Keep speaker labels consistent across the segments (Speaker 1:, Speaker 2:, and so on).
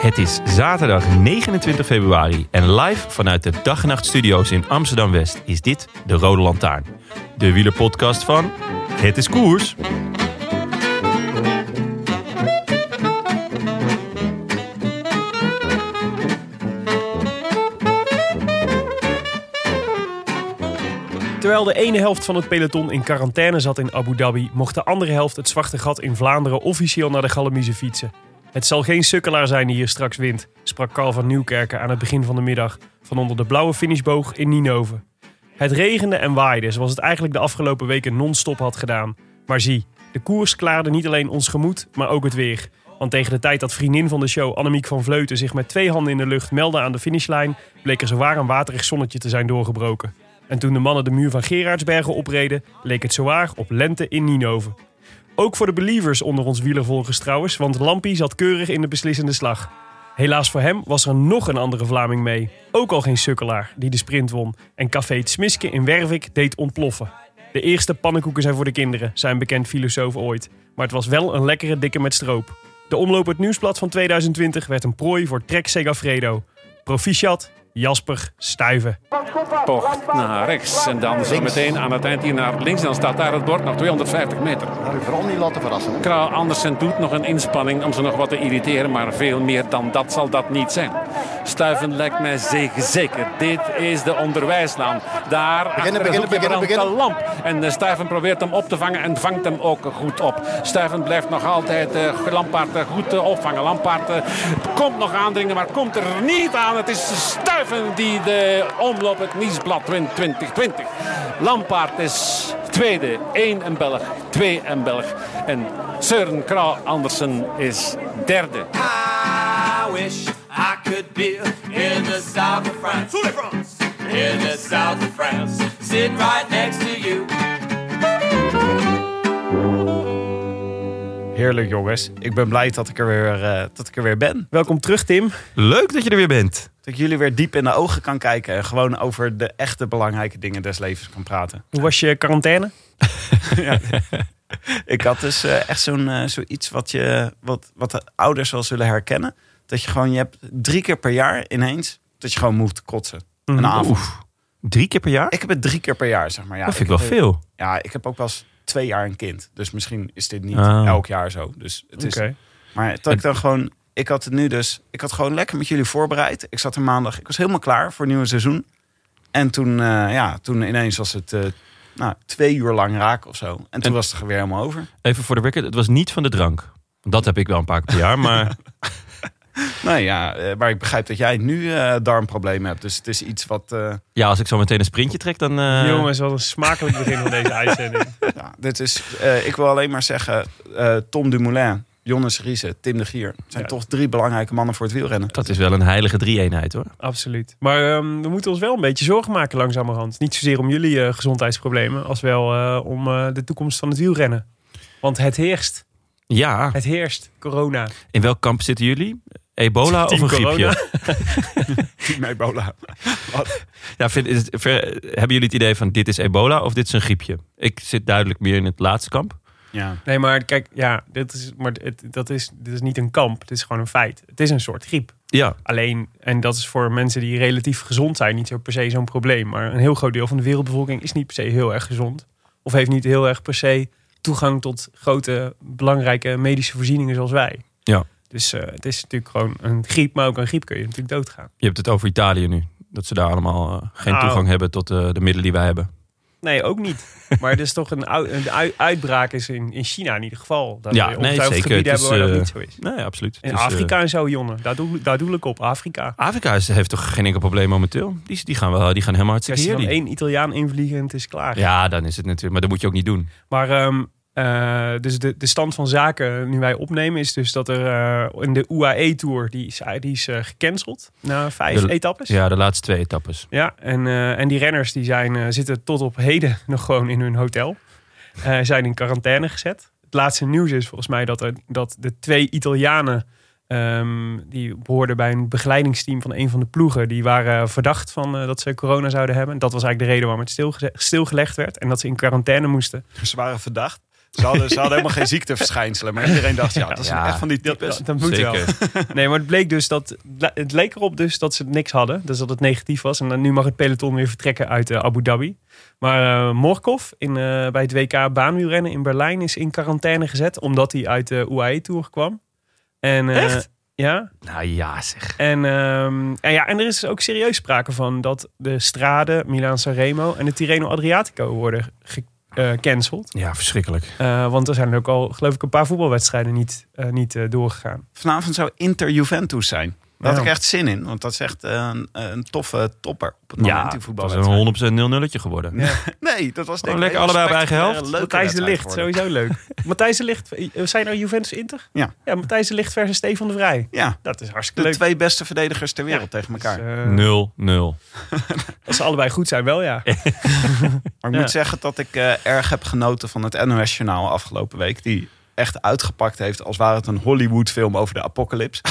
Speaker 1: Het is zaterdag 29 februari en live vanuit de Dag en Nacht Studio's in Amsterdam West is dit de Rode Lantaarn. De wielerpodcast van Het is Koers.
Speaker 2: Terwijl de ene helft van het peloton in quarantaine zat in Abu Dhabi, mocht de andere helft het zwarte gat in Vlaanderen officieel naar de Galamize fietsen. Het zal geen sukkelaar zijn die hier straks wint, sprak Carl van Nieuwkerken aan het begin van de middag van onder de blauwe finishboog in Ninoven. Het regende en waaide zoals het eigenlijk de afgelopen weken non-stop had gedaan. Maar zie, de koers klaarde niet alleen ons gemoed, maar ook het weer. Want tegen de tijd dat vriendin van de show Annemiek van Vleuten zich met twee handen in de lucht meldde aan de finishlijn, bleek er zowaar een waterig zonnetje te zijn doorgebroken. En toen de mannen de muur van Gerardsbergen opreden, leek het zowaar op lente in Ninoven. Ook voor de believers onder ons wielervolgers trouwens, want Lampie zat keurig in de beslissende slag. Helaas voor hem was er nog een andere Vlaming mee. Ook al geen sukkelaar, die de sprint won. En café Het Smiske in Wervik deed ontploffen. De eerste pannenkoeken zijn voor de kinderen, zei een bekend filosoof ooit. Maar het was wel een lekkere dikke met stroop. De omloop het nieuwsblad van 2020 werd een prooi voor Trek Segafredo. Proficiat, Jasper, Stuiven.
Speaker 3: Pocht naar rechts en dan zo meteen aan het eind hier naar links. En dan staat daar het bord nog 250 meter.
Speaker 4: Maar u vooral niet laten verrassen.
Speaker 3: Kraal Andersen doet nog een inspanning om ze nog wat te irriteren. Maar veel meer dan dat zal dat niet zijn. Stuiven lijkt mij zeker. zeker. Dit is de onderwijslaan. Daar achter het
Speaker 4: beginnen,
Speaker 3: hoekje
Speaker 4: beginnen,
Speaker 3: brandt
Speaker 4: beginnen.
Speaker 3: de lamp. En eh, Stuiven probeert hem op te vangen en vangt hem ook goed op. Stuiven blijft nog altijd eh Lampaard eh, goed eh, opvangen. Lampaard eh, komt nog aandringen, maar komt er niet aan. Het is Stuiven die de omloop het Nieuwsblad wint 2020. Lampaard is tweede. Eén een Belg, twee een Belg. En Søren Kraal Andersen is derde.
Speaker 5: I wish I could be in the south of France. In the south of France. Sit right next to you.
Speaker 6: Heerlijk jongens. Dus Ik ben blij dat ik er weer, eh, dat ik er weer ben.
Speaker 2: Welkom terug, Tim.
Speaker 1: Leuk dat je er weer bent.
Speaker 6: Dat ik jullie weer diep in de ogen kan kijken. En gewoon over de echte belangrijke dingen des levens kan praten.
Speaker 2: Hoe was je quarantaine?
Speaker 6: Ik had dus eh, echt zo'n, eh, zoiets wat, je, wat, wat de ouders wel zullen herkennen. Dat je gewoon, je hebt drie keer per jaar ineens, dat je gewoon moet kotsen.
Speaker 1: Mhm.
Speaker 6: Een avond.
Speaker 1: Drie keer per jaar?
Speaker 6: Ik heb het drie keer per jaar, zeg maar. Ja,
Speaker 1: Dat vind ik
Speaker 6: heb
Speaker 1: wel
Speaker 6: het-
Speaker 1: veel.
Speaker 6: Ja, ik heb ook wel eens twee jaar een kind. Dus misschien is dit niet
Speaker 1: Ah.
Speaker 6: elk jaar zo. Dus het is,
Speaker 2: Oké.
Speaker 6: Maar dat ik dan gewoon... Ik had het nu dus... Ik had gewoon lekker met jullie voorbereid. Ik zat er maandag... Ik was helemaal klaar voor het nieuwe seizoen. En toen, eh, ja, toen ineens was het eh, nou, twee uur lang raak of zo. En toen
Speaker 1: En-
Speaker 6: was het er weer helemaal over.
Speaker 1: Even voor de record, het was niet van de drank. Dat heb ik wel een paar keer per jaar, maar
Speaker 6: Nou ja, eh, maar ik begrijp dat jij nu eh, darmproblemen hebt. Dus het is iets wat... eh,
Speaker 1: ja, als ik zo meteen een sprintje trek, dan... eh,
Speaker 2: Jongens, wat een smakelijk begin van deze uitzending.
Speaker 6: ja, dit is, eh, ik wil alleen maar zeggen... eh, Tom Dumoulin, Jonas Riese, Tim de Gier... zijn
Speaker 2: Ja.
Speaker 6: toch drie belangrijke mannen voor het wielrennen.
Speaker 1: Dat is wel een heilige drie-eenheid hoor.
Speaker 2: Absoluut. Maar ehm, we moeten ons wel een beetje zorgen maken langzamerhand. Niet zozeer om jullie eh, gezondheidsproblemen, als wel eh, om eh, de toekomst van het wielrennen. Want het heerst.
Speaker 1: Ja,
Speaker 2: Het heerst. Corona.
Speaker 1: in welk kamp zitten jullie? Ebola of
Speaker 2: Team
Speaker 1: een griepje?
Speaker 2: corona.
Speaker 6: Team Ebola.
Speaker 1: Ja, vind, is het, ver- hebben jullie het idee van dit is ebola of dit is een griepje? Ik zit duidelijk meer in het laatste kamp.
Speaker 6: Ja.
Speaker 2: Nee, maar kijk, ja, dit is, maar het, dat is, dit is niet een kamp. Het is gewoon een feit. Het is een soort griep.
Speaker 1: Ja,
Speaker 2: Alleen, en dat is voor mensen die relatief gezond zijn, niet zo per se zo'n probleem. Maar een heel groot deel van de wereldbevolking is niet per se heel erg gezond. Of heeft niet heel erg per se toegang tot grote, belangrijke medische voorzieningen zoals wij.
Speaker 1: Ja.
Speaker 2: Dus eh, het is natuurlijk gewoon een griep, maar ook een griep kun je natuurlijk doodgaan.
Speaker 1: Je hebt het over Italië nu. Dat ze daar allemaal eh, geen
Speaker 2: Nou.
Speaker 1: toegang hebben tot eh, de middelen die wij hebben.
Speaker 2: Nee, ook niet. Maar het is toch een, ou- een ui- uitbraak is in, in China in ieder geval. Dat
Speaker 1: Ja,
Speaker 2: we
Speaker 1: nee,
Speaker 2: ongetwijfeld
Speaker 1: zeker.
Speaker 2: gebieden
Speaker 1: Het is,
Speaker 2: hebben waar dat
Speaker 1: eh,
Speaker 2: niet zo is.
Speaker 1: Nee, absoluut.
Speaker 2: In
Speaker 1: Het is, eh,
Speaker 2: Afrika en zo, jongen. Daar doe, daar doe ik op. Afrika.
Speaker 1: Afrika is, heeft toch geen enkel probleem momenteel? Die, die, gaan, wel, die gaan helemaal hartstikke
Speaker 2: Als je
Speaker 1: hier.
Speaker 2: dan
Speaker 1: die.
Speaker 2: één Italiaan invliegen en het is klaar.
Speaker 1: Ja, dan is het natuurlijk. Maar dat moet je ook niet doen.
Speaker 2: Maar ehm, eh, dus de, de stand van zaken nu wij opnemen is dus dat er eh, in de UAE-tour, die is, die is eh, gecanceld na vijf
Speaker 1: De-
Speaker 2: etappes.
Speaker 1: Ja, de laatste twee etappes.
Speaker 2: Ja, en, eh, en die renners die zijn, eh, zitten tot op heden nog gewoon in hun hotel. Eh, zijn in quarantaine gezet. Het laatste nieuws is volgens mij dat, er, dat de twee Italianen... ehm, die behoorden bij een begeleidingsteam van een van de ploegen... die waren verdacht van eh, dat ze corona zouden hebben. Dat was eigenlijk de reden waarom het stilgeze- stilgelegd werd. En dat ze in quarantaine moesten.
Speaker 6: Ze waren verdacht. Ze hadden, ze hadden helemaal geen ziekteverschijnselen. Maar iedereen dacht, ja, dat is
Speaker 1: Ja.
Speaker 6: echt van die types.
Speaker 2: Dat, dat moet wel.
Speaker 1: Zeker.
Speaker 2: Nee, maar het bleek dus dat. Het leek erop dus dat ze niks hadden. Dus dat het negatief was. En dan, nu mag het peloton weer vertrekken uit eh, Abu Dhabi. Maar eh Morkov in, eh, bij het WK baanwielrennen in Berlijn is in quarantaine gezet. Omdat hij uit de UAE-tour kwam. En, eh,
Speaker 1: Echt?
Speaker 2: Ja.
Speaker 1: Nou ja, zeg.
Speaker 2: En, ehm, en, ja, en er is ook serieus sprake van dat de Strade, Milaan Sanremo en de Tirreno Adriatico worden gecanceld.
Speaker 1: Ja, verschrikkelijk.
Speaker 2: Eh, want er zijn ook al, geloof ik, een paar voetbalwedstrijden niet, eh, niet eh, doorgegaan.
Speaker 6: Vanavond zou Inter Juventus zijn. Daar had
Speaker 2: Ja.
Speaker 6: ik echt zin in. Want dat is echt een, een toffe topper op het moment
Speaker 1: Ja,
Speaker 6: die
Speaker 1: dat is
Speaker 6: voetbal.
Speaker 1: een 100% 0-nulletje geworden.
Speaker 6: Nee, dat was denk
Speaker 1: Oh, lekker
Speaker 6: ik een hele
Speaker 1: allebei op eigen helft.
Speaker 6: spectaculaire, leuke
Speaker 2: Matthijs de
Speaker 6: wedstrijd
Speaker 2: Licht,
Speaker 6: geworden.
Speaker 2: sowieso leuk. Matthijs de Licht, eh, zijn er Juventus Inter?
Speaker 6: Ja.
Speaker 2: Ja, Matthijs de Licht versus Stefan de Vrij.
Speaker 6: Ja,
Speaker 2: Dat is hartstikke
Speaker 6: de
Speaker 2: leuk.
Speaker 6: twee beste verdedigers ter wereld tegen elkaar.
Speaker 2: Dus, eh,
Speaker 1: 0-0.
Speaker 2: Als ze allebei goed zijn, wel ja.
Speaker 6: Maar ik
Speaker 2: Ja.
Speaker 6: moet zeggen dat ik eh, erg heb genoten van het NOS-journaal afgelopen week. Die echt uitgepakt heeft als ware het een Hollywood-film over de apocalypse.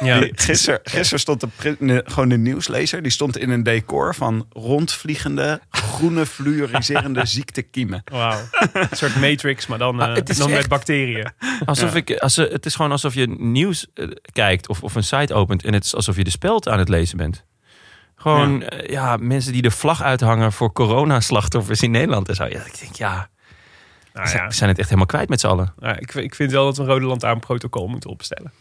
Speaker 2: ja.
Speaker 6: Die- Gisteren gister stond de, pri- ne- gewoon de nieuwslezer. Die stond in een decor van rondvliegende, groene, fluoriserende ziektekiemen.
Speaker 2: Wauw. Een soort matrix, maar dan, eh,
Speaker 6: Ah,
Speaker 1: Maar het is
Speaker 2: dan met
Speaker 1: echt-
Speaker 2: bacteriën.
Speaker 1: Alsof ik, als, eh, het is gewoon alsof je nieuws eh, kijkt of, of een site opent en het is alsof je de speld aan het lezen bent. Gewoon ja. ja, mensen die de vlag uithangen voor coronaslachtoffers in Nederland en zo. Ja, ik denk, ja,
Speaker 2: Nou
Speaker 6: Ah,
Speaker 1: ze-
Speaker 2: ja,
Speaker 1: we zijn het echt helemaal kwijt met z'n allen.
Speaker 2: nou, ik, ik vind wel dat we een Rode Lantaarn protocol moeten opstellen.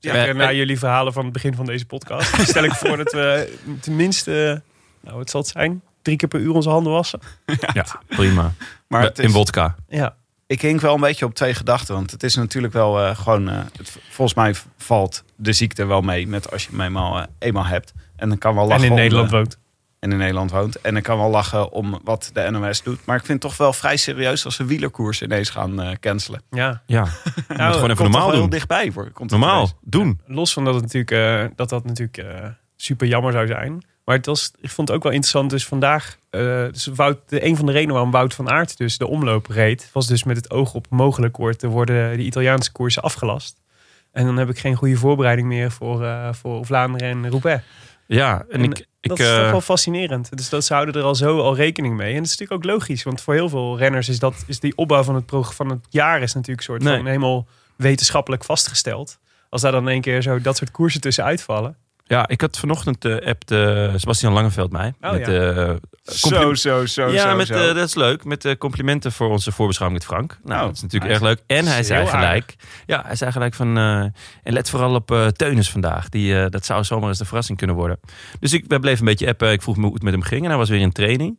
Speaker 1: Eh,
Speaker 2: Zeker na jullie verhalen van het begin van deze podcast. stel ik voor dat we tenminste, eh, nou het zal het zijn, drie keer per uur onze handen wassen.
Speaker 1: Ja, prima.
Speaker 6: Maar het
Speaker 1: In
Speaker 6: is-
Speaker 1: vodka.
Speaker 2: Ja.
Speaker 6: ik hing wel een beetje op twee gedachten. Want het is natuurlijk wel eh, gewoon... eh, het, volgens mij valt de ziekte wel mee met als je hem eenmaal, eh, eenmaal hebt. En dan kan wel lachen
Speaker 2: En in
Speaker 6: om,
Speaker 2: Nederland
Speaker 6: eh,
Speaker 2: woont.
Speaker 6: en in Nederland woont. En ik kan wel lachen om wat de NOS doet. Maar ik vind het toch wel vrij serieus als ze wielerkoers ineens gaan eh, cancelen.
Speaker 2: Ja.
Speaker 1: Ja,
Speaker 2: Nou,
Speaker 1: gewoon
Speaker 6: Komt
Speaker 1: even
Speaker 6: toch
Speaker 1: normaal
Speaker 6: wel heel
Speaker 1: doen.
Speaker 6: dichtbij. Hoor. Komt het
Speaker 1: Normaal
Speaker 6: ineens.
Speaker 1: doen.
Speaker 2: los van dat het natuurlijk, eh, dat, dat natuurlijk eh, super jammer zou zijn. Maar het was, ik vond het ook wel interessant. Dus vandaag, eh, dus Wout, de, een van de redenen waarom Wout van Aert dus de omloop reed, was dus met het oog op mogelijk wordt, te worden de Italiaanse koersen afgelast. En dan heb ik geen goede voorbereiding meer voor, eh, voor Vlaanderen en Roubaix.
Speaker 1: Ja, en,
Speaker 2: En
Speaker 1: ik, ik,
Speaker 2: dat is toch
Speaker 1: eh,
Speaker 2: wel fascinerend. Dus dat ze houden er al zo al rekening mee. En dat is natuurlijk ook logisch. Want voor heel veel renners is, dat, is die opbouw van het, prog- van het jaar is natuurlijk soort
Speaker 1: Nee.
Speaker 2: van helemaal wetenschappelijk vastgesteld. Als daar dan in één keer zo dat soort koersen tussen uitvallen.
Speaker 1: ja, ik had vanochtend de app de Sebastian Langeveld mij.
Speaker 2: Oh,
Speaker 1: met,
Speaker 2: ja.
Speaker 1: eh, compli-
Speaker 6: Zo, zo, zo,
Speaker 1: ja,
Speaker 6: zo,
Speaker 1: met,
Speaker 6: zo.
Speaker 1: eh, dat is leuk. Met eh, complimenten voor onze voorbeschouwing met Frank. Nou,
Speaker 6: Oh,
Speaker 1: dat is natuurlijk
Speaker 6: hij
Speaker 1: erg leuk. En hij
Speaker 2: is
Speaker 1: zei
Speaker 2: heel
Speaker 1: gelijk. Ja, hij zei gelijk van. eh, en let vooral op eh Teunis vandaag. Die, eh, dat zou zomaar eens de verrassing kunnen worden. Dus ik wij bleef een beetje appen. Ik vroeg me hoe het met hem ging. En hij was weer in training.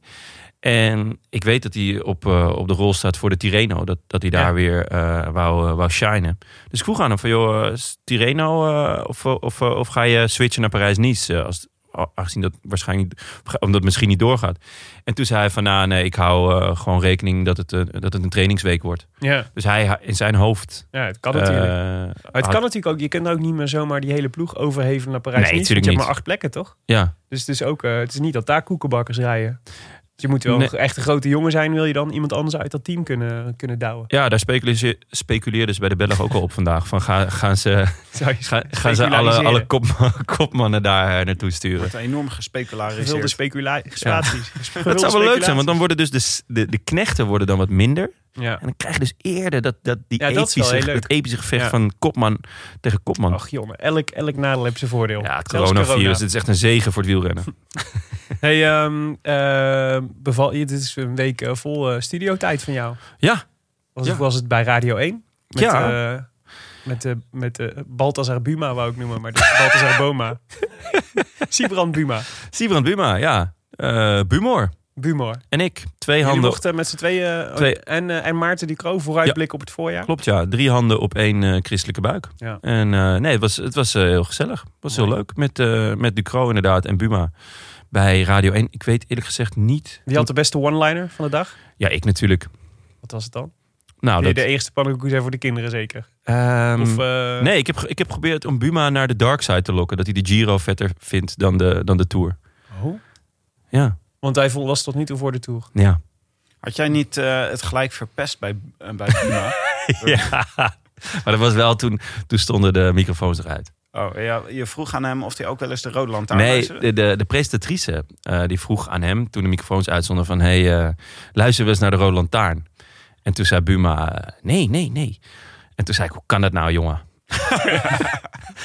Speaker 1: En ik weet dat hij op, eh, op de rol staat voor de Tireno. Dat, dat hij daar
Speaker 2: Ja.
Speaker 1: weer eh, wou, eh, wou shinen. Dus ik vroeg aan hem van, joh, eh, is Tireno eh, of, eh, of, eh, of ga je switchen naar Parijs-Nice? eh, als, aangezien dat waarschijnlijk, niet- omdat het misschien niet doorgaat. En toen zei hij van, nou nee, ik hou eh, gewoon rekening dat het, eh, dat het een trainingsweek wordt.
Speaker 2: Ja,
Speaker 1: Dus hij ha- in zijn hoofd...
Speaker 2: ja het kan natuurlijk.
Speaker 1: eh,
Speaker 2: maar het
Speaker 1: had-
Speaker 2: kan natuurlijk ook. Je kunt ook niet meer zomaar die hele ploeg overheven naar Parijs.
Speaker 1: Nee,
Speaker 2: niet, want
Speaker 1: natuurlijk
Speaker 2: je hebt
Speaker 1: niet.
Speaker 2: maar acht plekken, toch?
Speaker 1: Ja,
Speaker 2: Dus het is ook. eh, het is niet dat daar koekenbakkers rijden. Dus je moet wel
Speaker 1: Nee.
Speaker 2: echt een grote jongen zijn. Wil je dan iemand anders uit dat team kunnen, kunnen douwen?
Speaker 1: ja, daar speculeer- speculeerden ze bij de Belg ook al op vandaag. Van ga, gaan ze,
Speaker 2: Zou je
Speaker 1: ga, gaan ze alle, alle
Speaker 2: Speculariseren.
Speaker 1: kop- kopmannen daar eh, naartoe sturen?
Speaker 6: wordt enorm
Speaker 2: gevulde
Speaker 6: gespeculariseerd.
Speaker 2: specula- speculaties? Gevulde
Speaker 1: Dat zou wel leuk zijn, want
Speaker 2: speculaties.
Speaker 1: dan worden dus de, s- de, de knechten worden dan wat minder.
Speaker 2: Ja.
Speaker 1: En dan krijg je dus eerder dat, dat, die
Speaker 2: Ja, dat is wel
Speaker 1: epische,
Speaker 2: heel leuk.
Speaker 1: het epische gevecht
Speaker 2: Ja.
Speaker 1: van kopman tegen kopman.
Speaker 2: Ach jongen, elk, elk nadeel heeft zijn voordeel.
Speaker 1: ja, het
Speaker 2: Zelfs
Speaker 1: coronavirus,
Speaker 2: corona.
Speaker 1: het is echt een zegen voor het wielrennen.
Speaker 2: Hey, ehm, eh, beval, dit is een week eh, vol eh, studiotijd van jou.
Speaker 1: Ja,
Speaker 2: Was,
Speaker 1: Ja.
Speaker 2: was het bij Radio 1? Met,
Speaker 1: Ja.
Speaker 2: eh, Met, eh met eh Balthazar Buma wou ik noemen, maar dat is Balthazar Boma. Sibrand Buma.
Speaker 1: Sibrand Buma, ja. Eh Bumor.
Speaker 2: Bumor.
Speaker 1: En ik. Twee
Speaker 2: Jullie
Speaker 1: handen.
Speaker 2: mochten met z'n tweeën eh,
Speaker 1: Twee.
Speaker 2: En, eh, en Maarten die Kroo vooruitblikken op het voorjaar.
Speaker 1: Klopt, ja. Drie handen op één eh, christelijke buik.
Speaker 2: Ja.
Speaker 1: En eh, nee, het was, het was eh, heel gezellig. Het was heel leuk. Met, eh met Ducro inderdaad en Buma bij Radio 1. Ik weet eerlijk gezegd niet...
Speaker 2: Wie had de beste one-liner van de dag?
Speaker 1: Ja, ik natuurlijk.
Speaker 2: Wat was het dan?
Speaker 1: Nou,
Speaker 2: Nee,
Speaker 1: dat,
Speaker 2: de eerste pannenkoek zijn voor de kinderen zeker.
Speaker 1: ehm,
Speaker 2: Of, eh,
Speaker 1: nee, ik heb, ge- ik heb geprobeerd om Buma naar de dark side te lokken. Dat hij de Giro vetter vindt dan de, dan de Tour.
Speaker 2: Oh.
Speaker 1: Ja,
Speaker 2: Want hij vol- was tot niet toe voor de Tour.
Speaker 1: ja.
Speaker 6: Had jij niet eh, het gelijk verpest bij, eh, bij Buma?
Speaker 1: ja. Maar dat was wel toen, toen stonden de microfoons eruit.
Speaker 6: oh, ja, je vroeg aan hem of hij ook wel eens de rode lantaarn
Speaker 1: Nee,
Speaker 6: luisterde.
Speaker 1: de, de, de presentatrice eh, die vroeg aan hem toen de microfoons uitzonden van... hey, eh, luister wel eens naar de Rode Lantaarn. En toen zei Buma, eh, nee, nee, nee. En toen zei ik, hoe kan dat nou, jongen?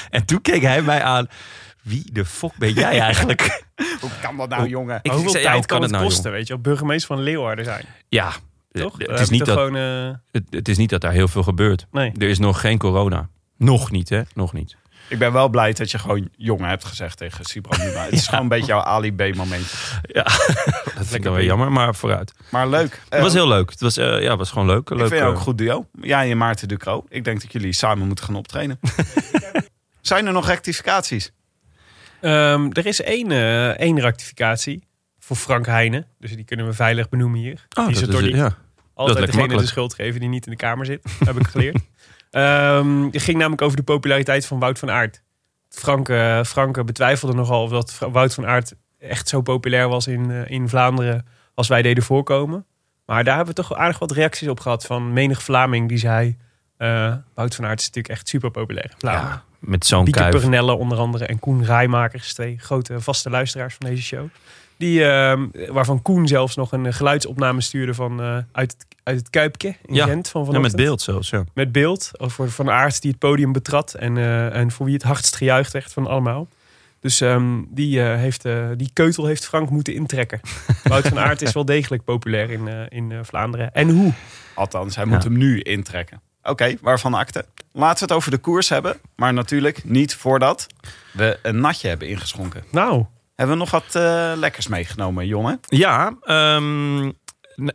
Speaker 1: en toen keek hij mij aan, wie de fuck ben jij eigenlijk?
Speaker 6: Hoe kan dat nou, jongen?
Speaker 1: Oh, Ik,
Speaker 2: Maar hoeveel
Speaker 1: zei, ja,
Speaker 2: tijd
Speaker 1: hoe
Speaker 2: kan, het
Speaker 1: nou,
Speaker 2: kosten,
Speaker 1: jongen?
Speaker 2: weet je? wel? Burgemeester van Leeuwarden zijn,
Speaker 1: Ja, eh,
Speaker 2: toch?
Speaker 1: het
Speaker 2: Daar
Speaker 1: is,
Speaker 2: heb je
Speaker 1: niet
Speaker 2: toch
Speaker 1: dat,
Speaker 2: gewoon, eh,
Speaker 1: het, het is niet dat daar heel veel gebeurt.
Speaker 2: nee.
Speaker 1: Er is nog geen corona. Nog niet, hè? Nog niet.
Speaker 6: Ik ben wel blij dat je gewoon jongen hebt gezegd tegen Sibran Buma. Het is gewoon een beetje jouw Ali B momentje.
Speaker 1: Dat vind ik dan wel jammer, maar vooruit.
Speaker 6: Maar leuk.
Speaker 1: het was
Speaker 6: Eh,
Speaker 1: heel leuk. Het was, eh, ja, het was gewoon leuk.
Speaker 6: ik
Speaker 1: leuk
Speaker 6: vind jou ook
Speaker 1: eh,
Speaker 6: een goed duo. Jij en Maarten Ducro. Ik denk dat jullie samen moeten gaan optreden. Zijn er nog rectificaties?
Speaker 2: Ehm, er is één, eh één rectificatie voor Frank Heijnen. Dus die kunnen we veilig benoemen hier.
Speaker 1: Oh,
Speaker 2: die
Speaker 1: dat
Speaker 2: is
Speaker 1: is,
Speaker 2: het door niet
Speaker 1: ja. lijkt
Speaker 2: altijd
Speaker 1: me
Speaker 2: degene de
Speaker 1: makkelijk.
Speaker 2: schuld geven die niet in de kamer zit, heb ik geleerd. Ehm, het ging namelijk over de populariteit van Wout van Aert. Frank, eh, Frank betwijfelde nogal of dat Fra- Wout van Aert echt zo populair was in, eh, in Vlaanderen als wij deden voorkomen. Maar daar hebben we toch aardig wat reacties op gehad van menig Vlaming die zei... eh, Wout van Aert is natuurlijk echt super populair. Vlaanderen.
Speaker 1: Ja, met zo'n
Speaker 2: Pieke
Speaker 1: kuif.
Speaker 2: Pernelle onder andere en Koen Rijmakers, twee grote vaste luisteraars van deze show. Die, ehm, waarvan Koen zelfs nog een eh, geluidsopname stuurde van, eh, uit, het, uit het Kuipje in
Speaker 1: Ja,
Speaker 2: Gent. Van
Speaker 1: Ja,
Speaker 2: vanochtend.
Speaker 1: met beeld zelfs, ja.
Speaker 2: Met beeld, over Van Aert die het podium betrad en, eh, en voor wie het hardst gejuicht werd van allemaal. Dus ehm, die, eh, heeft, eh, die keutel heeft Frank moeten intrekken. Wout van Aert is wel degelijk populair in, eh, in eh, Vlaanderen. En hoe?
Speaker 6: Althans, hij moet hem nu intrekken. Oké, waarvan akte? Laten we het over de koers hebben. Maar natuurlijk niet voordat we een natje hebben ingeschonken.
Speaker 2: Nou,
Speaker 6: Hebben we nog wat eh, lekkers meegenomen, jongen?
Speaker 1: Ja, ehm, n-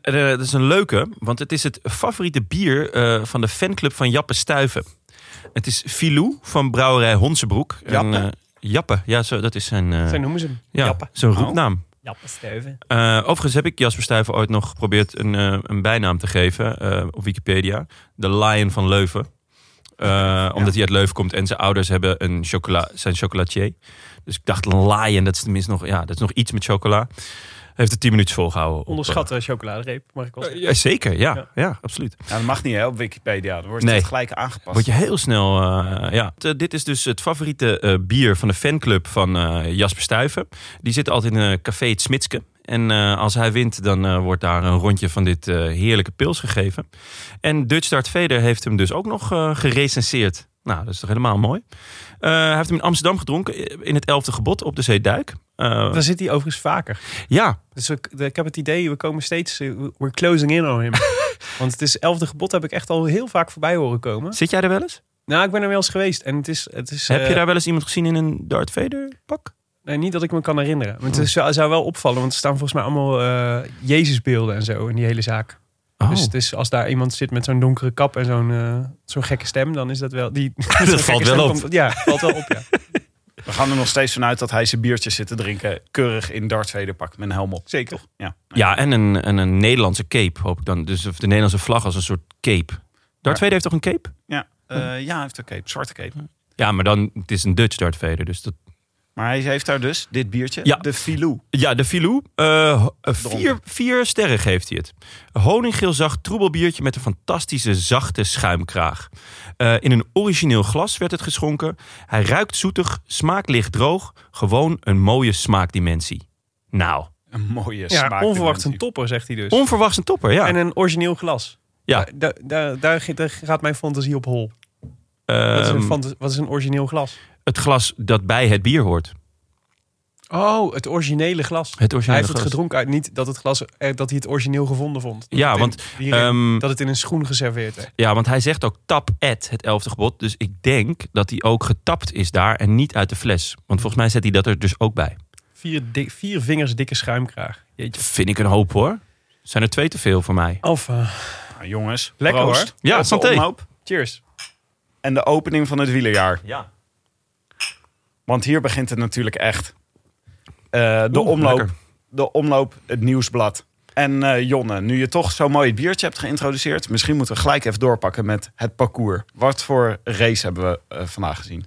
Speaker 1: eh, dat is een leuke, want het is het favoriete bier eh, van de fanclub van Jappe Stuiven. Het is Filou van brouwerij Honsebroek.
Speaker 6: Jappe?
Speaker 1: eh, Jappe, ja, zo, dat is zijn, eh
Speaker 2: zo noemen ze hem.
Speaker 1: ja,
Speaker 2: Jappe.
Speaker 1: zijn roepnaam.
Speaker 2: Jappe Steuven.
Speaker 1: Eh, overigens heb ik Jasper Stuyven ooit nog geprobeerd een, eh, een bijnaam te geven eh, op Wikipedia. De Lion van Leuven. Eh, Omdat hij uit Leuven komt en zijn ouders hebben een chocola, zijn chocolatier. Dus ik dacht, een lion, dat is tenminste nog, ja, dat is nog iets met chocola. Heeft het 10 minuten volgehouden. op, eh,
Speaker 2: Onderschatte chocoladereep, mag ik wel
Speaker 1: eh,
Speaker 2: zeggen.
Speaker 1: ja, zeker, ja.
Speaker 2: Ja.
Speaker 1: ja. absoluut.
Speaker 6: Ja, Nou, dat mag niet hè, op Wikipedia. Dan wordt
Speaker 1: Nee.
Speaker 6: het gelijk aangepast.
Speaker 1: Word je heel snel. eh, ja. T- dit is dus het favoriete eh, bier van de fanclub van eh, Jasper Stuyven. Die zit altijd in een café Het Smitske. En eh, als hij wint, dan eh, wordt daar een rondje van dit eh, heerlijke pils gegeven. En Dutch Dart Vader heeft hem dus ook nog eh gerecenseerd. Nou, dat is toch helemaal mooi. Eh, hij heeft hem in Amsterdam gedronken, eh, in het 11e gebod op de Zeeduik. Eh,
Speaker 2: Daar zit hij overigens vaker.
Speaker 1: ja,
Speaker 2: Dus ik, ik heb het idee, we komen steeds, eh, we're closing in on him. Want het is elfde gebod heb ik echt al heel vaak voorbij horen komen.
Speaker 1: zit jij er wel eens?
Speaker 2: Nou, ik ben er wel eens geweest en het is... Het is
Speaker 1: Heb
Speaker 2: eh,
Speaker 1: je daar wel eens iemand gezien in een Darth Vader pak?
Speaker 2: nee, niet dat ik me kan herinneren. Maar het
Speaker 1: Oh.
Speaker 2: is- zou, zou wel opvallen, want er staan volgens mij allemaal eh, Jezusbeelden en zo in die hele zaak.
Speaker 1: Oh,
Speaker 2: Dus het is, als daar iemand zit met zo'n donkere kap en zo'n eh, zo'n gekke stem, dan is dat wel... Die, zo'n gekke
Speaker 1: valt wel
Speaker 2: stem
Speaker 1: op.
Speaker 2: komt- ja, valt wel op, ja.
Speaker 6: We gaan er nog steeds vanuit dat hij zijn biertjes zit te drinken. Keurig in Darth Vader pak met een helm op.
Speaker 2: Zeker.
Speaker 6: Ja.
Speaker 1: Ja, en een, en een Nederlandse cape hoop ik dan. Dus of de Nederlandse vlag als een soort cape. Darth Vader heeft toch een cape?
Speaker 6: Ja, Eh, ja hij heeft een cape. Zwarte cape.
Speaker 1: Ja, maar dan het is een Dutch Darth Vader. Dus dat...
Speaker 6: Maar hij heeft daar dus dit biertje.
Speaker 1: Ja.
Speaker 6: De Filou.
Speaker 1: Ja, de Filou. eh, ho- eh, vier, vier sterren geeft hij het. Een Honinggeel zacht troebelbiertje met een fantastische zachte schuimkraag. Eh, in een origineel glas werd het geschonken. Hij ruikt zoetig, smaak licht droog. Gewoon een mooie smaakdimensie. Nou,
Speaker 6: Een mooie smaak.
Speaker 2: ja onverwacht een
Speaker 6: top.
Speaker 2: topper, zegt hij dus.
Speaker 1: onverwachts een topper, ja.
Speaker 2: En een origineel glas.
Speaker 1: Ja.
Speaker 2: Daar, daar, daar, daar gaat mijn fantasie op hol. Wat is, een
Speaker 1: Ehm,
Speaker 2: fanta- wat is een origineel glas?
Speaker 1: het glas dat bij het bier hoort.
Speaker 2: Oh, het originele glas.
Speaker 1: Het originele
Speaker 2: hij heeft het
Speaker 1: glas.
Speaker 2: gedronken uit niet dat het glas eh, dat hij het origineel gevonden vond. Dat
Speaker 1: Ja,
Speaker 2: het in-
Speaker 1: want,
Speaker 2: hierin-
Speaker 1: ehm,
Speaker 2: dat het in een schoen geserveerd werd.
Speaker 1: Ja, want hij zegt ook tap at het elfde gebod. Dus ik denk dat hij ook getapt is daar en niet uit de fles. Want volgens mij zet hij dat er dus ook bij.
Speaker 2: Vier, dik- vier vingers dikke schuimkraag. Jeetje.
Speaker 1: Vind ik een hoop hoor. Zijn er twee te veel voor mij.
Speaker 2: Of eh,
Speaker 6: Nou, jongens,
Speaker 2: Lekker,
Speaker 6: proost.
Speaker 2: hoor.
Speaker 1: Ja,
Speaker 6: Op de
Speaker 1: santé.
Speaker 6: omhoop
Speaker 2: cheers.
Speaker 6: En de opening van het wielerjaar.
Speaker 1: Ja.
Speaker 6: Want hier begint het natuurlijk echt. Eh, de,
Speaker 1: Oeh,
Speaker 6: omloop,
Speaker 1: lekker.
Speaker 6: de omloop, het nieuwsblad. En eh, Jonne, nu je toch zo mooi het biertje hebt geïntroduceerd... misschien moeten we gelijk even doorpakken met het parcours. Wat voor race hebben we eh, vandaag gezien?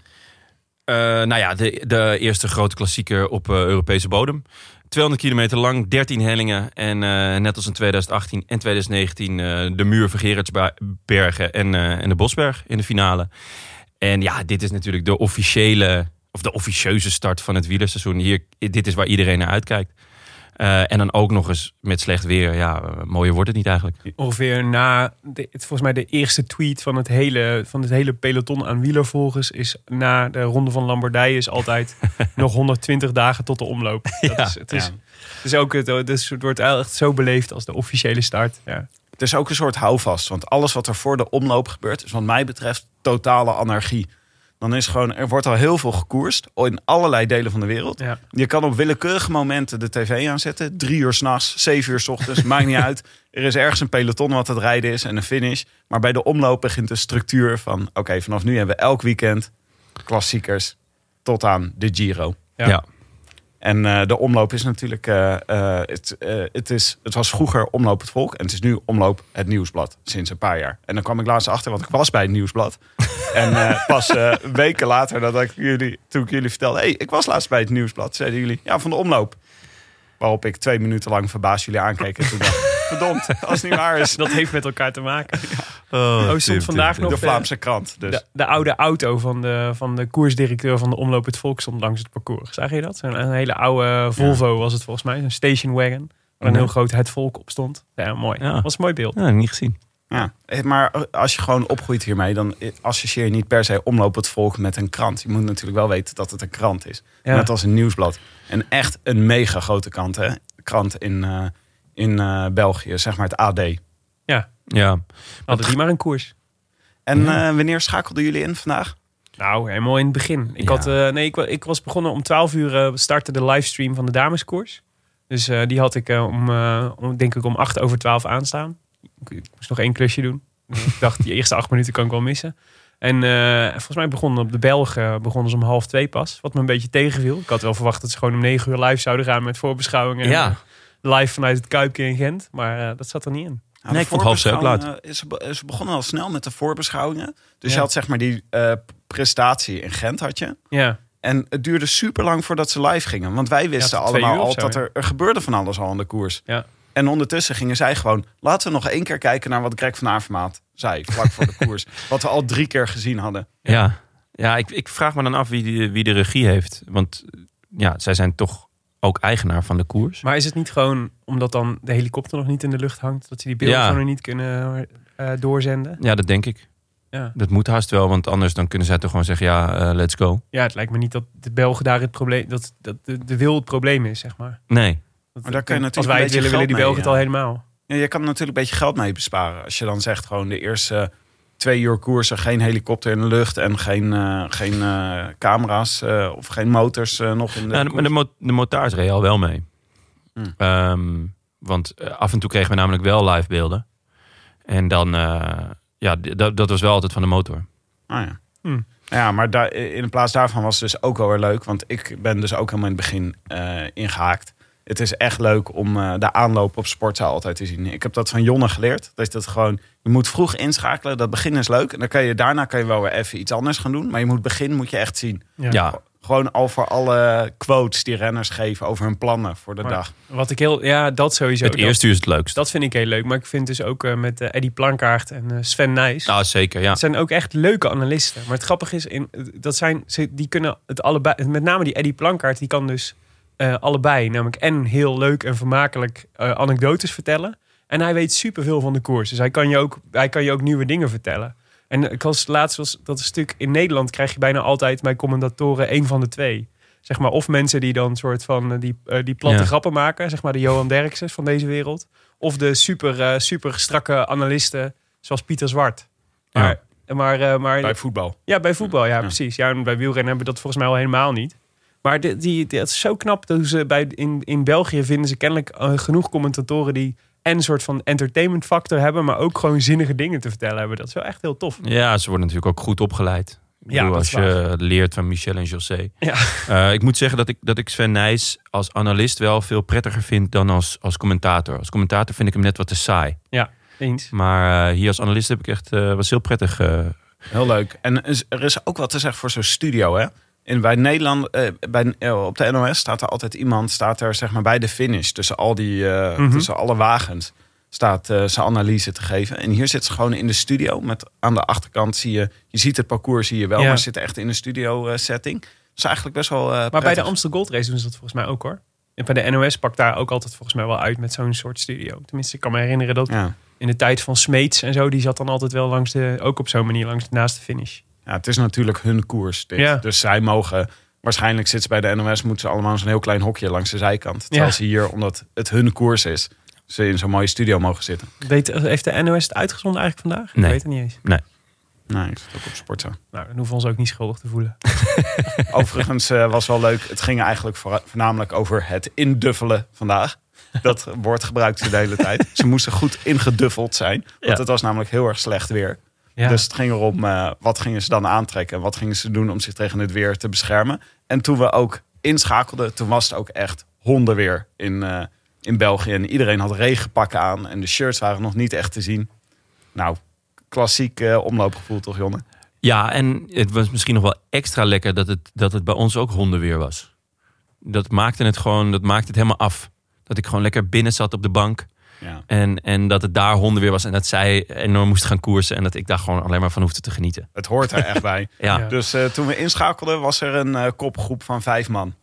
Speaker 1: Eh, nou ja, de, de eerste grote klassieker op eh, Europese bodem. 200 kilometer lang, 13 hellingen. En eh, net als in 2018 en 2019 eh, de muur van Gerardsbergen en, eh, en de Bosberg in de finale. En ja, dit is natuurlijk de officiële, of de officieuze start van het wielerseizoen. Hier, dit is waar iedereen naar uitkijkt. Eh, en dan ook nog eens met slecht weer. Ja, eh, mooier wordt het niet eigenlijk.
Speaker 2: Ongeveer na, de, het- volgens mij de eerste tweet van het hele, van het hele peloton aan wielervolgers is na de ronde van Lombardije is altijd nog 120 dagen tot de omloop. Dat is, het, is,
Speaker 6: ja.
Speaker 2: het is ook het, het, is- het wordt echt zo beleefd als de officiële start. Ja.
Speaker 6: Het is ook een soort houvast. Want alles wat er voor de omloop gebeurt... is wat mij betreft totale anarchie. Dan is gewoon, er wordt al heel veel gekoerst... in allerlei delen van de wereld.
Speaker 2: Ja.
Speaker 6: Je kan op willekeurige momenten de tv aanzetten. Drie uur s'nachts, zeven uur s ochtends, maakt niet uit. Er is ergens een peloton wat het rijden is en een finish. Maar bij de omloop begint de structuur van... oké, vanaf nu hebben we elk weekend klassiekers tot aan de Giro.
Speaker 2: Ja.
Speaker 6: En eh, de omloop is natuurlijk... eh, eh, het, eh, het, is, het was vroeger Omloop het Volk en het is nu Omloop het Nieuwsblad. Sinds een paar jaar. En dan kwam ik laatst achter, want ik was bij het Nieuwsblad. en eh, pas eh, weken later, dat ik jullie, toen ik jullie vertelde... hey, ik was laatst bij het Nieuwsblad, zeiden jullie... ja, van de Omloop. Waarop ik twee minuten lang verbaasd jullie aankeek. En toen dacht ik, verdomd, als het niet waar is.
Speaker 2: Dat heeft met elkaar te maken.
Speaker 1: Oh,
Speaker 2: stond vandaag nog-
Speaker 6: De Vlaamse krant. Dus.
Speaker 2: De, de oude auto van de, van de koersdirecteur van de Omloop het Volk stond langs het parcours. Zag je dat? Zo'n een hele oude Volvo was het volgens mij. Een station wagon. Waar een heel groot het volk op stond. Ja, mooi.
Speaker 1: Ja.
Speaker 2: was een mooi beeld.
Speaker 1: Ja, niet gezien.
Speaker 6: Ja, eh, maar als je gewoon opgroeit hiermee, dan eh, associeer je niet per se omloop het volk met een krant. Je moet natuurlijk wel weten dat het een krant is.
Speaker 2: Ja.
Speaker 6: Net als een nieuwsblad. En echt een mega grote krant, hè? krant in, eh, in eh, België, zeg maar het AD.
Speaker 2: Ja,
Speaker 1: Ja.
Speaker 2: hadden die maar een koers.
Speaker 6: En eh, wanneer schakelden jullie in vandaag?
Speaker 2: Nou, helemaal in het begin. Ik,
Speaker 1: Ja.
Speaker 2: had, eh, nee, ik, wa- ik was begonnen om 12 uur eh, startte de livestream van de dameskoers. Dus eh, die had ik eh, om, eh, om, denk ik om 8 over 12 aanstaan. Ik, ik moest nog één klusje doen. Dus ik dacht, die eerste acht minuten kan ik wel missen. En eh, volgens mij begonnen op de Belgen begonnen ze om half twee pas. Wat me een beetje tegenviel. Ik had wel verwacht dat ze gewoon om 9 uur live zouden gaan met voorbeschouwingen.
Speaker 1: Ja.
Speaker 2: En, eh, live vanuit het Kuipje in Gent. Maar eh, dat zat er niet in.
Speaker 6: Nou,
Speaker 1: Nee,
Speaker 6: de
Speaker 1: ik vond half zeven
Speaker 6: voorbeschouwingen, eh, Ze, be- ze begonnen al snel met de voorbeschouwingen. Dus
Speaker 2: Ja.
Speaker 6: je had zeg maar die eh, prestatie in Gent had je.
Speaker 2: Ja,
Speaker 6: En het duurde super lang voordat ze live gingen. Want wij wisten
Speaker 2: tot twee
Speaker 6: allemaal
Speaker 2: uur of
Speaker 6: al
Speaker 2: zo,
Speaker 6: dat
Speaker 2: ja.
Speaker 6: er, er gebeurde van alles al aan de koers.
Speaker 2: ja.
Speaker 6: En ondertussen gingen zij gewoon... laten we nog één keer kijken naar wat Greg van Avermaat zei... vlak voor de koers. Wat we al drie keer gezien hadden.
Speaker 1: Ja, ja ik, ik vraag me dan af wie, die, wie de regie heeft. Want ja, zij zijn toch ook eigenaar van de koers.
Speaker 2: Maar is het niet gewoon omdat dan de helikopter nog niet in de lucht hangt, dat ze die beelden
Speaker 1: Ja.
Speaker 2: gewoon niet kunnen eh, doorzenden?
Speaker 1: Ja, dat denk ik.
Speaker 2: Ja.
Speaker 1: Dat moet haast wel, want anders dan kunnen zij toch gewoon zeggen... ja, eh, let's go.
Speaker 2: ja, het lijkt me niet dat de Belgen daar het probleem, dat, dat de, de wil het probleem is, zeg maar.
Speaker 1: Nee.
Speaker 2: Dat-
Speaker 6: Maar daar kun je natuurlijk
Speaker 2: als wij
Speaker 6: een
Speaker 2: het
Speaker 6: beetje
Speaker 2: willen, willen die
Speaker 6: geld
Speaker 2: Belgen
Speaker 6: mee,
Speaker 2: het al helemaal.
Speaker 6: Ja, je kan er natuurlijk een beetje geld mee besparen. Als je dan zegt gewoon de eerste twee uur koersen... geen helikopter in de lucht en geen, eh, geen eh, camera's... eh, of geen motors eh, nog in de
Speaker 1: Ja,
Speaker 6: koers.
Speaker 1: maar Nou, de, mo- de motards reden al wel mee.
Speaker 6: Hmm.
Speaker 1: Ehm, want eh, af en toe kregen we namelijk wel live beelden. En dan... eh, ja, d- dat, dat was wel altijd van de motor.
Speaker 6: Ah, ja.
Speaker 2: Hmm.
Speaker 6: Ja, maar daar, in plaats daarvan was het dus ook wel weer leuk. Want ik ben dus ook helemaal in het begin eh, ingehaakt. Het is echt leuk om eh, de aanloop op sportzaal altijd te zien. Ik heb dat van Jonne geleerd. Dat is dat gewoon, je moet vroeg inschakelen. Dat begin is leuk. En dan kan je, daarna kan je wel weer even iets anders gaan doen. Maar je moet begin moet je echt zien.
Speaker 1: Ja,
Speaker 6: Gewoon al voor alle quotes die renners geven over hun plannen voor de
Speaker 2: Maar-
Speaker 6: dag.
Speaker 2: Wat ik heel, ja, dat sowieso.
Speaker 1: het
Speaker 2: Dat-
Speaker 1: eerste uur is het leukst.
Speaker 2: Dat vind ik heel leuk. Maar ik vind dus ook eh, met eh, Eddy Plankaart en eh, Sven Nijs.
Speaker 1: Nou, zeker, ja.
Speaker 2: Het zijn ook echt leuke analisten. Maar het grappige is, in, dat zijn, ze, die kunnen het allebei. Met name die Eddie Plankaart, die kan dus eh, allebei. Namelijk en heel leuk en vermakelijk eh, anekdotes vertellen. En hij weet superveel van de koers. Dus hij kan je ook, hij kan je ook nieuwe dingen vertellen. En ik was laatst was dat een stuk in Nederland krijg je bijna altijd bij commentatoren één van de twee. Zeg maar, of mensen die dan soort van eh, die, eh, die platte
Speaker 1: Ja.
Speaker 2: grappen maken. Zeg maar de Johan Derksen van deze wereld. Of de super, eh, super strakke analisten zoals Pieter Zwart. Maar, maar, eh, maar
Speaker 6: bij voetbal.
Speaker 2: ja, bij voetbal, ja, precies. Ja, en bij wielrennen hebben we dat volgens mij al helemaal niet. Maar die, die, die- het is zo knap dat ze bij, in, in België vinden ze kennelijk eh, genoeg commentatoren die en een soort van entertainment factor hebben, maar ook gewoon zinnige dingen te vertellen hebben. Dat is wel echt heel tof.
Speaker 1: Ja, ze worden natuurlijk ook goed opgeleid. Ik
Speaker 2: Ja,
Speaker 1: bedoel,
Speaker 2: dat
Speaker 1: als
Speaker 2: is waar.
Speaker 1: je leert van Michel en José.
Speaker 2: Ja.
Speaker 1: Eh, ik moet zeggen dat ik, dat ik Sven Nijs als analist wel veel prettiger vind dan als, als commentator. Als commentator vind ik hem net wat te saai.
Speaker 2: Ja, eens.
Speaker 1: Maar eh, hier als analist heb ik echt, eh, was heel prettig. eh,
Speaker 6: Heel leuk. En is- er is ook wat te zeggen voor zo'n studio, hè? In, bij Nederland, eh, bij, eh, op de NOS staat er altijd iemand, staat er zeg maar bij de finish, tussen, al die, eh,
Speaker 2: Mhm.
Speaker 6: tussen alle wagens, staat eh, zijn analyse te geven. En hier zit ze gewoon in de studio, met aan de achterkant zie je, je ziet het parcours zie je wel,
Speaker 2: Ja.
Speaker 6: maar ze zitten echt in een studio eh, setting. Dat is eigenlijk best wel eh,
Speaker 2: Maar bij de
Speaker 6: prettig.
Speaker 2: Amsterdam Gold Race doen ze dat volgens mij ook hoor. En bij de NOS pakt daar ook altijd volgens mij wel uit met zo'n soort studio. Tenminste, ik kan me herinneren dat
Speaker 6: Ja.
Speaker 2: in de tijd van Smeets en zo, die zat dan altijd wel langs de, ook op zo'n manier langs de naast de finish.
Speaker 6: ja, het is natuurlijk hun koers dit.
Speaker 2: Ja.
Speaker 6: Dus zij mogen, waarschijnlijk zitten ze bij de NOS, moeten ze allemaal in zo'n heel klein hokje langs de zijkant. Terwijl
Speaker 2: Ja.
Speaker 6: ze hier, omdat het hun koers is, ze in zo'n mooie studio mogen zitten.
Speaker 2: Weet, heeft de NOS het uitgezonden eigenlijk vandaag?
Speaker 1: Nee.
Speaker 2: Ik weet het niet eens.
Speaker 6: Nee, ik zit ook op sporten.
Speaker 2: Nou, dan hoeven we ons ook niet schuldig te voelen.
Speaker 6: Overigens eh, was wel leuk. Het ging eigenlijk voor- voornamelijk over het induffelen vandaag. Dat woord gebruikt ze de hele tijd. Ze moesten goed ingeduffeld zijn. Want
Speaker 1: Ja.
Speaker 6: het was namelijk heel erg slecht weer.
Speaker 2: Ja.
Speaker 6: Dus het ging erom eh, wat gingen ze dan aantrekken. en Wat gingen ze doen om zich tegen het weer te beschermen. En toen we ook inschakelden, toen was het ook echt hondenweer in, eh, in België. En iedereen had regenpakken aan. En de shirts waren nog niet echt te zien. Nou, klassiek eh, omloopgevoel toch, Jonne?
Speaker 1: Ja, en het was misschien nog wel extra lekker dat het, dat het bij ons ook hondenweer was. Dat maakte het gewoon, dat maakte het helemaal af. Dat ik gewoon lekker binnen zat op de bank.
Speaker 6: Ja.
Speaker 1: En, en dat het daar hondenweer was en dat zij enorm moest gaan koersen. En dat ik daar gewoon alleen maar van hoefde te genieten.
Speaker 6: Het hoort er echt bij.
Speaker 1: Ja,
Speaker 2: Ja.
Speaker 1: ja.
Speaker 6: Dus eh, toen we inschakelden was er een eh, kopgroep van vijf man.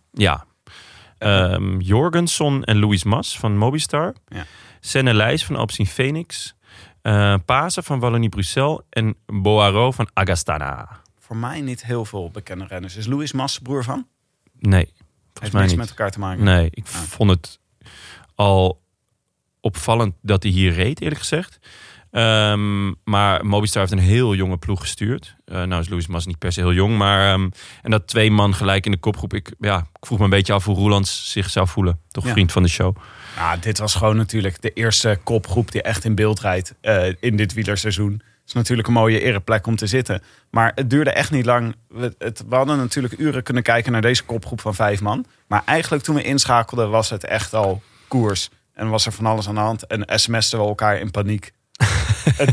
Speaker 1: Ehm, Jorgensen en Louis Mas van Mobistar.
Speaker 6: Ja.
Speaker 1: Senne Leijs van Alpecin Phoenix. eh Pasen van Wallonie-Bruxelles. En Boaro van Agastana.
Speaker 6: Voor mij niet heel veel bekende renners. Is Louis Mas broer van?
Speaker 1: Nee, volgens
Speaker 6: Heeft
Speaker 1: mij
Speaker 6: niks
Speaker 1: niet.
Speaker 6: met elkaar te maken.
Speaker 1: Nee, ik
Speaker 6: Ah.
Speaker 1: vond het al opvallend dat hij hier reed, eerlijk gezegd. Ehm, maar Mobistar heeft een heel jonge ploeg gestuurd. Eh, nou is Louis Mas niet per se heel jong, maar... ehm, en dat twee man gelijk in de kopgroep. Ik, ja, ik vroeg me een beetje af hoe Roelands zich zou voelen. Toch
Speaker 6: Ja.
Speaker 1: vriend van de show.
Speaker 6: Ja, Ah, dit was gewoon natuurlijk de eerste kopgroep die echt in beeld rijdt eh, in dit wielerseizoen. Het is natuurlijk een mooie ereplek om te zitten. Maar het duurde echt niet lang. We, het, we hadden natuurlijk uren kunnen kijken naar deze kopgroep van vijf man. Maar eigenlijk toen we inschakelden was het echt al koers. En was er van alles aan de hand. En sms'en we elkaar in paniek. het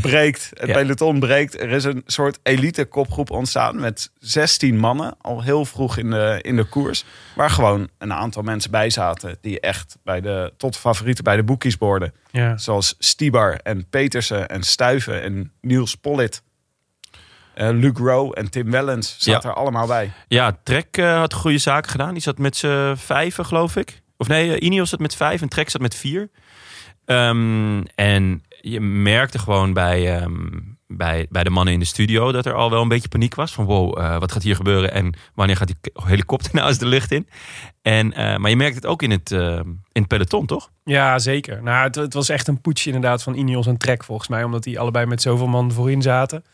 Speaker 6: breekt. Het
Speaker 1: Ja.
Speaker 6: peloton breekt. Er is een soort elite kopgroep ontstaan met 16 mannen. Al heel vroeg in de, in de koers. Waar gewoon een aantal mensen bij zaten. Die echt bij de, tot favorieten bij de boekies behoorden.
Speaker 2: Ja.
Speaker 6: Zoals Stibar en Petersen en Stuiven en Niels Pollitt. eh Luc Rowe en Tim Wellens zaten
Speaker 1: Ja.
Speaker 6: er allemaal bij.
Speaker 1: Ja, Trek eh, had goede zaken gedaan. Die zat met z'n vijven, geloof ik. Of nee, eh, Ineos zat met vijf en Trek zat met vier. Ehm, en je merkte gewoon bij, ehm, bij, bij de mannen in de studio... dat er al wel een beetje paniek was. Van wow, eh, wat gaat hier gebeuren? En wanneer gaat die k- helikopter nou eens de lucht in? En, eh, maar je merkt het ook in het, ehm, in het peloton, toch?
Speaker 2: Ja, zeker. Nou, het, het was echt een poetsje inderdaad van Ineos en Trek volgens mij. Omdat die allebei met zoveel man voorin zaten.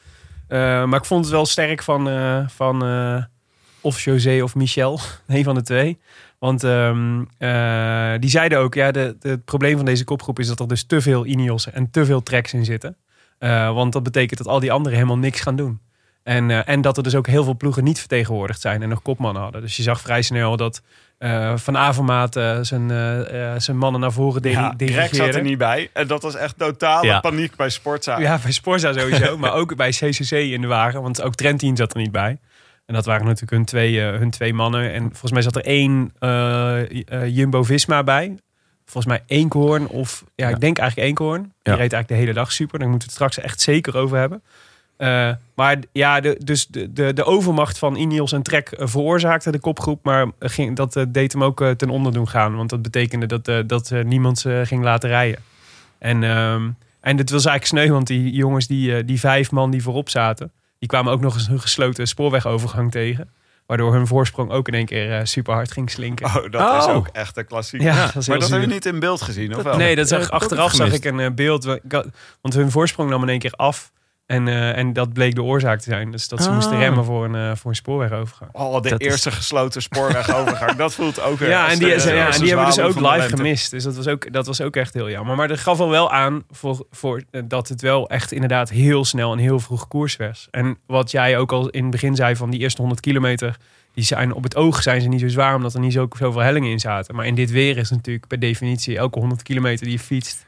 Speaker 2: Eh, maar ik vond het wel sterk van, eh, van eh, of José of Michel. Een van de twee. Want ehm, eh, die zeiden ook, ja, de, de- het probleem van deze kopgroep is dat er dus te veel Ineos en te veel Treks in zitten. Eh, want dat betekent dat al die anderen helemaal niks gaan doen. En, eh, en dat er dus ook heel veel ploegen niet vertegenwoordigd zijn en nog kopmannen hadden. Dus je zag vrij snel dat eh, Van Avermaat eh, zijn, eh, eh, zijn mannen naar voren diri-
Speaker 6: Ja, Greg zat
Speaker 2: dirigeerde.
Speaker 6: er niet bij. En dat was echt totale
Speaker 1: Ja.
Speaker 6: paniek bij Sportza.
Speaker 2: Ja, bij Sporza sowieso, maar ook bij CCC in de wagen. Want ook Trentin zat er niet bij. En dat waren natuurlijk hun twee, eh, hun twee mannen. En volgens mij zat er één eh, Jumbo-Visma bij. Volgens mij Eekhoorn of... Ja, ik denk eigenlijk Eekhoorn. Die
Speaker 1: Ja.
Speaker 2: reed eigenlijk de hele dag super. Daar moeten we het straks echt zeker over hebben. Eh, maar ja, de, dus de, de, de overmacht van Ineos en Trek eh, veroorzaakte de kopgroep. Maar ging, dat eh, deed hem ook eh, ten onder doen gaan. Want dat betekende dat, eh, dat eh, niemand ze ging laten rijden. En, ehm, en dit was eigenlijk sneu, want die jongens, die, eh, die vijf man die voorop zaten... die kwamen ook nog eens een gesloten spoorwegovergang tegen. Waardoor hun voorsprong ook in één keer eh, super hard ging slinken.
Speaker 6: Oh, dat is
Speaker 1: Oh.
Speaker 6: ook echt een klassiek.
Speaker 2: Ja, dat is heel
Speaker 6: maar dat
Speaker 2: zuur.
Speaker 6: hebben we niet in beeld gezien, of wel?
Speaker 2: Nee, dat zag,
Speaker 1: heb ik ook
Speaker 2: achteraf
Speaker 1: gemist.
Speaker 2: zag ik een eh, beeld. wa- ik had- Want hun voorsprong nam in één keer af. En, eh, en dat bleek de oorzaak te zijn. Dus dat ze
Speaker 1: Ah.
Speaker 2: moesten remmen voor een, eh, voor een spoorwegovergang.
Speaker 6: Oh, de
Speaker 1: Dat is-
Speaker 6: eerste gesloten spoorwegovergang. dat voelt ook weer
Speaker 2: Ja,
Speaker 6: als
Speaker 2: en die,
Speaker 6: de- als
Speaker 2: ja,
Speaker 6: de
Speaker 2: en die hebben dus
Speaker 6: zwaluw
Speaker 2: ook
Speaker 6: van de
Speaker 2: live
Speaker 6: lente.
Speaker 2: gemist. Dus dat was ook, dat was ook echt heel jammer. Maar dat gaf wel wel aan voor, voor, eh, dat het wel echt inderdaad heel snel en heel vroeg koers was. En wat jij ook al in het begin zei van die eerste 100 kilometer. Die zijn op het oog zijn ze niet zo zwaar omdat er niet zo, zoveel hellingen in zaten. Maar in dit weer is natuurlijk per definitie elke 100 kilometer die je fietst.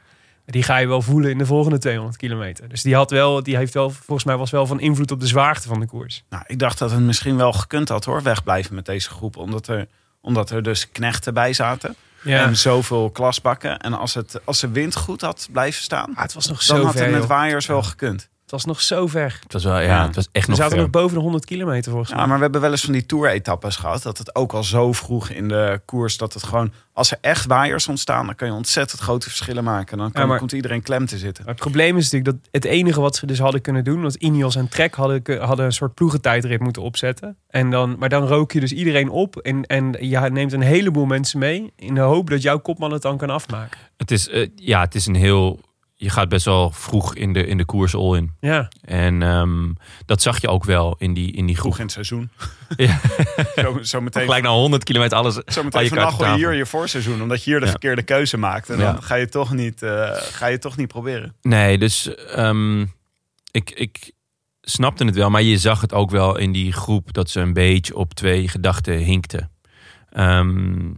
Speaker 2: Die ga je wel voelen in de volgende 200 kilometer. Dus die, had wel, die heeft wel, volgens mij was wel van invloed op de zwaarte van de koers.
Speaker 6: Nou, ik dacht dat het misschien wel gekund had, hoor. Wegblijven met deze groep. Omdat er, omdat er dus knechten bij zaten.
Speaker 2: Ja,
Speaker 6: En zoveel klasbakken. En als, het, als de wind goed had blijven staan...
Speaker 2: Ah, het was nog
Speaker 6: dan
Speaker 2: zo
Speaker 6: had
Speaker 2: ver.
Speaker 6: het met
Speaker 2: joh.
Speaker 6: waaiers wel gekund.
Speaker 2: Het was nog zo ver.
Speaker 1: Het was wel, ja,
Speaker 6: Ja.
Speaker 1: het was echt
Speaker 2: We
Speaker 1: nog
Speaker 2: zaten
Speaker 1: ver.
Speaker 2: nog boven de 100 kilometer volgens mij.
Speaker 6: Ja, maar we hebben wel eens van die tour-etappes gehad. Dat het ook al zo vroeg in de koers... dat het gewoon... als er echt waaiers ontstaan... dan kun je ontzettend grote verschillen maken. Dan kan,
Speaker 2: Ja, maar-
Speaker 6: komt iedereen klem te zitten.
Speaker 2: Maar het probleem is natuurlijk dat het enige wat ze dus hadden kunnen doen, want Ineos en Trek hadden, ku- hadden een soort ploegentijdrit moeten opzetten. En dan, maar dan rook je dus iedereen op en, en je neemt een heleboel mensen mee in de hoop dat jouw kopman het dan kan afmaken.
Speaker 1: Het is, eh, ja, het is een heel... Je gaat best wel vroeg in de, in de koers all in.
Speaker 2: Ja,
Speaker 1: En ehm, dat zag je ook wel in die, in die
Speaker 6: Vroeg
Speaker 1: groep.
Speaker 6: in het seizoen.
Speaker 1: Ja.
Speaker 6: Zo, zo meteen
Speaker 1: Gelijk na 100 kilometer alles.
Speaker 6: Zometeen
Speaker 1: Al je
Speaker 6: vandaag
Speaker 1: kaarten
Speaker 6: gooi je
Speaker 1: tafel.
Speaker 6: hier je voorseizoen, omdat je hier de
Speaker 1: Ja.
Speaker 6: verkeerde keuze maakt. En dan
Speaker 1: Ja.
Speaker 6: ga, je toch niet, eh, ga je toch niet proberen.
Speaker 1: Nee, dus ehm, ik, ik snapte het wel. Maar je zag het ook wel in die groep dat ze een beetje op twee gedachten hinkten. Ehm,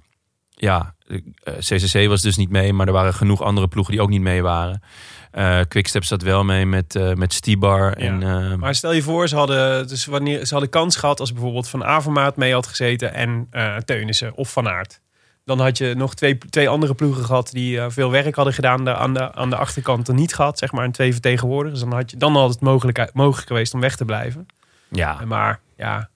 Speaker 1: ja, de, eh, CCC was dus niet mee, maar er waren genoeg andere ploegen die ook niet mee waren. Eh Quickstep zat wel mee met, eh, met Stibar. En, ehm,
Speaker 2: maar stel je voor, ze hadden, dus wanneer, ze hadden kans gehad als bijvoorbeeld Van Avermaat mee had gezeten en eh Teunissen of Van Aert. Dan had je nog twee, twee andere ploegen gehad die eh, veel werk hadden gedaan daar aan de, aan de achterkant er niet gehad, zeg maar, en twee vertegenwoordigers. Dan had, je, dan had het mogelijk, mogelijk geweest om weg te blijven.
Speaker 1: ja,
Speaker 2: Maar ja,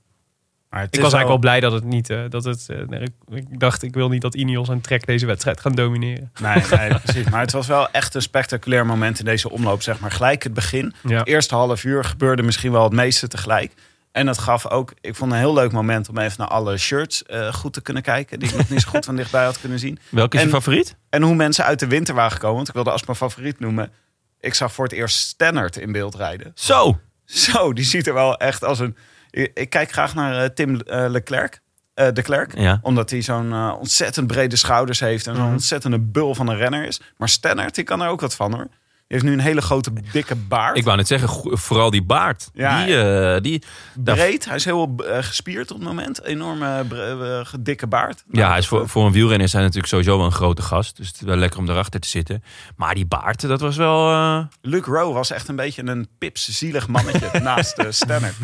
Speaker 6: Maar het
Speaker 2: ik was eigenlijk Ah. wel blij dat het niet. eh, dat het, eh, nee, ik, ik dacht, ik wil niet dat Ineos en Trek deze wedstrijd gaan domineren.
Speaker 6: Nee, nee, precies. Maar het was wel echt een spectaculair moment in deze omloop. Zeg maar gelijk het begin.
Speaker 2: Ja.
Speaker 6: Het eerste half uur gebeurde misschien wel het meeste tegelijk. En dat gaf ook, ik vond een heel leuk moment om even naar alle shirts eh, goed te kunnen kijken. Die ik nog niet zo goed van dichtbij had kunnen zien.
Speaker 1: welke is
Speaker 6: en-
Speaker 1: je favoriet?
Speaker 6: En hoe mensen uit de winter waren gekomen. Want ik wilde als mijn favoriet noemen. Ik zag voor het eerst Stannard in beeld rijden.
Speaker 1: Zo!
Speaker 6: Zo, die ziet er wel echt als een. Ik, ik kijk graag naar eh, Tim eh, Leclerc. eh, de Klerk.
Speaker 1: Ja. Mhm.
Speaker 6: Omdat hij zo'n eh, ontzettend brede schouders heeft. En zo'n ontzettende bul van een renner is. Maar Stennert, die kan er ook wat van hoor. Die heeft nu een hele grote, dikke baard.
Speaker 1: Ik wou net zeggen, go- vooral die baard.
Speaker 6: Ja.
Speaker 1: die, eh, die, daar-
Speaker 6: Breed. Hij is heel eh, gespierd op het moment. Enorme, bre- eh, dikke baard. eh,
Speaker 1: Ja, hij is voor, voor een wielrenner is hij natuurlijk sowieso wel een grote gast. Dus het is wel lekker om erachter te zitten. Maar die baard, dat was wel... eh,
Speaker 6: Luc Rowe was echt een beetje een pipszielig mannetje naast eh Stannard.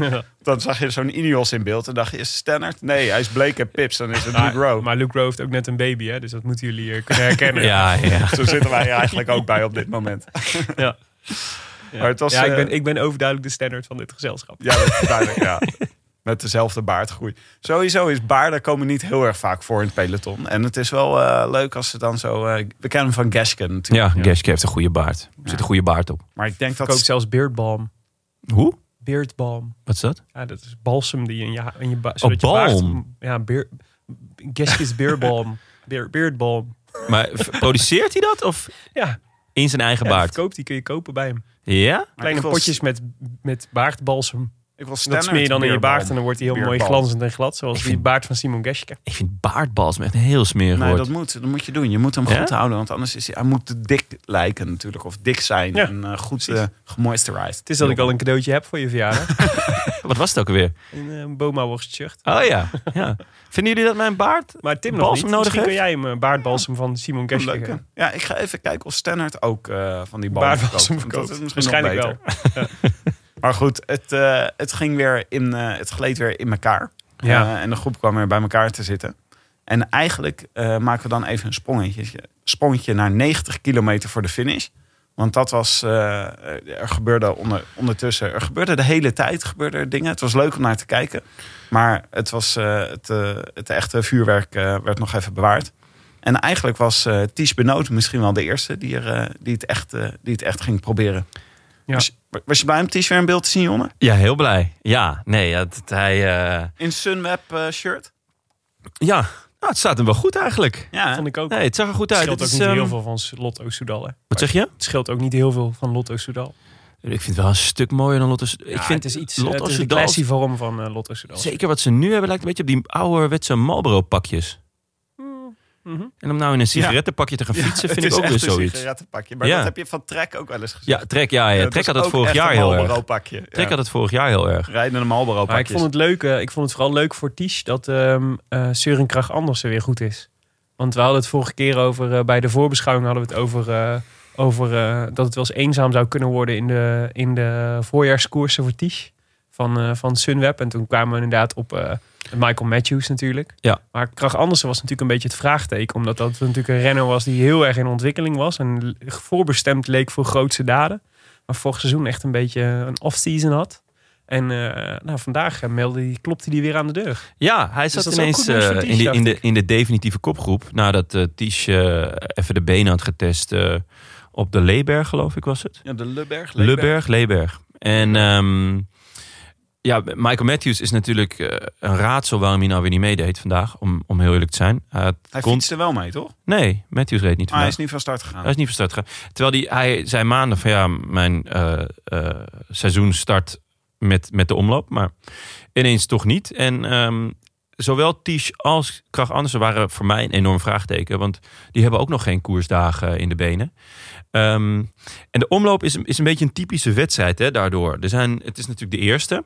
Speaker 6: Dan zag je zo'n Ineos in beeld en dacht je, is Stannard? Nee, hij is bleek en pips. Dan is het Luke Rowe.
Speaker 2: Maar Luke Rowe heeft ook net een baby, hè, dus dat moeten jullie eh, kunnen herkennen.
Speaker 1: ja, ja.
Speaker 6: Zo zitten wij er eigenlijk ook bij op dit moment.
Speaker 2: Ja.
Speaker 6: Maar het was,
Speaker 2: ja, ik
Speaker 6: eh,
Speaker 2: ben, ik ben overduidelijk de standaard van dit gezelschap.
Speaker 6: Ja, dat is duidelijk, ja. Met dezelfde baardgroei. Sowieso is baarden komen niet heel erg vaak voor in het peloton. En het is wel eh, leuk als ze dan zo... eh, we kennen hem van Gasken natuurlijk.
Speaker 1: ja Geschke heeft een goede baard. Er zit een goede baard op.
Speaker 6: Maar ik denk
Speaker 2: Ik
Speaker 6: dat...
Speaker 2: ook zelfs beardbalm.
Speaker 1: Hoe?
Speaker 2: Beardbalm.
Speaker 1: Wat is dat?
Speaker 2: Ja, dat is balsem die je in je, ha- in je, ba- zodat je
Speaker 1: balm.
Speaker 2: baard- Ja, beer, Geskis beardbalm. Beer, beardbalm.
Speaker 1: Maar v- produceert hij dat? Of
Speaker 2: Ja,
Speaker 1: in zijn eigen
Speaker 2: ja
Speaker 1: baard?
Speaker 2: verkoopt, die kun je kopen bij hem.
Speaker 1: Ja?
Speaker 6: maar
Speaker 2: Kleine
Speaker 6: ik wil-
Speaker 2: potjes met, met baardbalsem.
Speaker 6: Ik wil
Speaker 2: Dat
Speaker 6: Stannard
Speaker 2: smeer je dan in je
Speaker 6: beerbalm.
Speaker 2: baard en dan wordt hij heel mooi
Speaker 6: Beerbalm.
Speaker 2: glanzend en glad. Zoals die baard van Simon Geschke.
Speaker 1: Ik vind baardbalsem echt een heel smerig
Speaker 6: Nee,
Speaker 1: woord.
Speaker 6: dat moet, dat moet je doen. Je moet hem
Speaker 1: Ja?
Speaker 6: goed houden, want anders is hij, hij moet dik lijken natuurlijk. Of dik zijn
Speaker 2: Ja,
Speaker 6: en eh, goed eh gemoisturized.
Speaker 2: Het is dat ik al een cadeautje heb voor je verjaardag.
Speaker 1: Wat was het ook alweer?
Speaker 2: een eh, Boma-worst shirt.
Speaker 1: Oh ja. ja. Vinden jullie dat mijn baard...
Speaker 2: Maar Tim nog
Speaker 1: Balsem
Speaker 2: niet.
Speaker 1: nodig
Speaker 2: Misschien kun
Speaker 1: heeft?
Speaker 2: jij hem eh, baardbalsem van Simon
Speaker 6: Een
Speaker 2: Geschke eh,
Speaker 6: leuke.
Speaker 2: geven.
Speaker 6: Ja, ik ga even kijken of Stannard ook eh, van die bal
Speaker 2: Baardbalsem verkoopt. Waarschijnlijk wel.
Speaker 6: Maar goed, het, eh, het ging weer in, eh, het gleed weer in elkaar.
Speaker 2: Ja.
Speaker 6: Eh, en de groep kwam weer bij elkaar te zitten. En eigenlijk eh, maken we dan even een sprongetje, sprongetje naar 90 kilometer voor de finish. Want dat was, eh, er gebeurde onder, ondertussen, er gebeurde de hele tijd gebeurde er dingen. Het was leuk om naar te kijken. Maar het, was, eh, het, eh, het echte vuurwerk eh, werd nog even bewaard. En eigenlijk was eh Ties Benoot misschien wel de eerste die, er, eh, die, het, echt, eh, die het echt ging proberen.
Speaker 2: Ja.
Speaker 6: Dus Wa- Was je bij hem t-shirt en beeld te zien, Jonne?
Speaker 1: Ja, heel blij. Ja, nee, ja, dat hij... eh,
Speaker 6: In Sunweb eh, shirt?
Speaker 1: ja, nou, het staat hem wel goed eigenlijk.
Speaker 6: Ja, hè?
Speaker 2: Vond ik ook.
Speaker 1: Ah, Nee, het zag er goed
Speaker 2: het
Speaker 1: uit.
Speaker 2: scheelt
Speaker 1: Dit
Speaker 2: ook
Speaker 1: is,
Speaker 2: niet
Speaker 1: ehm,
Speaker 2: heel veel van Lotto Soudal. Hè.
Speaker 1: Wat zeg je?
Speaker 2: Het scheelt ook niet heel veel van Lotto Soudal.
Speaker 1: Ik vind het wel een stuk mooier dan Lotto. ik
Speaker 2: Ja,
Speaker 1: vind
Speaker 2: het is iets.
Speaker 1: Lotto
Speaker 2: het is de
Speaker 1: Soudal-
Speaker 2: classy vorm van eh, Lotto Soudal.
Speaker 1: Zeker wat ze nu hebben lijkt een beetje op die ouderwetse Marlboro pakjes.
Speaker 2: mhm.
Speaker 1: En om nou in een sigarettenpakje te gaan fietsen
Speaker 6: Ja,
Speaker 1: vind ik ook weer zoiets.
Speaker 6: sigarettenpakje. Maar
Speaker 1: Ja.
Speaker 6: dat heb je van Trek ook wel eens gezien.
Speaker 1: Ja, Trek, ja, ja. Trek had het vorig jaar heel erg. Trek had het vorig jaar heel erg.
Speaker 6: Rijdende
Speaker 2: Maar
Speaker 6: Marlboro
Speaker 2: ik
Speaker 6: pakjes.
Speaker 2: vond het leuk. eh, ik vond het vooral leuk voor Ties dat ehm eh Søren Kragh Andersen weer goed is. Want we hadden het vorige keer over eh, bij de voorbeschouwing hadden we het over, eh, over eh, dat het wel eens eenzaam zou kunnen worden in de, in de voorjaarskoersen voor Ties van, eh, van Sunweb. En toen kwamen we inderdaad op eh, Michael Matthews natuurlijk.
Speaker 1: Ja.
Speaker 2: Maar Kragh Andersen was natuurlijk een beetje het vraagteken. Omdat dat natuurlijk een renner was die heel erg in ontwikkeling was. En l- voorbestemd leek voor grootse daden. Maar vorig seizoen echt een beetje een off-season had. En eh, nou, vandaag eh, meldde hij, klopte hij weer aan de deur.
Speaker 1: Ja, hij
Speaker 2: Dus dat
Speaker 1: zat
Speaker 2: is ook
Speaker 1: ineens
Speaker 2: goed nieuws voor
Speaker 1: eh,
Speaker 2: Ties,
Speaker 1: in, de,
Speaker 2: dacht
Speaker 1: in, de, in de definitieve kopgroep. Nadat eh Ties eh, even de benen had getest eh, op de Leeberg, geloof ik was het.
Speaker 6: Ja, de Lubberg.
Speaker 1: Leeberg, Leeberg. En ehm, ja, Michael Matthews is natuurlijk eh, een raadsel waarom hij nou weer niet meedeed vandaag. Om, om heel eerlijk te zijn. Hij had
Speaker 6: Hij
Speaker 1: kon-
Speaker 6: fietste wel mee, toch?
Speaker 1: Nee, Matthews reed niet
Speaker 6: Maar hij
Speaker 1: vandaag.
Speaker 6: is niet van start gegaan.
Speaker 1: Hij is niet van start gegaan. Terwijl die, hij zei maanden van ja, mijn eh, eh, seizoen start met, met de omloop. Maar ineens toch niet. En ehm, zowel Tisch als Krach Andersen waren voor mij een enorm vraagteken. Want die hebben ook nog geen koersdagen in de benen. Ehm, en de omloop is, een- is een beetje een typische wedstrijd hè, daardoor. Er zijn, het is natuurlijk de eerste.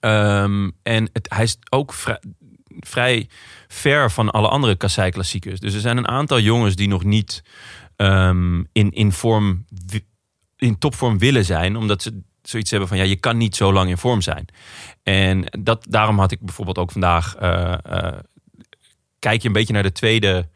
Speaker 1: Ehm, en het, hij is ook vrij, vrij ver van alle andere kassei-klassiekers. Dus er zijn een aantal jongens die nog niet ehm, in, in, vorm, wi- in topvorm willen zijn. Omdat ze zoiets hebben van, ja, je kan niet zo lang in vorm zijn. En dat, daarom had ik bijvoorbeeld ook vandaag... eh, eh, kijk je een beetje naar de tweede,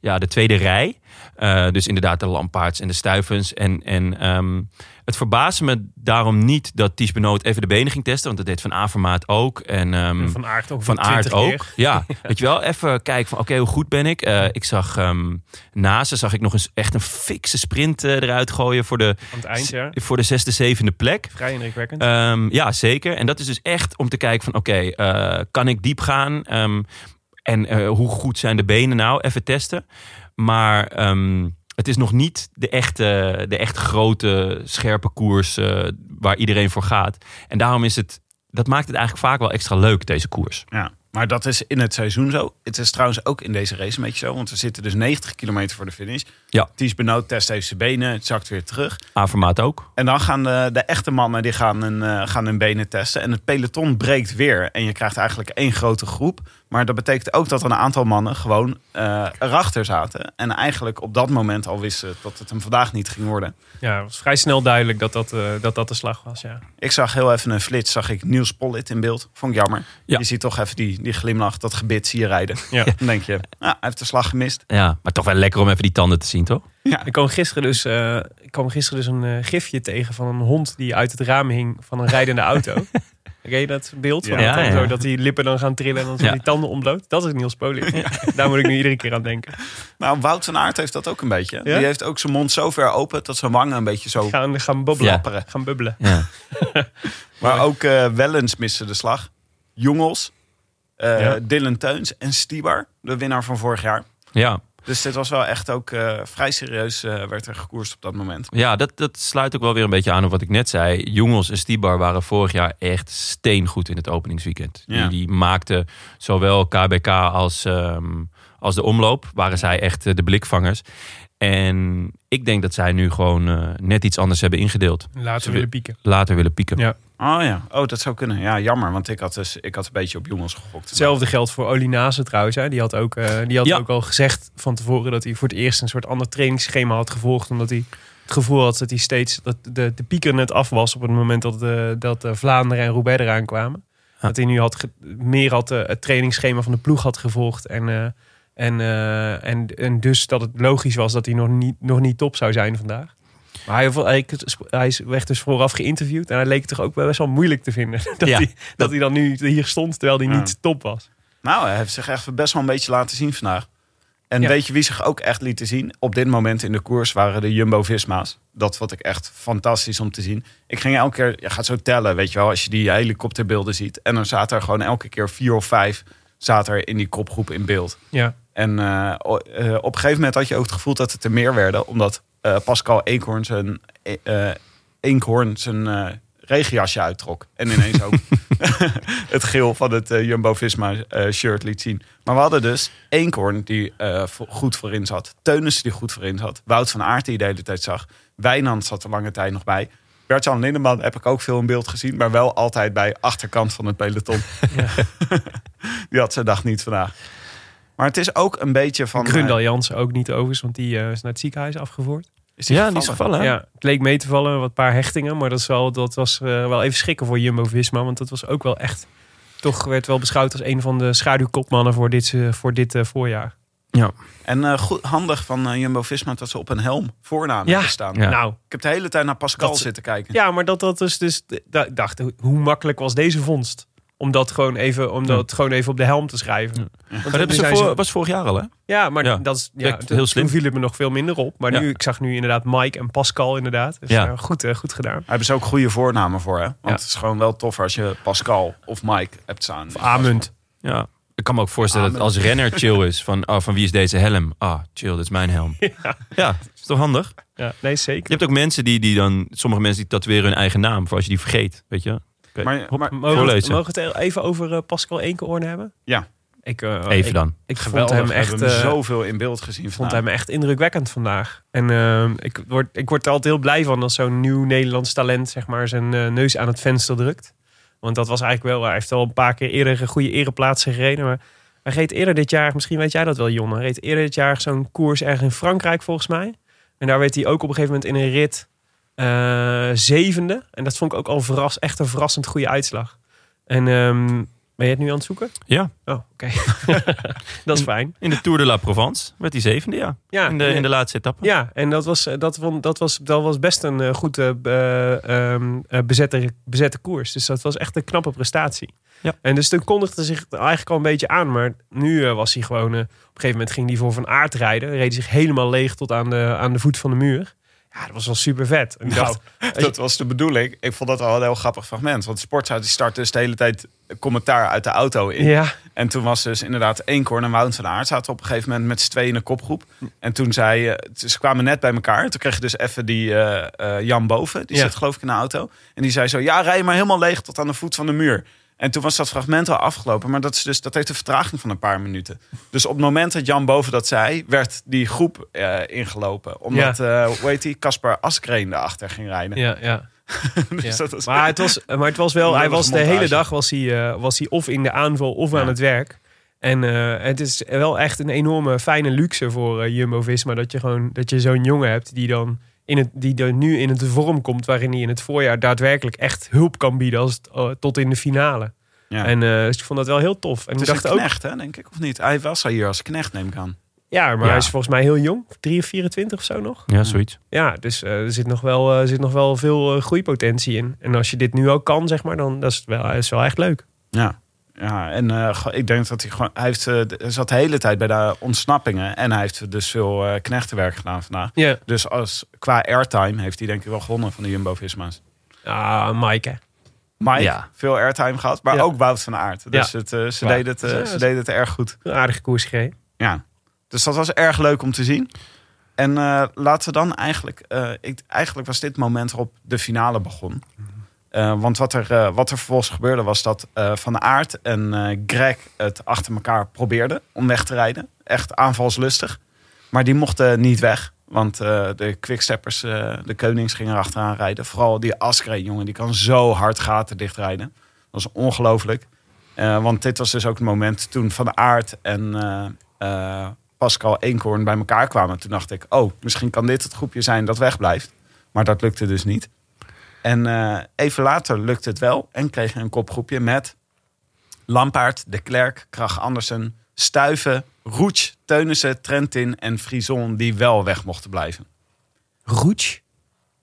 Speaker 1: ja, de tweede rij. Eh, dus inderdaad de Lampaards en de Stuivens. En, en ehm, het verbaasde me daarom niet dat Ties Benoot even de benen ging testen. Want dat deed Van Avermaat ook. En, ehm,
Speaker 2: Van Aert ook.
Speaker 1: van aard
Speaker 2: 20 keer.
Speaker 1: ook. Ja, weet je wel, even kijken van oké, hoe goed ben ik? Eh, ik zag ehm naast, zag ik nog eens echt een fikse sprint eh, eruit gooien voor de,
Speaker 2: Aan het eind, ja.
Speaker 1: voor de zesde, zevende plek.
Speaker 2: Vrij indrukwekkend.
Speaker 1: Ehm, ja, zeker. En dat is dus echt om te kijken van oké, eh, kan ik diep gaan? Ehm, en eh, hoe goed zijn de benen nou? Even testen. Maar ehm, het is nog niet de echte, de echt grote, scherpe koers eh, waar iedereen voor gaat. En daarom is het, dat maakt het eigenlijk vaak wel extra leuk, deze koers.
Speaker 6: Ja, maar dat is in het seizoen zo. Het is trouwens ook in deze race een beetje zo. Want we zitten dus 90 kilometer voor de finish.
Speaker 1: Ja.
Speaker 6: Ties benauwd, test even zijn benen. Het zakt weer terug.
Speaker 1: A-formaat ook.
Speaker 6: En dan gaan eh, de, de echte mannen die gaan hun, eh, gaan hun benen testen. En het peloton breekt weer. En je krijgt eigenlijk één grote groep. Maar dat betekent ook dat een aantal mannen gewoon eh, erachter zaten. En eigenlijk op dat moment al wisten dat het hem vandaag niet ging worden.
Speaker 2: Ja, het was vrij snel duidelijk dat dat, eh, dat, dat de slag was, ja.
Speaker 6: Ik zag heel even een flits, zag ik Niels Pollitt in beeld. Vond ik jammer.
Speaker 1: Ja.
Speaker 6: Je ziet toch even die, die glimlach, dat gebit zie je rijden.
Speaker 2: Ja.
Speaker 6: Dan denk je, nou, hij heeft de slag gemist.
Speaker 1: Ja, maar toch wel lekker om even die tanden te zien, toch?
Speaker 2: Ik kwam gisteren dus, eh, ik kwam gisteren dus een eh, gifje tegen van een hond die uit het raam hing van een rijdende auto. Ken je dat beeld van
Speaker 6: Ja,
Speaker 2: dat dan
Speaker 1: ja.
Speaker 2: zo dat die lippen dan gaan trillen en dan zo
Speaker 1: Ja.
Speaker 2: die tanden ontbloot? Dat is Niels Poling. Daar moet ik nu iedere keer aan denken.
Speaker 6: Nou, Wout van Aert heeft dat ook een beetje.
Speaker 2: Ja?
Speaker 6: Die heeft ook zijn mond zo ver open dat zijn wangen een beetje zo
Speaker 2: Gaan, gaan bubbelen.
Speaker 6: flapperen.
Speaker 2: Gaan bubbelen.
Speaker 1: Oh. Ja.
Speaker 6: Maar ook eh Wellens miste de slag. Jongels, eh,
Speaker 2: Ja.
Speaker 6: Dylan Teuns en Stibar, de winnaar van vorig jaar.
Speaker 1: Ja,
Speaker 6: Dus dit was wel echt ook eh, vrij serieus eh, werd er gekoerst op dat moment.
Speaker 1: ja dat, dat sluit ook wel weer een beetje aan op wat ik net zei. Jongels en Stibar waren vorig jaar echt steengoed in het openingsweekend.
Speaker 6: Ja.
Speaker 1: Die, die maakten zowel KBK als, ehm, als de omloop, waren zij echt eh, de blikvangers. En ik denk dat zij nu gewoon eh, net iets anders hebben ingedeeld.
Speaker 2: Later
Speaker 1: Ze
Speaker 2: willen pieken.
Speaker 1: Later willen pieken.
Speaker 2: Ja.
Speaker 6: Oh ja, oh, dat zou kunnen. Ja, jammer, want ik had, dus, ik had een beetje op jongens gegokt.
Speaker 2: Hetzelfde geldt voor Oli Nase trouwens. Hè. Die had, ook, eh, die had
Speaker 1: Ja.
Speaker 2: ook al gezegd van tevoren dat hij voor het eerst een soort ander trainingsschema had gevolgd. Omdat hij het gevoel had dat hij steeds dat de, de pieker net af was op het moment dat, de, dat eh, Vlaanderen en Roubaix eraan kwamen. Dat hij nu had ge- meer had, eh, het trainingsschema van de ploeg had gevolgd. En, eh, en, eh, en, en dus dat het logisch was dat hij nog niet, nog niet top zou zijn vandaag. Maar hij, hij, hij is- werd dus vooraf geïnterviewd. En hij leek het toch ook wel best wel moeilijk te vinden. Dat,
Speaker 1: Ja.
Speaker 2: hij, dat hij dan nu hier stond terwijl hij
Speaker 6: Ja.
Speaker 2: niet top was.
Speaker 6: Nou, hij heeft zich echt best wel een beetje laten zien vandaag. En
Speaker 2: Ja.
Speaker 6: weet je wie zich ook echt lieten zien? Op dit moment in de koers waren de Jumbo-Visma's. Dat vond ik echt fantastisch om te zien. Ik ging elke keer, je gaat zo tellen, weet je wel, als je die helikopterbeelden ziet. En dan zaten er gewoon elke keer vier of vijf zaten er in die kopgroep in beeld.
Speaker 2: Ja.
Speaker 6: En eh, o- eh, op een gegeven moment had je ook het gevoel dat het er meer werden. Omdat eh, Pascal Eekhoorn zijn, eh, eh, Eekhoorn zijn eh, regenjasje uittrok. En ineens ook het geel van het eh, Jumbo-Visma eh, shirt liet zien. Maar we hadden dus Eekhoorn die eh, vo- goed voorin zat. Teunissen die goed voorin zat. Wout van Aert die de hele tijd zag. Wijnand zat er lange tijd nog bij. Bert-Jan Lindeman heb ik ook veel in beeld gezien. Maar wel altijd bij achterkant van het peloton. die had zijn dag niet vandaag. Maar het is ook een beetje van... eh,
Speaker 2: Grundal Jansen ook niet overigens, want die eh, is naar het ziekenhuis afgevoerd.
Speaker 6: is die
Speaker 1: Ja, die is
Speaker 6: gevallen?
Speaker 1: gevallen. hè?
Speaker 2: Ja, het leek mee te vallen, wat paar hechtingen. Maar dat, is wel, dat was eh, wel even schrikken voor Jumbo-Visma. Want dat was ook wel echt... Toch werd wel beschouwd als een van de schaduwkopmannen voor dit, eh, voor dit eh, voorjaar.
Speaker 6: En eh, goed, handig van Jumbo Visma dat ze op een helm voornaam
Speaker 2: Ja.
Speaker 6: hebben staan.
Speaker 1: Ja.
Speaker 2: Nou,
Speaker 6: Ik heb de hele tijd naar Pascal
Speaker 2: Dat ze-
Speaker 6: zitten kijken.
Speaker 2: ja, maar dat, dat is dus... da- Ik dacht, ho- hoe makkelijk was deze vondst? Om dat gewoon even, om dat gewoon even op de helm te schrijven.
Speaker 1: Ja.
Speaker 2: Want
Speaker 1: Maar dat
Speaker 2: nu
Speaker 1: hebben ze
Speaker 2: zijn
Speaker 1: voor, was vorig jaar al, hè?
Speaker 2: Ja, maar
Speaker 1: Ja.
Speaker 2: dat is ja,
Speaker 1: Werkt heel slim.
Speaker 2: Toen viel het me nog veel minder op. Maar
Speaker 1: Ja.
Speaker 2: nu, ik zag nu inderdaad Mike en Pascal inderdaad. Dus
Speaker 1: Ja.
Speaker 2: ja. goed, eh, goed gedaan.
Speaker 6: Daar hebben ze dus ook goede voornamen voor, hè? Want het is gewoon wel tof als je Pascal of Mike hebt staan.
Speaker 2: Amunt.
Speaker 1: Ja. Ik kan me ook voorstellen dat als renner chill is van, ah, van wie is deze helm? Ah, chill, dit is mijn helm. Ja, is toch handig?
Speaker 2: Ja, nee, zeker.
Speaker 1: Je hebt ook mensen die, die dan, sommige mensen die tatoeëren hun eigen naam voor als je die vergeet, weet je? Oké,
Speaker 6: Maar,
Speaker 1: hop,
Speaker 6: maar
Speaker 2: Mogen we, het,
Speaker 1: voorlezen.
Speaker 2: mogen we het even over eh, Pascal Eenkhoorn hebben?
Speaker 6: Ja.
Speaker 2: Ik, eh,
Speaker 1: Even
Speaker 2: ik,
Speaker 1: dan.
Speaker 2: ik vond
Speaker 6: geweldig,
Speaker 2: hem echt,
Speaker 6: hebben hem
Speaker 2: eh,
Speaker 6: zoveel in beeld gezien
Speaker 2: vond
Speaker 6: vandaag.
Speaker 2: hem echt indrukwekkend vandaag. En eh, ik, word, ik word er altijd heel blij van als zo'n nieuw Nederlands talent zeg maar, zijn eh, neus aan het venster drukt. Want dat was eigenlijk wel... Hij heeft al een paar keer eerder een goede ereplaatsen gereden. Maar hij reed eerder dit jaar... Misschien weet jij dat wel, Jon. Hij reed eerder dit jaar zo'n koers ergens in Frankrijk volgens mij. En daar werd hij ook op een gegeven moment in een rit eh, zevende. En dat vond ik ook al verras, echt een verrassend goede uitslag. En ehm, ben je het nu aan het zoeken?
Speaker 1: Ja.
Speaker 2: Oh, oké. dat is fijn.
Speaker 1: In de Tour de la Provence werd hij zevende, ja.
Speaker 2: Ja,
Speaker 1: In de, in de laatste etappe.
Speaker 2: ja, en dat was, eh, dat, vond- dat was, dat was best een eh, goed eh, b- eh, ehm, eh, bezette, bezette koers. Dus dat was echt een knappe prestatie.
Speaker 1: Ja.
Speaker 2: En dus toen kondigde zich eigenlijk al een beetje aan. Maar nu eh, was hij gewoon... eh, op een gegeven moment ging hij voor Van Aert rijden. Reed hij zich helemaal leeg tot aan de, aan de voet van de muur. Ja, dat was wel super vet. Ik
Speaker 6: Nou,
Speaker 2: dacht,
Speaker 6: dat was de bedoeling. Ik vond dat al een heel grappig fragment. Want Sportza die start dus de hele tijd commentaar uit de auto in.
Speaker 2: ja,
Speaker 6: En toen was dus inderdaad Eenkorn en Wout van Aert zaten op een gegeven moment met z'n tweeën in een kopgroep. En toen zei, eh, ze kwamen net bij elkaar. En toen kreeg je dus even die eh, eh, Jan Boven, die
Speaker 2: Ja.
Speaker 6: zit geloof ik in de auto. En die zei zo, ja rij maar helemaal leeg tot aan de voet van de muur. En toen was dat fragment al afgelopen. Maar dat, is dus, dat heeft een vertraging van een paar minuten. Dus op het moment dat Jan Boven dat zei, werd die groep eh, ingelopen. Omdat, eh hoe heet die, Casper Askreen erachter ging rijden.
Speaker 2: ja, ja.
Speaker 6: Dus
Speaker 2: Ja.
Speaker 6: dat was-
Speaker 2: maar, het was, maar het was wel, hij was de
Speaker 6: montage.
Speaker 2: hele dag was hij, eh, was hij of in de aanval of aan het werk. En eh, het is wel echt een enorme fijne luxe voor eh, Jumbo-Visma dat je gewoon dat je zo'n jongen hebt die dan in het, die er nu in het vorm komt waarin hij in het voorjaar daadwerkelijk echt hulp kan bieden als het, eh, tot in de finale.
Speaker 6: ja.
Speaker 2: En eh, dus ik vond dat wel heel tof. En
Speaker 6: het
Speaker 2: ik
Speaker 6: is
Speaker 2: dacht
Speaker 6: een
Speaker 2: ook,
Speaker 6: knecht, hè, denk ik, of niet? Hij was al hier als knecht, neem ik aan.
Speaker 2: ja, maar
Speaker 1: Ja.
Speaker 2: hij is volgens mij heel jong, 3 of 24 of zo nog.
Speaker 1: Ja, zoiets.
Speaker 2: Ja, dus eh, er zit nog wel, eh, zit nog wel veel eh, groeipotentie in. En als je dit nu ook kan, zeg maar, dan dat is wel, is wel echt leuk.
Speaker 6: Ja, ja en eh, go- ik denk dat hij gewoon. Hij heeft, eh, d- zat de hele tijd bij de ontsnappingen. En hij heeft dus veel eh, knechtenwerk gedaan vandaag.
Speaker 2: Ja.
Speaker 6: Dus als, qua airtime heeft hij denk ik wel gewonnen van de Jumbo Visma's.
Speaker 2: Ah, Mike. hè.
Speaker 6: Mike,
Speaker 1: Ja.
Speaker 6: veel airtime gehad, maar
Speaker 2: Ja.
Speaker 6: ook Wout van Aert. Dus het, eh, ze,
Speaker 2: Waar.
Speaker 6: deden het, eh,
Speaker 2: Ja,
Speaker 6: ze
Speaker 2: dat-
Speaker 6: deden het erg goed.
Speaker 2: Een aardige koers gereden.
Speaker 6: Ja. Dus dat was erg leuk om te zien. En eh, laten we dan eigenlijk... eh, ik, eigenlijk was dit moment waarop de finale begon. Eh, want wat er, eh, wat er vervolgens gebeurde was dat eh, Van Aert en eh, Greg het achter elkaar probeerden om weg te rijden. Echt aanvalslustig. Maar die mochten niet weg. Want eh, de quicksteppers, eh, de konings gingen erachteraan rijden. Vooral die Askreen jongen, die kan zo hard gaten dichtrijden. Dat is ongelooflijk. Eh, want dit was dus ook het moment toen Van Aert en eh, eh, Pascal Eenkorn bij elkaar kwamen. Toen dacht ik, oh, misschien kan dit het groepje zijn dat wegblijft. Maar dat lukte dus niet. En eh, even later lukte het wel en kreeg je een kopgroepje met Lampaard, De Klerk, Krach Andersen, Stuiven, Roets, Teunissen, Trentin en Frison die wel weg mochten blijven.
Speaker 2: Roets.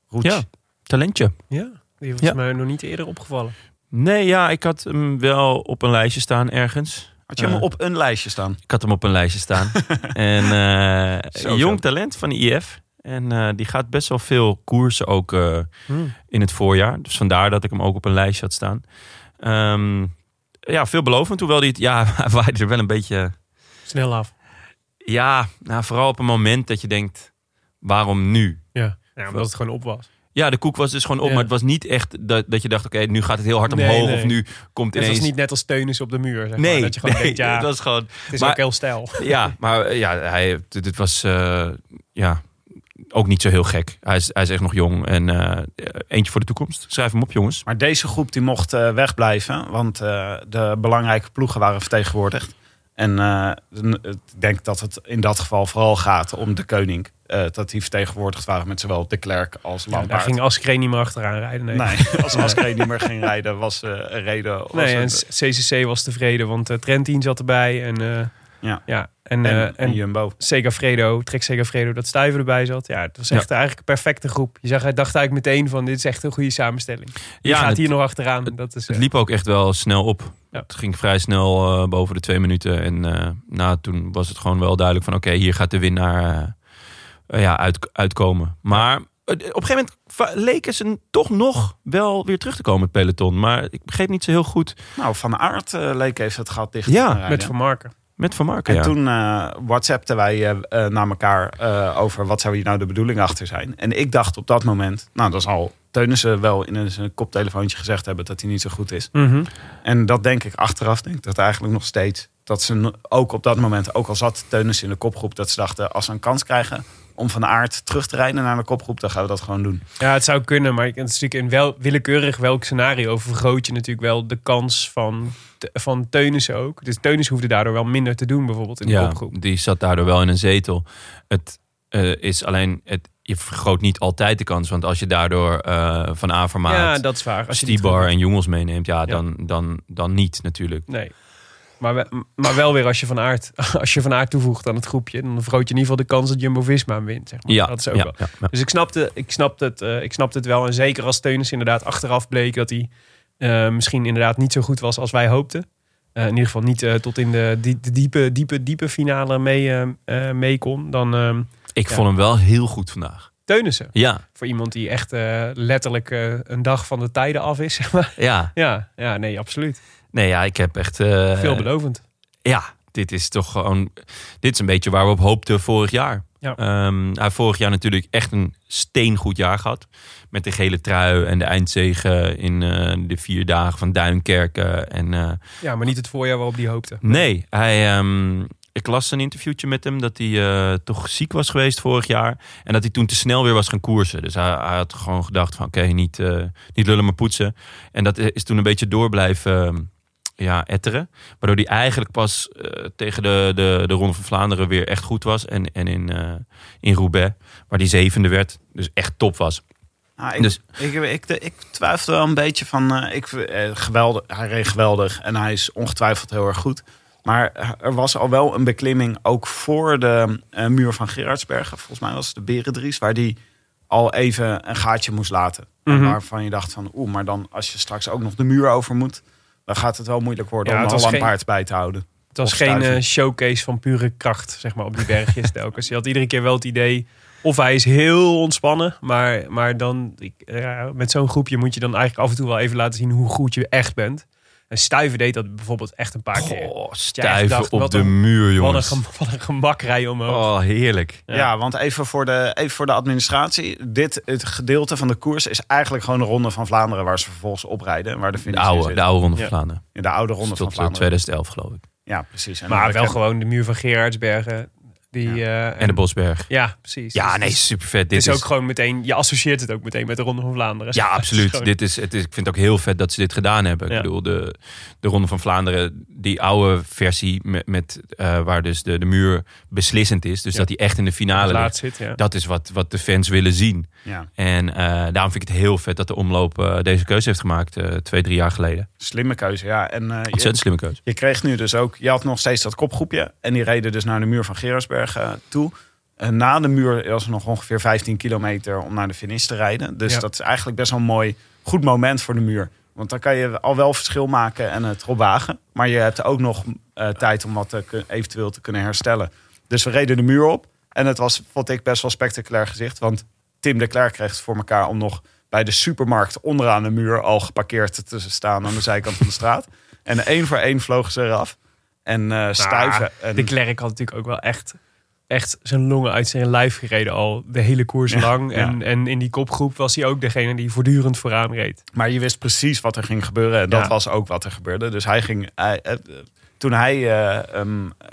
Speaker 6: Roets.
Speaker 1: Ja, talentje.
Speaker 2: Ja, die was
Speaker 1: Ja.
Speaker 2: mij nog niet eerder opgevallen.
Speaker 1: Nee, ja, ik had hem wel op een lijstje staan ergens. Eh,
Speaker 6: Had je hem op een lijstje staan?
Speaker 1: Ik had hem op een lijstje staan. en eh,
Speaker 6: Zo,
Speaker 1: jong
Speaker 6: zo.
Speaker 1: talent van de IF. En eh, die gaat best wel veel koersen ook eh,
Speaker 6: Hmm.
Speaker 1: in het voorjaar. Dus vandaar dat ik hem ook op een lijstje had staan. Ehm, ja, veelbelovend. Hoewel die het, ja, hij waaide er wel een beetje...
Speaker 2: Snel af.
Speaker 1: Ja, nou, vooral op een moment dat je denkt, waarom nu?
Speaker 2: Ja. ja, omdat het gewoon op was.
Speaker 1: Ja, de koek was dus gewoon op,
Speaker 2: Ja.
Speaker 1: maar het was niet echt dat, dat je dacht, oké, nu gaat het heel hard
Speaker 2: Nee,
Speaker 1: omhoog
Speaker 2: nee.
Speaker 1: of nu komt
Speaker 2: Het
Speaker 1: ineens...
Speaker 2: was niet net als teunissen op de muur. Zeg
Speaker 1: nee,
Speaker 2: maar, dat je gewoon
Speaker 1: nee,
Speaker 2: denkt, ja,
Speaker 1: het was gewoon...
Speaker 2: het is
Speaker 1: maar-
Speaker 2: ook heel stijl.
Speaker 1: Ja, maar eh, ja, hij, dit, dit was eh, ja, ook niet zo heel gek. Hij is, hij is echt nog jong en eh, eentje voor de toekomst. Schrijf hem op, jongens.
Speaker 6: Maar deze groep die mocht eh, wegblijven, want eh, de belangrijke ploegen waren vertegenwoordigd. En eh, n- ik denk dat het in dat geval vooral gaat om de koning. eh, dat die vertegenwoordigd waren met zowel de klerk als
Speaker 2: Ja, daar
Speaker 6: Lampaard.
Speaker 2: ging Askreen niet meer achteraan rijden. Nee.
Speaker 6: Nee, als Askren niet meer ging rijden was eh, een reden. was
Speaker 2: Nee, en
Speaker 6: het-
Speaker 2: CCC was tevreden, want eh, Trentin zat erbij. En, eh,
Speaker 6: Ja.
Speaker 2: ja, en,
Speaker 6: en,
Speaker 2: eh,
Speaker 6: en
Speaker 2: en
Speaker 6: Jumbo.
Speaker 2: Segafredo, Trek Segafredo, dat Stuiver erbij zat. Ja, het was echt eigenlijk een perfecte groep. Je zag, hij dacht eigenlijk meteen van, dit is echt een goede samenstelling. Die
Speaker 1: Ja,
Speaker 2: gaat
Speaker 1: het-
Speaker 2: hier nog achteraan. Dat is,
Speaker 1: Het
Speaker 2: eh,
Speaker 1: liep ook echt wel snel op.
Speaker 2: Ja.
Speaker 1: Het ging vrij snel eh, boven de twee minuten. En eh, nou, toen was het gewoon wel duidelijk van... oké, hier gaat de winnaar eh, eh, ja, uit, uitkomen. Maar eh, op een gegeven moment va- leken ze toch nog wel weer terug te komen, het peloton. Maar ik begreep niet zo heel goed
Speaker 6: Nou, Van Aert eh, leek even het gat dicht
Speaker 1: Ja,
Speaker 6: te gaan rijden.
Speaker 2: met Vermarken.
Speaker 1: met Van Marken.
Speaker 6: En
Speaker 1: ja.
Speaker 6: toen eh whatsappten wij eh, eh, naar elkaar eh, over wat zou hier nou de bedoeling achter zijn. En ik dacht op dat moment, nou dat zal Teunissen wel in zijn koptelefoontje gezegd hebben dat hij niet zo goed is. En dat denk ik achteraf, denk ik dat eigenlijk nog steeds. Dat ze no- ook op dat moment, ook al zat Teunissen in de kopgroep, dat ze dachten als ze een kans krijgen om van aard terug te rijden naar de kopgroep, dan gaan we dat gewoon doen.
Speaker 2: Ja, het zou kunnen, maar het is natuurlijk in wel, willekeurig welk scenario vergroot je natuurlijk wel de kans van, te- van Teunissen ook. Dus Teunissen hoefde daardoor wel minder te doen bijvoorbeeld in de
Speaker 1: ja,
Speaker 2: kopgroep.
Speaker 1: die zat daardoor wel in een zetel. Het eh, is alleen, het, je vergroot niet altijd de kans. Want als je daardoor eh, Van Avermaat,
Speaker 2: ja, dat is waar. Als je die
Speaker 1: Stibar en Jongels meeneemt... Ja,
Speaker 2: Ja.
Speaker 1: Dan, dan, dan niet natuurlijk.
Speaker 2: Nee. Maar, we- maar wel weer als je van aard, als je van aard toevoegt aan het groepje, dan vergroot je in ieder geval de kans dat Jumbo Visma hem wint. Zeg maar.
Speaker 1: Ja,
Speaker 2: dat is ook
Speaker 1: ja,
Speaker 2: wel.
Speaker 1: ja, ja.
Speaker 2: Dus ik snapte, ik, snapte het, eh, ik snapte het wel. En zeker als Teunis inderdaad achteraf bleek dat hij eh, misschien inderdaad niet zo goed was als wij hoopten. Eh, in ieder geval niet eh, tot in de, die- de diepe, diepe, diepe finale mee, eh, eh, mee kon. Dan ehm
Speaker 1: Ik
Speaker 2: Ja.
Speaker 1: vond hem wel heel goed vandaag.
Speaker 2: Teunissen.
Speaker 1: Ja,
Speaker 2: Voor iemand die echt eh, letterlijk eh, een dag van de tijden af is. Zeg maar.
Speaker 1: ja.
Speaker 2: ja, ja, nee, absoluut.
Speaker 1: Nee, ja, ik heb echt... eh,
Speaker 2: Veelbelovend.
Speaker 1: Ja, dit is toch gewoon... Dit is een beetje waar we op hoopten vorig jaar.
Speaker 2: Ja.
Speaker 1: Ehm, hij heeft vorig jaar natuurlijk echt een steengoed jaar gehad. Met de gele trui en de eindzegen in eh, de vier dagen van Duinkerken. En eh,
Speaker 2: Ja, maar niet het voorjaar waarop die hoopte.
Speaker 1: Nee, hij, ehm, ik las een interviewtje met hem dat hij eh, toch ziek was geweest vorig jaar. En dat hij toen te snel weer was gaan koersen. Dus hij, hij had gewoon gedacht van oké, niet, eh, niet lullen maar poetsen. En dat is toen een beetje door blijven ehm, ja, etteren. Waardoor hij eigenlijk pas eh, tegen de, de, de Ronde van Vlaanderen weer echt goed was. En, en in, eh, in Roubaix, waar hij zevende werd. Dus echt top was.
Speaker 6: Nou, ik,
Speaker 1: Dus-
Speaker 6: ik, ik, ik twijfel wel een beetje van. eh, ik, eh, geweldig, hij reed geweldig en hij is ongetwijfeld heel erg goed. Maar er was al wel een beklimming ook voor de eh, muur van Gerardsbergen. Volgens mij was het de Berendries, waar die al even een gaatje moest laten. En
Speaker 2: Mhm.
Speaker 6: Waarvan je dacht van, oeh, maar dan als je straks ook nog de muur over moet, dan gaat het wel moeilijk worden
Speaker 2: Ja,
Speaker 6: om
Speaker 2: het
Speaker 6: al
Speaker 2: was
Speaker 6: een
Speaker 2: geen-
Speaker 6: paard bij te houden.
Speaker 2: Het was
Speaker 6: Of
Speaker 2: geen
Speaker 6: stuiven.
Speaker 2: eh, showcase van pure kracht, zeg maar, op die bergjes telkens. Je had iedere keer wel het idee, of hij is heel ontspannen, maar, maar dan, ik, eh, ja, met zo'n groepje moet je dan eigenlijk af en toe wel even laten zien hoe goed je echt bent. En Stuiven deed dat bijvoorbeeld echt een paar keer.
Speaker 1: Goh,
Speaker 2: echt
Speaker 1: stuiven
Speaker 2: dacht,
Speaker 1: op
Speaker 2: wat
Speaker 1: de
Speaker 2: een-
Speaker 1: muur,
Speaker 2: Wat een,
Speaker 1: jongens.
Speaker 2: gem- wat een gemakrij omhoog.
Speaker 1: Oh, heerlijk.
Speaker 6: Ja,
Speaker 2: Ja.
Speaker 6: want even voor, de, even voor de administratie. Dit het gedeelte van de koers is eigenlijk gewoon de Ronde van Vlaanderen... waar ze vervolgens oprijden en waar de
Speaker 1: De
Speaker 6: finish in
Speaker 1: oude,
Speaker 6: zit.
Speaker 1: de oude Ronde van
Speaker 2: Ja.
Speaker 1: Vlaanderen.
Speaker 6: In de oude
Speaker 1: Dus
Speaker 6: ronde van
Speaker 1: Tot eh,
Speaker 6: Vlaanderen.
Speaker 1: 2011 geloof ik.
Speaker 6: Ja, precies. En
Speaker 2: maar
Speaker 6: dan
Speaker 2: wel
Speaker 6: heb je-
Speaker 2: gewoon de muur van Gerardsbergen. Die, eh,
Speaker 1: En de Bosberg.
Speaker 2: Ja, precies.
Speaker 1: Ja,
Speaker 2: Dus
Speaker 1: nee,
Speaker 2: het is-
Speaker 1: super vet.
Speaker 2: Het
Speaker 1: Dit
Speaker 2: is ook gewoon meteen, je associeert het ook meteen met de Ronde van Vlaanderen.
Speaker 1: Ja,
Speaker 2: Het is
Speaker 1: absoluut.
Speaker 2: gewoon-
Speaker 1: Dit is, het is, ik vind het ook heel vet dat ze dit gedaan hebben.
Speaker 2: Ja.
Speaker 1: Ik bedoel, de, de Ronde van Vlaanderen, die oude versie met, met, eh, waar dus de, de muur beslissend is. Dus
Speaker 2: Ja.
Speaker 1: dat die echt in de finale
Speaker 2: laat
Speaker 1: ligt.
Speaker 2: zit, ja.
Speaker 1: Dat is wat, wat de fans willen zien.
Speaker 6: Ja,
Speaker 1: En eh, daarom vind ik het heel vet dat de omloop eh, deze keuze heeft gemaakt eh, twee, drie jaar geleden.
Speaker 6: slimme keuze. Ja. En eh,
Speaker 1: Ontzettend
Speaker 6: je,
Speaker 1: slimme keuze.
Speaker 6: je kreeg nu dus ook... Je had nog steeds dat kopgroepje. En die reden dus naar de muur van Gerardsberg eh, toe. En na de muur was er nog ongeveer 15 kilometer om naar de finish te rijden. Dus
Speaker 2: Ja.
Speaker 6: dat is eigenlijk best wel een mooi, goed moment voor de muur. Want dan kan je al wel verschil maken en het erop wagen. Maar je hebt ook nog eh, tijd om wat eh, kun- eventueel te kunnen herstellen. Dus we reden de muur op. En het was, vond ik, best wel spectaculair gezicht. Want Tim de Klerk kreeg het voor elkaar om nog bij de supermarkt onderaan de muur al geparkeerd te staan aan de zijkant van de straat. En één voor één vlogen ze eraf. En
Speaker 2: Nou,
Speaker 6: eh stuiven. en,
Speaker 2: De klerk had natuurlijk ook wel echt, echt zijn longen uit zijn lijf gereden al de hele koers lang.
Speaker 6: ja.
Speaker 2: En, en in die kopgroep was hij ook degene die voortdurend vooraan reed.
Speaker 6: Maar je wist precies wat er ging gebeuren. En dat
Speaker 2: Ja.
Speaker 6: was ook wat er gebeurde. Dus hij ging. Hij, eh, eh, toen hij eh, ehm, eh,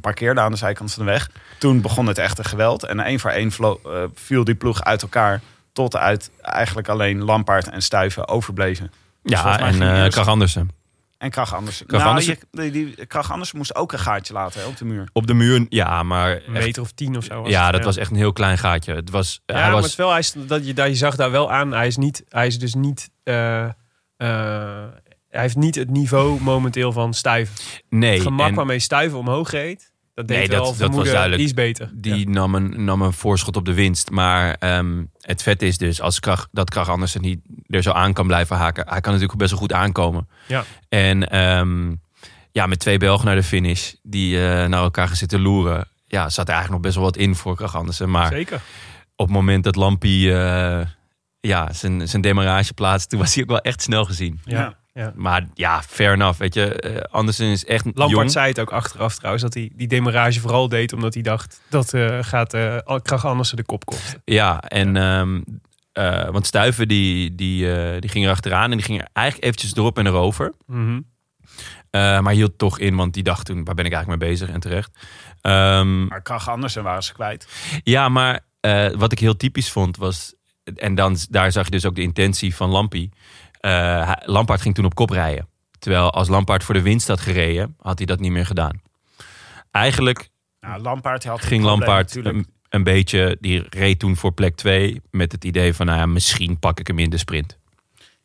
Speaker 6: parkeerde aan de zijkant van de weg. Toen begon het echte geweld. En één voor één vlo- eh, viel die ploeg uit elkaar. Tot uit eigenlijk alleen Lampaard en Stuiven overbleven. Dus volgens
Speaker 1: Ja,
Speaker 6: mij
Speaker 1: en
Speaker 6: ging die
Speaker 1: eh
Speaker 6: eerst-
Speaker 1: Krach Andersen.
Speaker 6: en Krach Andersen.
Speaker 1: Krach
Speaker 6: nou,
Speaker 1: Andersen-
Speaker 6: je- die, die, Krach Andersen moest ook een gaatje laten hè, op de muur.
Speaker 1: Op de muur, ja, maar...
Speaker 2: Een
Speaker 1: echt-
Speaker 2: meter of tien of zo. Was
Speaker 1: ja,
Speaker 2: het,
Speaker 1: dat was echt een heel klein gaatje. Het was,
Speaker 2: Ja,
Speaker 1: hij
Speaker 2: maar
Speaker 1: was
Speaker 2: het wel, hij is, dat je, daar, je zag daar wel aan. Hij is, niet, hij is dus niet. eh, eh, hij heeft niet het niveau momenteel van stuiven.
Speaker 1: nee,
Speaker 2: Het gemak
Speaker 1: en
Speaker 2: waarmee stuiven omhoog reed. Dat deed
Speaker 1: Nee,
Speaker 2: wel
Speaker 1: dat- dat was
Speaker 2: vermoeden,
Speaker 1: duidelijk.
Speaker 2: Die is beter.
Speaker 1: die nam, een, nam een voorschot op de winst. Maar ehm, het vet is dus als Krach, dat Krach Andersen niet er zo aan kan blijven haken. Hij kan natuurlijk best wel goed aankomen.
Speaker 2: Ja.
Speaker 1: En ehm, ja, met twee Belgen naar de finish die eh, naar elkaar gaan zitten loeren. Ja, zat er eigenlijk nog best wel wat in voor Krach Andersen. Maar
Speaker 2: Zeker.
Speaker 1: op het moment dat Lampie eh, ja, zijn, zijn demarrage plaatst, toen was hij ook wel echt snel gezien.
Speaker 2: Ja. ja.
Speaker 1: Maar ja, fair enough. Weet je, eh, Andersen is echt
Speaker 2: Lampard
Speaker 1: jong.
Speaker 2: zei het ook achteraf trouwens, dat hij die demarage vooral deed omdat hij dacht dat eh, gaat eh Krach Andersen de kop kosten.
Speaker 1: Ja, en ehm, eh, want Stuiven die, die, eh, die ging er achteraan en die ging er eigenlijk eventjes erop en erover. Eh, maar hield toch in, want die dacht toen, waar ben ik eigenlijk mee bezig en terecht. Ehm,
Speaker 6: Maar Krach Andersen waren ze kwijt.
Speaker 1: ja, maar eh, wat ik heel typisch vond was, en dan, daar zag je dus ook de intentie van Lampie. Eh, hij- Lampaard ging toen op kop rijden. Terwijl als Lampaard voor de winst had gereden, had hij dat niet meer gedaan. Eigenlijk
Speaker 6: Nou, Lampaard had
Speaker 1: ging
Speaker 6: een probleem
Speaker 1: Lampaard ehm,
Speaker 6: natuurlijk.
Speaker 1: een, een beetje, die reed toen voor plek 2 met het idee van, nou ja, misschien pak ik hem in de sprint.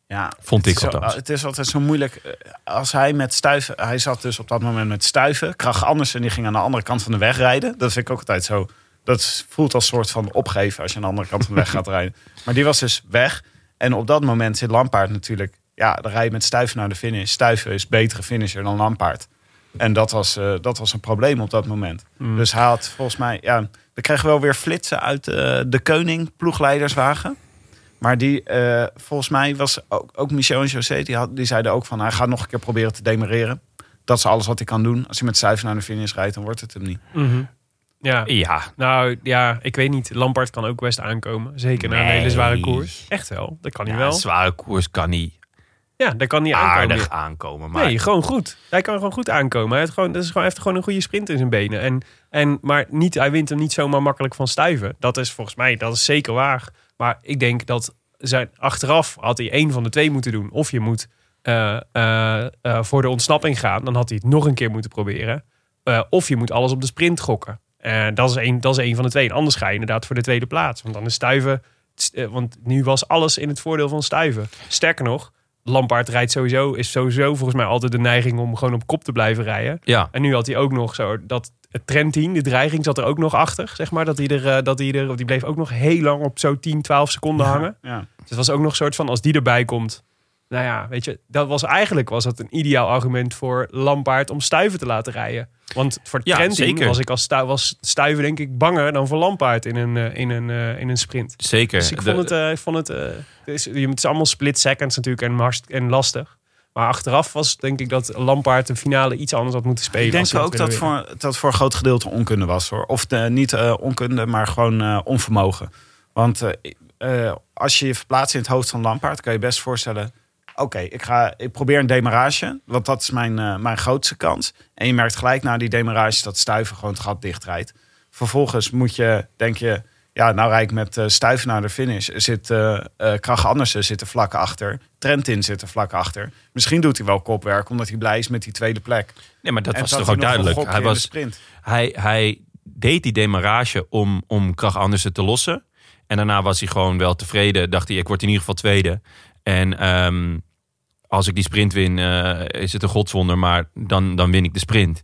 Speaker 6: Ja,
Speaker 1: Vond
Speaker 6: het
Speaker 1: ik
Speaker 6: is zo-
Speaker 1: althans.
Speaker 6: Het is altijd zo moeilijk. eh, Als hij met stuiven... Hij zat dus op dat moment met stuiven. Krach Andersen die ging aan de andere kant van de weg rijden. Dat vind ik ook altijd zo... Dat voelt als een soort van opgeven als je aan de andere kant van de weg gaat rijden. Maar die was dus weg. En op dat moment zit Lampaard natuurlijk... Ja, dan rij je met stuiven naar de finish. Stuiven is betere finisher dan Lampaard. En dat was, eh, dat was een probleem op dat moment.
Speaker 1: Hmm.
Speaker 6: Dus hij had volgens mij... Ja, we kregen wel weer flitsen uit eh, de Keuning ploegleiderswagen. Maar die, eh, volgens mij was ook, ook Michel en José, die, had, die zeiden ook van... hij gaat nog een keer proberen te demereren. Dat is alles wat hij kan doen. Als hij met cijfer naar de finish rijdt, dan wordt het hem niet.
Speaker 2: Ja.
Speaker 1: Ja,
Speaker 2: Nou ja, ik weet niet. Lampard kan ook best aankomen. Zeker na een
Speaker 1: Nee.
Speaker 2: hele zware koers. Echt wel. Dat kan hij
Speaker 1: ja
Speaker 2: wel.
Speaker 1: een zware koers kan niet
Speaker 2: Ja, dat kan hij aankomen.
Speaker 1: aardig aankomen. Maar
Speaker 2: Nee, gewoon goed. Hij kan gewoon goed aankomen. Hij, heeft gewoon, dat is gewoon, hij heeft gewoon een goede sprint in zijn benen. En, en, maar niet, hij wint hem niet zomaar makkelijk van stuiven. Dat is volgens mij, dat is zeker waar. Maar ik denk dat zijn, achteraf had hij één van de twee moeten doen. Of je moet eh, eh, eh, voor de ontsnapping gaan. Dan had hij het nog een keer moeten proberen. Eh, of je moet alles op de sprint gokken. Eh, dat, is één, dat is één van de twee. En anders ga je inderdaad voor de tweede plaats. Want dan is stuiven... eh, Want nu was alles in het voordeel van stuiven. Sterker nog, Lampaard rijdt sowieso, is sowieso volgens mij altijd de neiging om gewoon op kop te blijven rijden.
Speaker 1: ja,
Speaker 2: En nu had hij ook nog zo dat het trendteam, de dreiging zat er ook nog achter, zeg maar. Dat hij er, eh, dat hij er, die bleef ook nog heel lang op zo 10, 12 seconden hangen.
Speaker 6: Ja.
Speaker 2: Dus het was ook nog een soort van, als die erbij komt. Nou ja, weet je, dat was eigenlijk was dat een ideaal argument voor Lampaard om Stuiven te laten rijden. Want voor het
Speaker 1: Ja,
Speaker 2: trendteam
Speaker 1: zeker.
Speaker 2: was ik als Stu- was Stuiven denk ik banger dan voor Lampaard in een, eh, in een, eh, in een sprint.
Speaker 1: zeker.
Speaker 2: Dus ik
Speaker 1: De-
Speaker 2: vond het, eh, ik vond het, eh, het is, het is allemaal split seconds natuurlijk en, hartst- en lastig. Maar achteraf was het denk ik dat Lampaard de finale iets anders had moeten spelen.
Speaker 6: Ik
Speaker 2: als
Speaker 6: denk
Speaker 2: hij had
Speaker 6: ook dat
Speaker 2: willen
Speaker 6: voor, dat voor een groot gedeelte onkunde was. hoor. Of de, niet eh, onkunde, maar gewoon eh, onvermogen. Want eh, eh, als je je verplaatst in het hoofd van Lampaard... kan je best voorstellen... Oké, ik ga, ik probeer een demarage, want dat is mijn, eh, mijn grootste kans. En je merkt gelijk na die demarage dat Stuiven gewoon het gat dichtrijdt. Vervolgens moet je, denk je, ja, nou rijd ik met eh, Stuiven naar de finish. Er Zit, eh eh, Krach Andersen zit er vlak achter. Trentin zit er vlak achter. Misschien doet hij wel kopwerk, omdat hij blij is met die tweede plek.
Speaker 1: nee, maar dat
Speaker 6: En
Speaker 1: was
Speaker 6: zat
Speaker 1: toch
Speaker 6: hij
Speaker 1: ook
Speaker 6: nog een
Speaker 1: duidelijk. Hij,
Speaker 6: gokje in de
Speaker 1: was,
Speaker 6: sprint.
Speaker 1: hij, hij deed die demarrage om, om Krach Andersen te lossen. En daarna was hij gewoon wel tevreden. Dacht hij, ik word in ieder geval tweede. En ehm, als ik die sprint win, eh, is het een godswonder. Maar dan, dan win ik de sprint.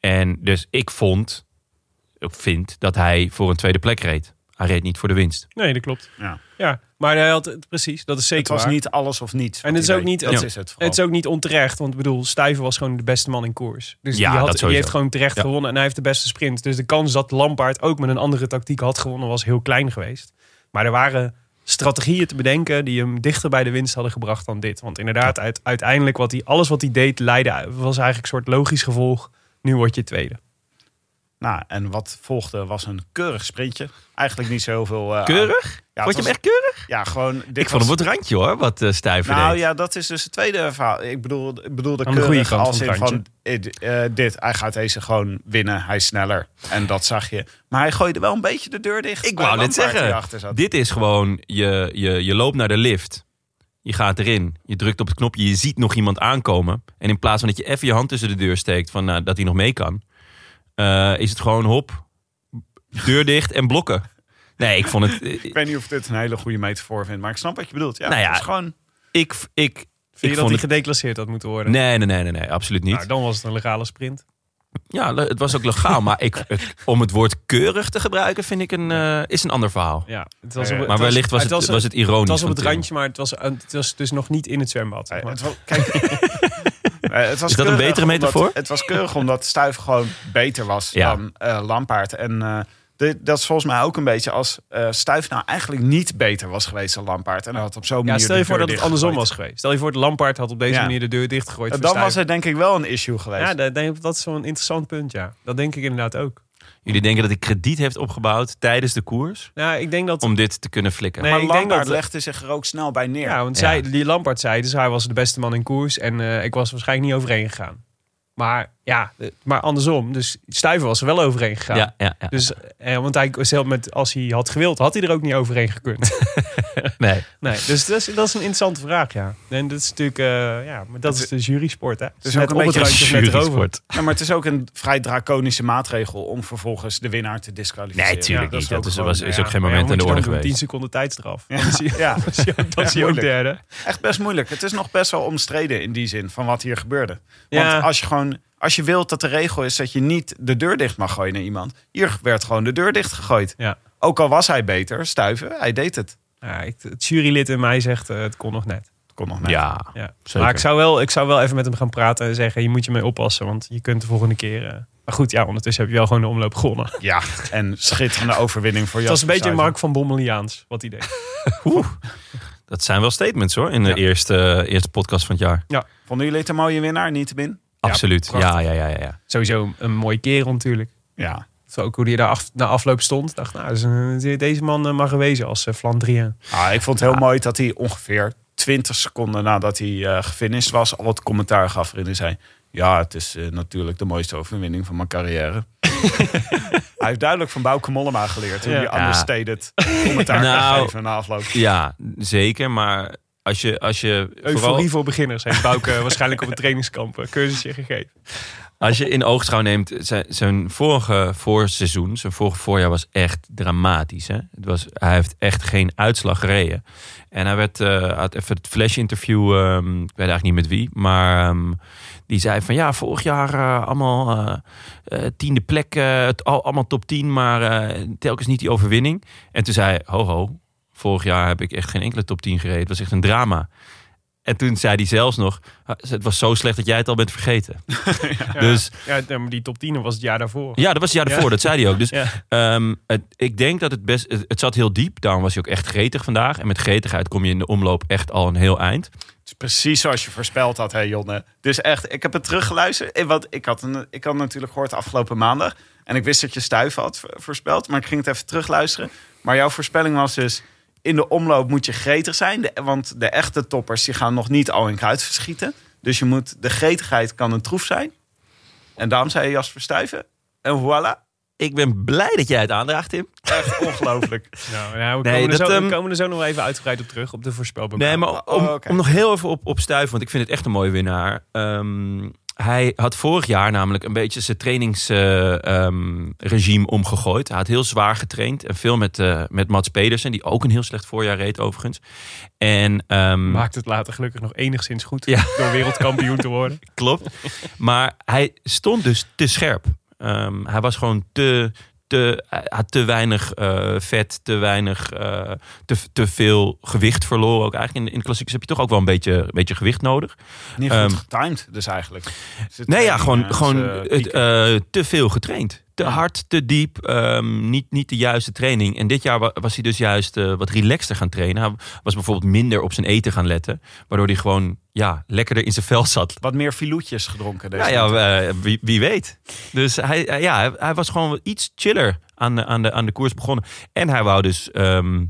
Speaker 1: En dus ik vond, ik vind, dat hij voor een tweede plek reed. Hij Hij reed niet voor de winst.
Speaker 2: Nee, dat klopt.
Speaker 6: Ja.
Speaker 2: Ja, maar hij had het precies. Dat is zeker
Speaker 6: Het was
Speaker 2: waar.
Speaker 6: niet alles of niets.
Speaker 2: En
Speaker 6: wat
Speaker 2: het is
Speaker 6: hij
Speaker 2: ook
Speaker 6: deed.
Speaker 2: niet-
Speaker 6: Dat
Speaker 2: Ja.
Speaker 6: is het vooral.
Speaker 2: Het is ook niet onterecht, want ik bedoel, Stuyven was gewoon de beste man in koers. Dus
Speaker 1: Ja,
Speaker 2: die,
Speaker 1: dat
Speaker 2: had, die
Speaker 1: sowieso.
Speaker 2: heeft gewoon terecht
Speaker 1: Ja.
Speaker 2: gewonnen en hij heeft de beste sprint. Dus de kans dat Lampaard ook met een andere tactiek had gewonnen was heel klein geweest. Maar er waren strategieën te bedenken die hem dichter bij de winst hadden gebracht dan dit. Want inderdaad, uit, uiteindelijk wat hij, alles wat hij deed leidde, was eigenlijk een soort logisch gevolg. Nu word je tweede.
Speaker 6: Nou, en wat volgde was een keurig sprintje. Eigenlijk niet zo heel veel... eh, aan-
Speaker 1: Keurig?
Speaker 6: Ja,
Speaker 1: Vond
Speaker 6: het
Speaker 1: je hem
Speaker 6: was-
Speaker 1: echt keurig?
Speaker 6: Ja, gewoon... Dit
Speaker 1: Ik vond
Speaker 6: was-
Speaker 1: hem wat randje hoor, wat eh Stuyven
Speaker 6: Nou
Speaker 1: deed.
Speaker 6: ja, dat is dus het tweede verhaal. Ik bedoel, ik bedoel de
Speaker 2: Aan de goede
Speaker 6: keurig
Speaker 2: kant
Speaker 6: als
Speaker 2: van
Speaker 6: in
Speaker 2: het
Speaker 6: van... eh, eh, dit, hij gaat deze gewoon winnen. Hij is sneller. En dat zag je. Maar hij gooide wel een beetje de deur dicht.
Speaker 1: Ik
Speaker 6: bij
Speaker 1: wou net
Speaker 6: Lampaard die
Speaker 1: zeggen,
Speaker 6: erachter zat.
Speaker 1: dit is gewoon, je, je, je loopt naar de lift, je gaat erin, je drukt op het knopje, je ziet nog iemand aankomen. En in plaats van dat je even je hand tussen de deur steekt, van, nou, dat hij nog mee kan, eh, is het gewoon hop, deur dicht en blokken. Nee, ik vond het...
Speaker 6: Ik weet niet of ik dit een hele goede metafoor vind. Maar ik snap wat je bedoelt. Ja,
Speaker 1: Nou ja,
Speaker 6: het is gewoon...
Speaker 1: Ik, ik, ik
Speaker 2: Vind je dat hij
Speaker 1: vond het...
Speaker 2: gedeclasseerd had moeten worden?
Speaker 1: Nee, nee, nee, nee, nee, absoluut niet.
Speaker 2: Nou, dan was het een legale sprint.
Speaker 1: Ja, le- het was ook legaal, maar ik, het- om het woord keurig te gebruiken vind ik een, eh, is een ander verhaal.
Speaker 2: Ja, het was
Speaker 6: Eh,
Speaker 2: op,
Speaker 1: Maar wellicht was het, was het, ironisch.
Speaker 2: Het was op
Speaker 1: van
Speaker 2: het
Speaker 1: Tim.
Speaker 2: randje, maar het was, het was dus nog niet in het zwembad. zeg
Speaker 6: Eh,
Speaker 2: maar.
Speaker 6: het was- kijk, eh, het was
Speaker 1: Is dat een
Speaker 6: keurig
Speaker 1: betere
Speaker 6: omdat-
Speaker 1: metafoor?
Speaker 6: het was keurig omdat Stuif gewoon beter was
Speaker 1: Ja.
Speaker 6: dan eh, Lampaard. En eh, dit- dat is volgens mij ook een beetje als eh Stuif nou eigenlijk niet beter was geweest dan Lampaard. En hij had op zo'n
Speaker 2: Ja,
Speaker 6: manier.
Speaker 2: stel je
Speaker 6: de
Speaker 2: voor
Speaker 6: deur
Speaker 2: dat het andersom
Speaker 6: dichtgegooid.
Speaker 2: was geweest. Stel je voor, het Lampaard had op deze
Speaker 6: Ja.
Speaker 2: manier de deur dichtgegooid.
Speaker 6: En
Speaker 2: voor
Speaker 6: Dan was
Speaker 2: Stuyven.
Speaker 6: er denk ik wel een issue geweest.
Speaker 2: Ja, dat, denk ik- dat is zo'n interessant punt, ja. Dat denk ik inderdaad ook.
Speaker 1: Jullie denken dat ik krediet heeft opgebouwd tijdens de koers
Speaker 2: Nou, ik denk dat...
Speaker 1: om dit te kunnen flikken.
Speaker 2: Nee.
Speaker 6: maar
Speaker 2: ik denk
Speaker 6: Lampaard
Speaker 2: dat-
Speaker 6: legde zich er ook snel bij neer.
Speaker 2: ja, want
Speaker 1: Ja.
Speaker 2: Zij, die Lampaard zei, dus hij was de beste man in koers. En eh, ik was waarschijnlijk niet overheen gegaan. Maar ja, eh, maar andersom. Dus Stuyven was er wel overheen gegaan.
Speaker 1: Ja, ja, ja.
Speaker 2: Dus, eh, want hij, was heel met, als hij had gewild, had hij er ook niet overheen gekund.
Speaker 1: nee.
Speaker 2: nee, dus dat is, dat is een interessante vraag, ja. En dat is natuurlijk, eh, ja, maar dat is de jury-sport, hè. Het
Speaker 6: is ook een beetje
Speaker 2: randje of net erover.
Speaker 1: Jurysport.
Speaker 6: Ja, maar het is ook een vrij draconische maatregel om vervolgens de winnaar te disqualificeren.
Speaker 1: Nee, tuurlijk
Speaker 6: Ja,
Speaker 1: niet. Dat is,
Speaker 6: ook
Speaker 1: was,
Speaker 6: gewoon,
Speaker 1: is
Speaker 6: ja.
Speaker 1: ook geen
Speaker 2: Maar
Speaker 1: moment
Speaker 2: ja,
Speaker 1: in de orde
Speaker 2: moet je dan doen? 10
Speaker 1: geweest.
Speaker 2: seconden tijdstraf.
Speaker 6: Ja.
Speaker 2: Dan is hij-
Speaker 6: Ja.
Speaker 2: dan is hij- Dan is hij ook
Speaker 6: moeilijk.
Speaker 2: derde.
Speaker 6: echt best moeilijk. Het is nog best wel omstreden in die zin van wat hier gebeurde. Want
Speaker 2: Ja.
Speaker 6: als je gewoon, als je wilt dat de regel is dat je niet de deur dicht mag gooien naar iemand, hier werd gewoon de deur dicht gegooid.
Speaker 2: Ja.
Speaker 6: Ook al was hij beter, stuiven, hij deed het.
Speaker 2: Ja, ik- het jurylid in mij zegt, eh, het kon nog net.
Speaker 6: Kom nog mee.
Speaker 1: Ja.
Speaker 2: Ja.
Speaker 1: Zeker.
Speaker 2: Maar ik zou, wel, ik zou wel even met hem gaan praten en zeggen, je moet je mee oppassen, want je kunt de volgende keer... eh, maar goed, ja, ondertussen heb je wel gewoon de omloop gewonnen.
Speaker 6: Ja, en schitterende overwinning voor
Speaker 2: Het
Speaker 6: jou.
Speaker 2: was een beetje Mark van Bommeliaans, wat hij deed.
Speaker 1: Oeh. Dat zijn wel statements hoor, in de
Speaker 2: Ja.
Speaker 1: eerste, eerste podcast van het jaar.
Speaker 6: Vonden jullie het een mooie winnaar, niet te min?
Speaker 1: Absoluut.
Speaker 2: prachtig.
Speaker 1: Ja, ja, ja, ja, ja.
Speaker 2: Sowieso een mooie kerel natuurlijk.
Speaker 6: Ja.
Speaker 2: Zo ook hoe hij daar af, na afloop stond. dacht, nou, dat is een- de- deze man eh, mag gewezen als eh, Flandrien.
Speaker 6: Ah, ik vond het heel mooi dat hij ongeveer 20 seconden nadat hij eh gefinished was, al wat commentaar gaf waarin hij zei. Ja, het is eh, natuurlijk de mooiste overwinning van mijn carrière. hij heeft duidelijk van Bouke Mollema geleerd. Hoe
Speaker 2: Ja.
Speaker 6: je understated commentaar
Speaker 1: Nou.
Speaker 6: kan geven na afloop.
Speaker 1: Ja, zeker. Maar als je, als je vooral
Speaker 2: Euforie voor beginners heeft Bouke eh, waarschijnlijk op een trainingskamp een cursusje gegeven.
Speaker 1: Als je in oogschouw neemt, zijn, zijn vorige voorseizoen, zijn vorige voorjaar was echt dramatisch. Hè? Het was, hij heeft echt geen uitslag gereden. En hij werd, eh, had even het flash-interview, ehm, ik weet eigenlijk niet met wie, maar ehm, die zei van ja, vorig jaar eh, allemaal eh, eh, tiende plek, eh, het, al, allemaal top 10, maar eh, telkens niet die overwinning. En toen zei hij, ho ho, vorig jaar heb ik echt geen enkele top 10 gereden. Het was echt een drama. En toen zei hij zelfs nog, het was zo slecht dat jij het al bent vergeten. Dus
Speaker 2: Ja, nee, maar die top 10 was het jaar daarvoor.
Speaker 1: ja, dat was het jaar daarvoor, dat zei hij ook. Dus
Speaker 2: Ja.
Speaker 1: ehm, het, ik denk dat het best... Het, het zat heel diep, daarom was hij ook echt gretig vandaag. En met gretigheid kom je in de omloop echt al een heel eind.
Speaker 6: Het is precies zoals je voorspeld had, hè Jonne. Dus echt, ik heb het teruggeluisterd. Eh, Want ik had, een, ik had natuurlijk gehoord afgelopen maandag. En ik wist dat je stuiven had vo- voorspeld. Maar ik ging het even terugluisteren. Maar jouw voorspelling was dus... In de omloop moet je gretig zijn. de- want de echte toppers die gaan nog niet al in kruid verschieten. Dus je moet, de gretigheid kan een troef zijn. En daarom zei je Jasper Stuiven. En voilà.
Speaker 1: Ik ben blij dat jij het aandraagt, Tim.
Speaker 6: Echt ongelooflijk.
Speaker 2: Nou, nou, we,
Speaker 1: Nee,
Speaker 2: komen
Speaker 1: dat,
Speaker 2: er zo, we
Speaker 1: ehm,
Speaker 2: komen er zo nog wel even uitgebreid op terug, op de voorspelboek.
Speaker 1: Nee, maar om,
Speaker 6: Oh, oké.
Speaker 1: om nog heel even op, op stuiven, want ik vind het echt een mooie winnaar. Ehm, hij had vorig jaar namelijk een beetje zijn trainingsregime omgegooid. Hij had heel zwaar getraind en veel met, eh, met Mats Pedersen, die ook een heel slecht voorjaar reed overigens. En, ehm,
Speaker 2: Maakt het later gelukkig nog enigszins goed
Speaker 1: Ja.
Speaker 2: door wereldkampioen te worden.
Speaker 1: Klopt. Maar hij stond dus te scherp. Ehm, hij was gewoon te, te te, hij had te weinig eh, vet, te weinig, eh, te, te veel gewicht verloren. Ook eigenlijk in, in de klassiekers heb je toch ook wel een beetje, een beetje gewicht nodig.
Speaker 6: Niet goed
Speaker 1: Ehm,
Speaker 6: getimed dus eigenlijk. Zit
Speaker 1: Nee,
Speaker 6: er
Speaker 1: ja,
Speaker 6: een,
Speaker 1: gewoon,
Speaker 6: eh,
Speaker 1: gewoon
Speaker 6: eh,
Speaker 1: het,
Speaker 6: pieken.
Speaker 1: eh, te veel getraind. Te hard, te diep, ehm, niet, niet de juiste training. En dit jaar wa- was hij dus juist eh, wat relaxter gaan trainen. Hij was bijvoorbeeld minder op zijn eten gaan letten. Waardoor hij gewoon ja, lekkerder in zijn vel zat.
Speaker 6: Wat meer filoetjes gedronken deze
Speaker 1: Ja, ja
Speaker 6: winter.
Speaker 1: eh, wie, wie weet. Dus hij, hij- ja, hij, hij was gewoon iets chiller aan de, aan, de, aan de koers begonnen. En hij wou dus ehm,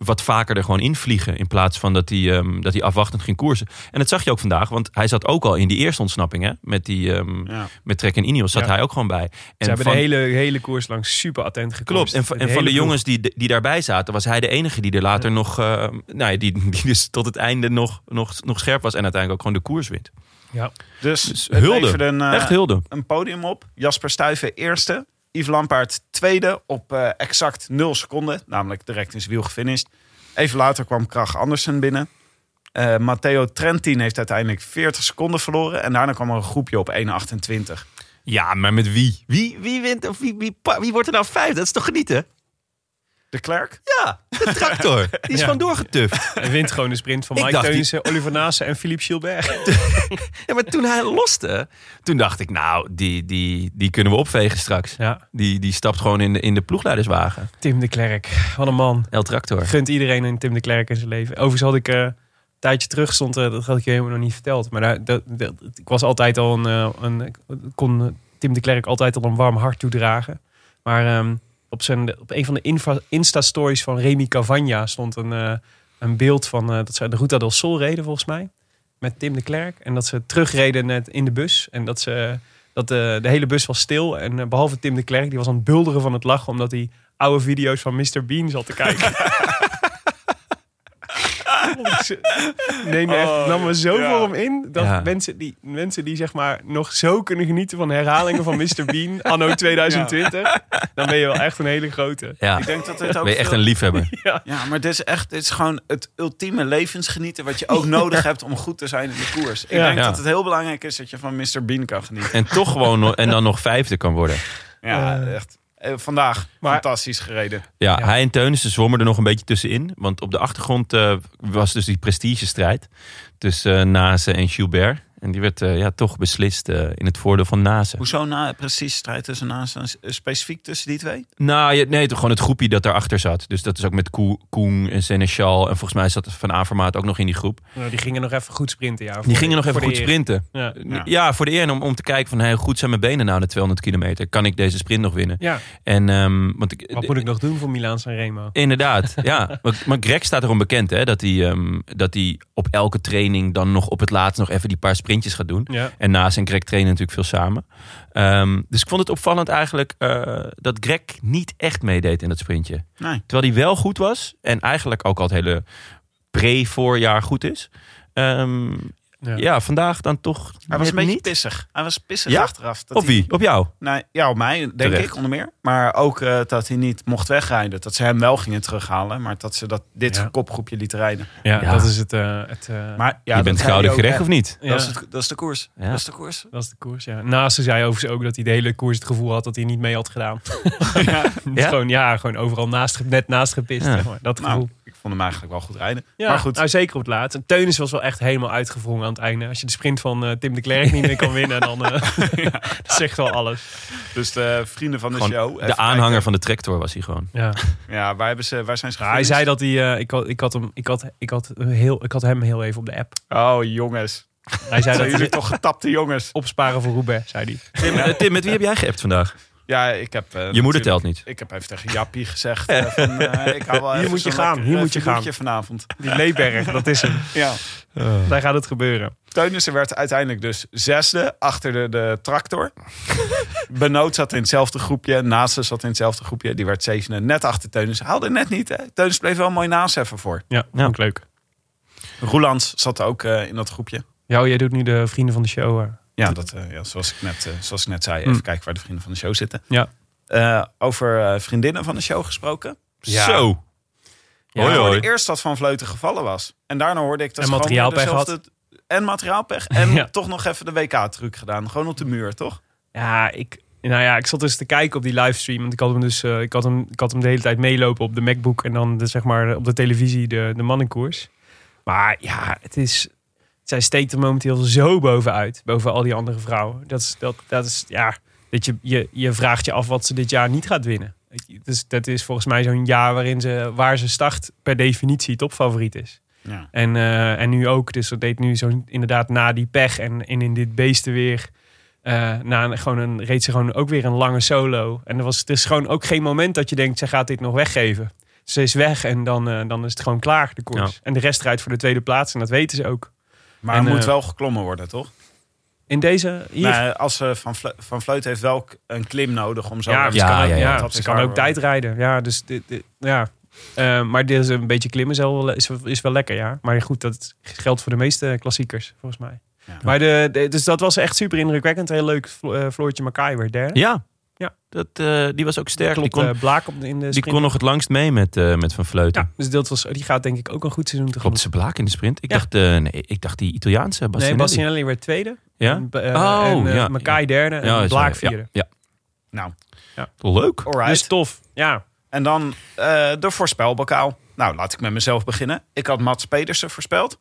Speaker 1: wat vaker er gewoon invliegen. In plaats van dat hij, ehm, dat hij afwachtend ging koersen. En dat zag je ook vandaag. Want hij zat ook al in die eerste ontsnapping. Hè? Met, die, ehm,
Speaker 6: Ja.
Speaker 1: met Trek en Ineos zat
Speaker 2: Ja.
Speaker 1: hij ook gewoon bij. En
Speaker 2: Ze hebben
Speaker 1: van-
Speaker 2: de hele, hele koers lang super attent gekozen.
Speaker 1: Klopt. En, van- en van de jongens die, die daarbij zaten, was hij de enige die er later nog. eh, nou ja, die, die dus tot het einde nog, nog, nog scherp was. En uiteindelijk ook gewoon de koers wint.
Speaker 2: Ja.
Speaker 6: Dus,
Speaker 1: Dus
Speaker 6: het
Speaker 1: hulde.
Speaker 6: leverde een, eh,
Speaker 1: Echt hulde.
Speaker 6: een podium op. Jasper Stuyven eerste. Yves Lampaard tweede op eh, exact 0 seconden. Namelijk direct in zijn wiel gefinished. Even later kwam Krach Andersen binnen. Eh, Matteo Trentin heeft uiteindelijk 40 seconden verloren. En daarna kwam er een groepje op 1,28.
Speaker 1: Ja, maar met wie? Wie, wie wint of wie, wie, pa- wie wordt er nou vijf? Dat is toch genieten?
Speaker 6: De Klerk?
Speaker 1: Ja, de tractor. Die is
Speaker 2: Ja.
Speaker 1: gewoon doorgetuft.
Speaker 2: En wint gewoon de sprint van
Speaker 1: Ik
Speaker 2: Mike
Speaker 1: dacht die-
Speaker 2: Teunissen, Oliver Naassen en Philippe Gilbert.
Speaker 1: Ja, maar toen hij loste, toen dacht ik, nou, die, die, die kunnen we opvegen straks.
Speaker 2: Ja.
Speaker 1: Die, die stapt gewoon in de, in de ploegleiderswagen.
Speaker 2: Tim de Klerk, wat een man.
Speaker 1: El Tractor.
Speaker 2: Gunt iedereen een Tim de Klerk in zijn leven. Overigens had ik eh, een tijdje terug stond, eh, dat had ik je helemaal nog niet verteld. Maar daar, dat, dat- ik was altijd al een, eh, een ik kon eh, Tim de Klerk altijd al een warm hart toedragen. Maar ehm, op, zijn, op een van de infa- Insta-stories van Remy Cavagna stond een, eh, een beeld van eh, dat ze de Ruta del Sol reden volgens mij. Met Tim de Klerk. En dat ze terugreden net in de bus. En dat ze... eh, dat de, de hele bus was stil. En eh, behalve Tim de Klerk, die was aan het bulderen van het lachen. Omdat hij oude video's van Mr. Bean zat te kijken. Neem me echt, nam me zo voor hem in. Dat
Speaker 1: Ja.
Speaker 2: mensen, die, mensen die zeg maar nog zo kunnen genieten van herhalingen van Mr. Bean anno 2020. Dan ben je wel echt een hele grote.
Speaker 1: Ja,
Speaker 6: Ik denk dat dit ook
Speaker 1: ben je echt
Speaker 6: veel-
Speaker 1: een liefhebber.
Speaker 6: Ja, maar dit is echt dit is gewoon het ultieme levensgenieten... wat je ook nodig hebt om goed te zijn in de koers. Ik
Speaker 2: Ja.
Speaker 6: denk
Speaker 1: Ja.
Speaker 6: dat het heel belangrijk is dat je van Mr. Bean kan genieten.
Speaker 1: En toch gewoon no- en dan nog vijfde kan worden.
Speaker 6: Ja, echt. Eh, vandaag
Speaker 2: maar-
Speaker 6: fantastisch gereden.
Speaker 1: Ja,
Speaker 2: Ja.
Speaker 1: hij en Teunissen zwommen er nog een beetje tussenin. Want op de achtergrond eh, was dus die prestigestrijd tussen eh, Nase en Gilbert. En die werd eh, ja, toch beslist eh, in het voordeel van Nase.
Speaker 6: Hoezo na, eh, precies strijd tussen naast eh, specifiek tussen die twee?
Speaker 1: Nou, je- nee, toch gewoon het groepje dat daarachter zat. Dus dat is ook met Koe- Koen en Seneschal. En volgens mij zat Van Avermaat ook nog in die groep.
Speaker 2: Nou, die gingen nog even goed sprinten. Ja,
Speaker 1: Die gingen nog even goed
Speaker 2: sprinten.
Speaker 1: sprinten.
Speaker 2: Ja.
Speaker 1: Ja. voor de eer en om, om te kijken van... Hey, hoe goed zijn mijn benen nou na 200 kilometer? Kan ik deze sprint nog winnen?
Speaker 2: Ja,
Speaker 1: En, ehm, want ik,
Speaker 2: wat moet ik nog doen voor Milaan Sanremo?
Speaker 1: Inderdaad, ja. Maar, maar Greg staat erom bekend, hè, dat hij, ehm, dat hij op elke training dan nog op het laatst nog even die paar sprintjes gaat doen.
Speaker 2: Ja.
Speaker 1: En naast en Greg trainen natuurlijk veel samen. Ehm, dus ik vond het opvallend eigenlijk eh, dat Greg niet echt meedeed in dat sprintje.
Speaker 6: Nee.
Speaker 1: Terwijl hij wel goed was en eigenlijk ook al het hele pre-voorjaar goed is. Ehm,
Speaker 2: Ja.
Speaker 1: ja. vandaag dan toch
Speaker 6: Hij was een
Speaker 1: net
Speaker 6: beetje
Speaker 1: niet.
Speaker 6: pissig. Hij was pissig
Speaker 1: Ja?
Speaker 6: achteraf. Dat
Speaker 1: Op
Speaker 6: hij-
Speaker 1: wie? Op jou?
Speaker 6: nou, ja, op mij, denk
Speaker 1: Terecht.
Speaker 6: ik, onder meer. Maar ook eh, dat hij niet mocht wegrijden. Dat ze hem wel gingen terughalen. Maar dat ze dat, dit
Speaker 2: Ja.
Speaker 6: kopgroepje lieten rijden.
Speaker 2: Ja,
Speaker 1: Ja.
Speaker 2: dat is het. eh, het eh,
Speaker 6: Maar, ja,
Speaker 1: je
Speaker 6: dat
Speaker 1: bent
Speaker 6: zei
Speaker 1: gouden
Speaker 6: hij ook,
Speaker 1: gerecht
Speaker 6: hè.
Speaker 1: of niet?
Speaker 2: Ja.
Speaker 6: Dat, is het- dat is de koers.
Speaker 1: Ja.
Speaker 6: Dat is de koers.
Speaker 2: Dat is de koers, ja. Naast ze zei overigens ook dat hij de hele koers het gevoel had dat hij niet mee had gedaan. ja.
Speaker 1: Ja?
Speaker 2: Gewoon, ja, gewoon overal naast, ge- net naast gepist.
Speaker 1: Ja.
Speaker 2: zeg maar. Dat
Speaker 6: Nou,
Speaker 2: gevoel.
Speaker 6: ik vond hem eigenlijk wel goed rijden.
Speaker 2: ja,
Speaker 6: maar goed,
Speaker 2: Nou, zeker op het laatst. En Teunis was wel echt helemaal uitgevrongen aan het einde. Als je de sprint van eh, Tim de Klerk niet meer kan winnen, dan eh, dat zegt wel alles.
Speaker 6: dus de vrienden van de
Speaker 1: Gewoon
Speaker 6: show. even
Speaker 1: de aanhanger
Speaker 6: kijken.
Speaker 1: van de tractor was hij gewoon.
Speaker 2: Ja.
Speaker 6: Ja, waar, hebben ze, waar zijn ze
Speaker 2: Ja, hij zei
Speaker 6: gefinished?
Speaker 2: dat hij, eh, ik, had, ik, had hem, ik, had, ik, had heel, ik had hem heel even op de app.
Speaker 6: Oh, jongens.
Speaker 2: Hij zei
Speaker 6: Zijn
Speaker 2: dat
Speaker 6: jullie
Speaker 2: hij
Speaker 6: toch getapte jongens?
Speaker 2: opsparen voor Roubaix, zei hij.
Speaker 1: Tim, eh, Tim, met wie heb jij geappt vandaag?
Speaker 6: Ja, ik heb... eh,
Speaker 1: Je moeder
Speaker 6: natuurlijk-
Speaker 1: telt niet.
Speaker 6: Ik heb even tegen Jappie gezegd. eh, van, eh, ik hou wel
Speaker 2: Hier
Speaker 6: even
Speaker 2: moet je
Speaker 6: zo'n
Speaker 2: gaan,
Speaker 6: lekker,
Speaker 2: hier
Speaker 6: eh,
Speaker 2: moet je gaan.
Speaker 6: figuurtje vanavond.
Speaker 2: Die Leeberg, dat is hem.
Speaker 6: Ja.
Speaker 2: Daar gaat het gebeuren.
Speaker 6: Teunissen werd uiteindelijk dus zesde achter de, de tractor. Benoot zat in hetzelfde groepje. Naasten zat in hetzelfde groepje. Die werd zevende. Net achter Teunissen. Haalde net niet. Hè? Teunissen bleef wel mooi naast even voor.
Speaker 2: Ja,
Speaker 1: Ja.
Speaker 2: ook leuk.
Speaker 6: Roelands zat ook eh, in dat groepje.
Speaker 2: Ja, oh, jij doet nu de vrienden van de show. eh.
Speaker 6: Ja, dat, eh, ja zoals, ik net, eh, zoals ik net zei. Even
Speaker 2: Mm.
Speaker 6: kijken waar de vrienden van de show zitten.
Speaker 2: Ja.
Speaker 6: Eh, over eh, vriendinnen van de show gesproken.
Speaker 2: Ja.
Speaker 1: Zo.
Speaker 2: Ja,
Speaker 1: hoi,
Speaker 6: Ik hoorde
Speaker 1: hoi.
Speaker 6: eerst dat Van Vleuten gevallen was. En daarna hoorde ik dat
Speaker 2: En
Speaker 6: ze gewoon weer
Speaker 2: materiaalpech
Speaker 6: dezelfde- En materiaalpech. En
Speaker 2: Ja.
Speaker 6: toch nog even de WK-truc gedaan. Gewoon op de muur, toch?
Speaker 2: Ja, ik, Nou ja, ik zat dus te kijken op die livestream. Want ik had hem dus eh, ik had hem, ik had hem de hele tijd meelopen op de MacBook. En dan de, zeg maar op de televisie de, de mannenkoers. Maar ja, het is. Zij steekt er momenteel zo bovenuit. Boven al die andere vrouwen. Dat is, dat, dat is ja. Dat je, je, je vraagt je af wat ze dit jaar niet gaat winnen. Het is, dat is volgens mij zo'n jaar waarin ze, waar ze start per definitie topfavoriet is.
Speaker 6: Ja.
Speaker 2: En, eh, en nu ook. Dus dat deed nu zo inderdaad na die pech en in, in dit beesten weer. eh, na een, gewoon een, reed ze gewoon ook weer een lange solo. En er was, het is gewoon ook geen moment dat je denkt, ze gaat dit nog weggeven. Ze is weg en dan, eh, dan is het gewoon klaar, de koers.
Speaker 1: Ja.
Speaker 2: En de rest rijdt voor de tweede plaats en dat weten ze ook.
Speaker 6: Maar
Speaker 2: En,
Speaker 6: er moet
Speaker 2: eh,
Speaker 6: wel geklommen worden, toch?
Speaker 2: In deze, hier,
Speaker 6: Nou, als eh, van, Vle- van Vleut heeft wel k- een klim nodig om zo...
Speaker 2: Ja,
Speaker 6: dat
Speaker 2: ja,
Speaker 6: kan
Speaker 2: ja,
Speaker 6: ook,
Speaker 2: ja,
Speaker 6: want dat
Speaker 2: ze
Speaker 6: is
Speaker 2: kan
Speaker 6: waar,
Speaker 2: ook
Speaker 6: hoor.
Speaker 2: tijdrijden. Ja, dus dit, dit- ja. Eh, maar dit is een beetje klimmen is wel, is, is wel lekker, ja. Maar goed, dat geldt voor de meeste klassiekers, volgens mij.
Speaker 6: Ja.
Speaker 2: Maar de, de- dus dat was echt super indrukwekkend. Heel leuk, Flo- eh, Floortje Makai werd derde.
Speaker 1: Ja,
Speaker 2: Ja.
Speaker 1: Dat, eh, die was ook sterk.
Speaker 2: Klopt,
Speaker 1: Die kon,
Speaker 2: eh, Blaak op de, in de
Speaker 1: die
Speaker 2: sprint.
Speaker 1: kon nog het langst mee met, eh, met Van Vleuten.
Speaker 2: ja, dus dat was, die gaat denk ik ook een goed seizoen tegemoet.
Speaker 1: Klopt ze Blaak in de sprint? Ik,
Speaker 2: Ja.
Speaker 1: dacht, eh, nee, ik dacht die Italiaanse
Speaker 2: Nee,
Speaker 1: Bastianelli.
Speaker 2: Bastianelli werd tweede.
Speaker 1: Ja?
Speaker 2: En, eh,
Speaker 1: Oh,
Speaker 2: en eh,
Speaker 1: ja,
Speaker 2: Makai derde en
Speaker 1: ja,
Speaker 2: Blaak
Speaker 1: sorry.
Speaker 2: vierde.
Speaker 1: Ja,
Speaker 6: Nou,
Speaker 1: ja. Leuk.
Speaker 6: alright.
Speaker 2: Dus tof, ja.
Speaker 6: En dan eh, de voorspelbokaal. Nou, laat ik met mezelf beginnen. Ik had Mats Pedersen voorspeld.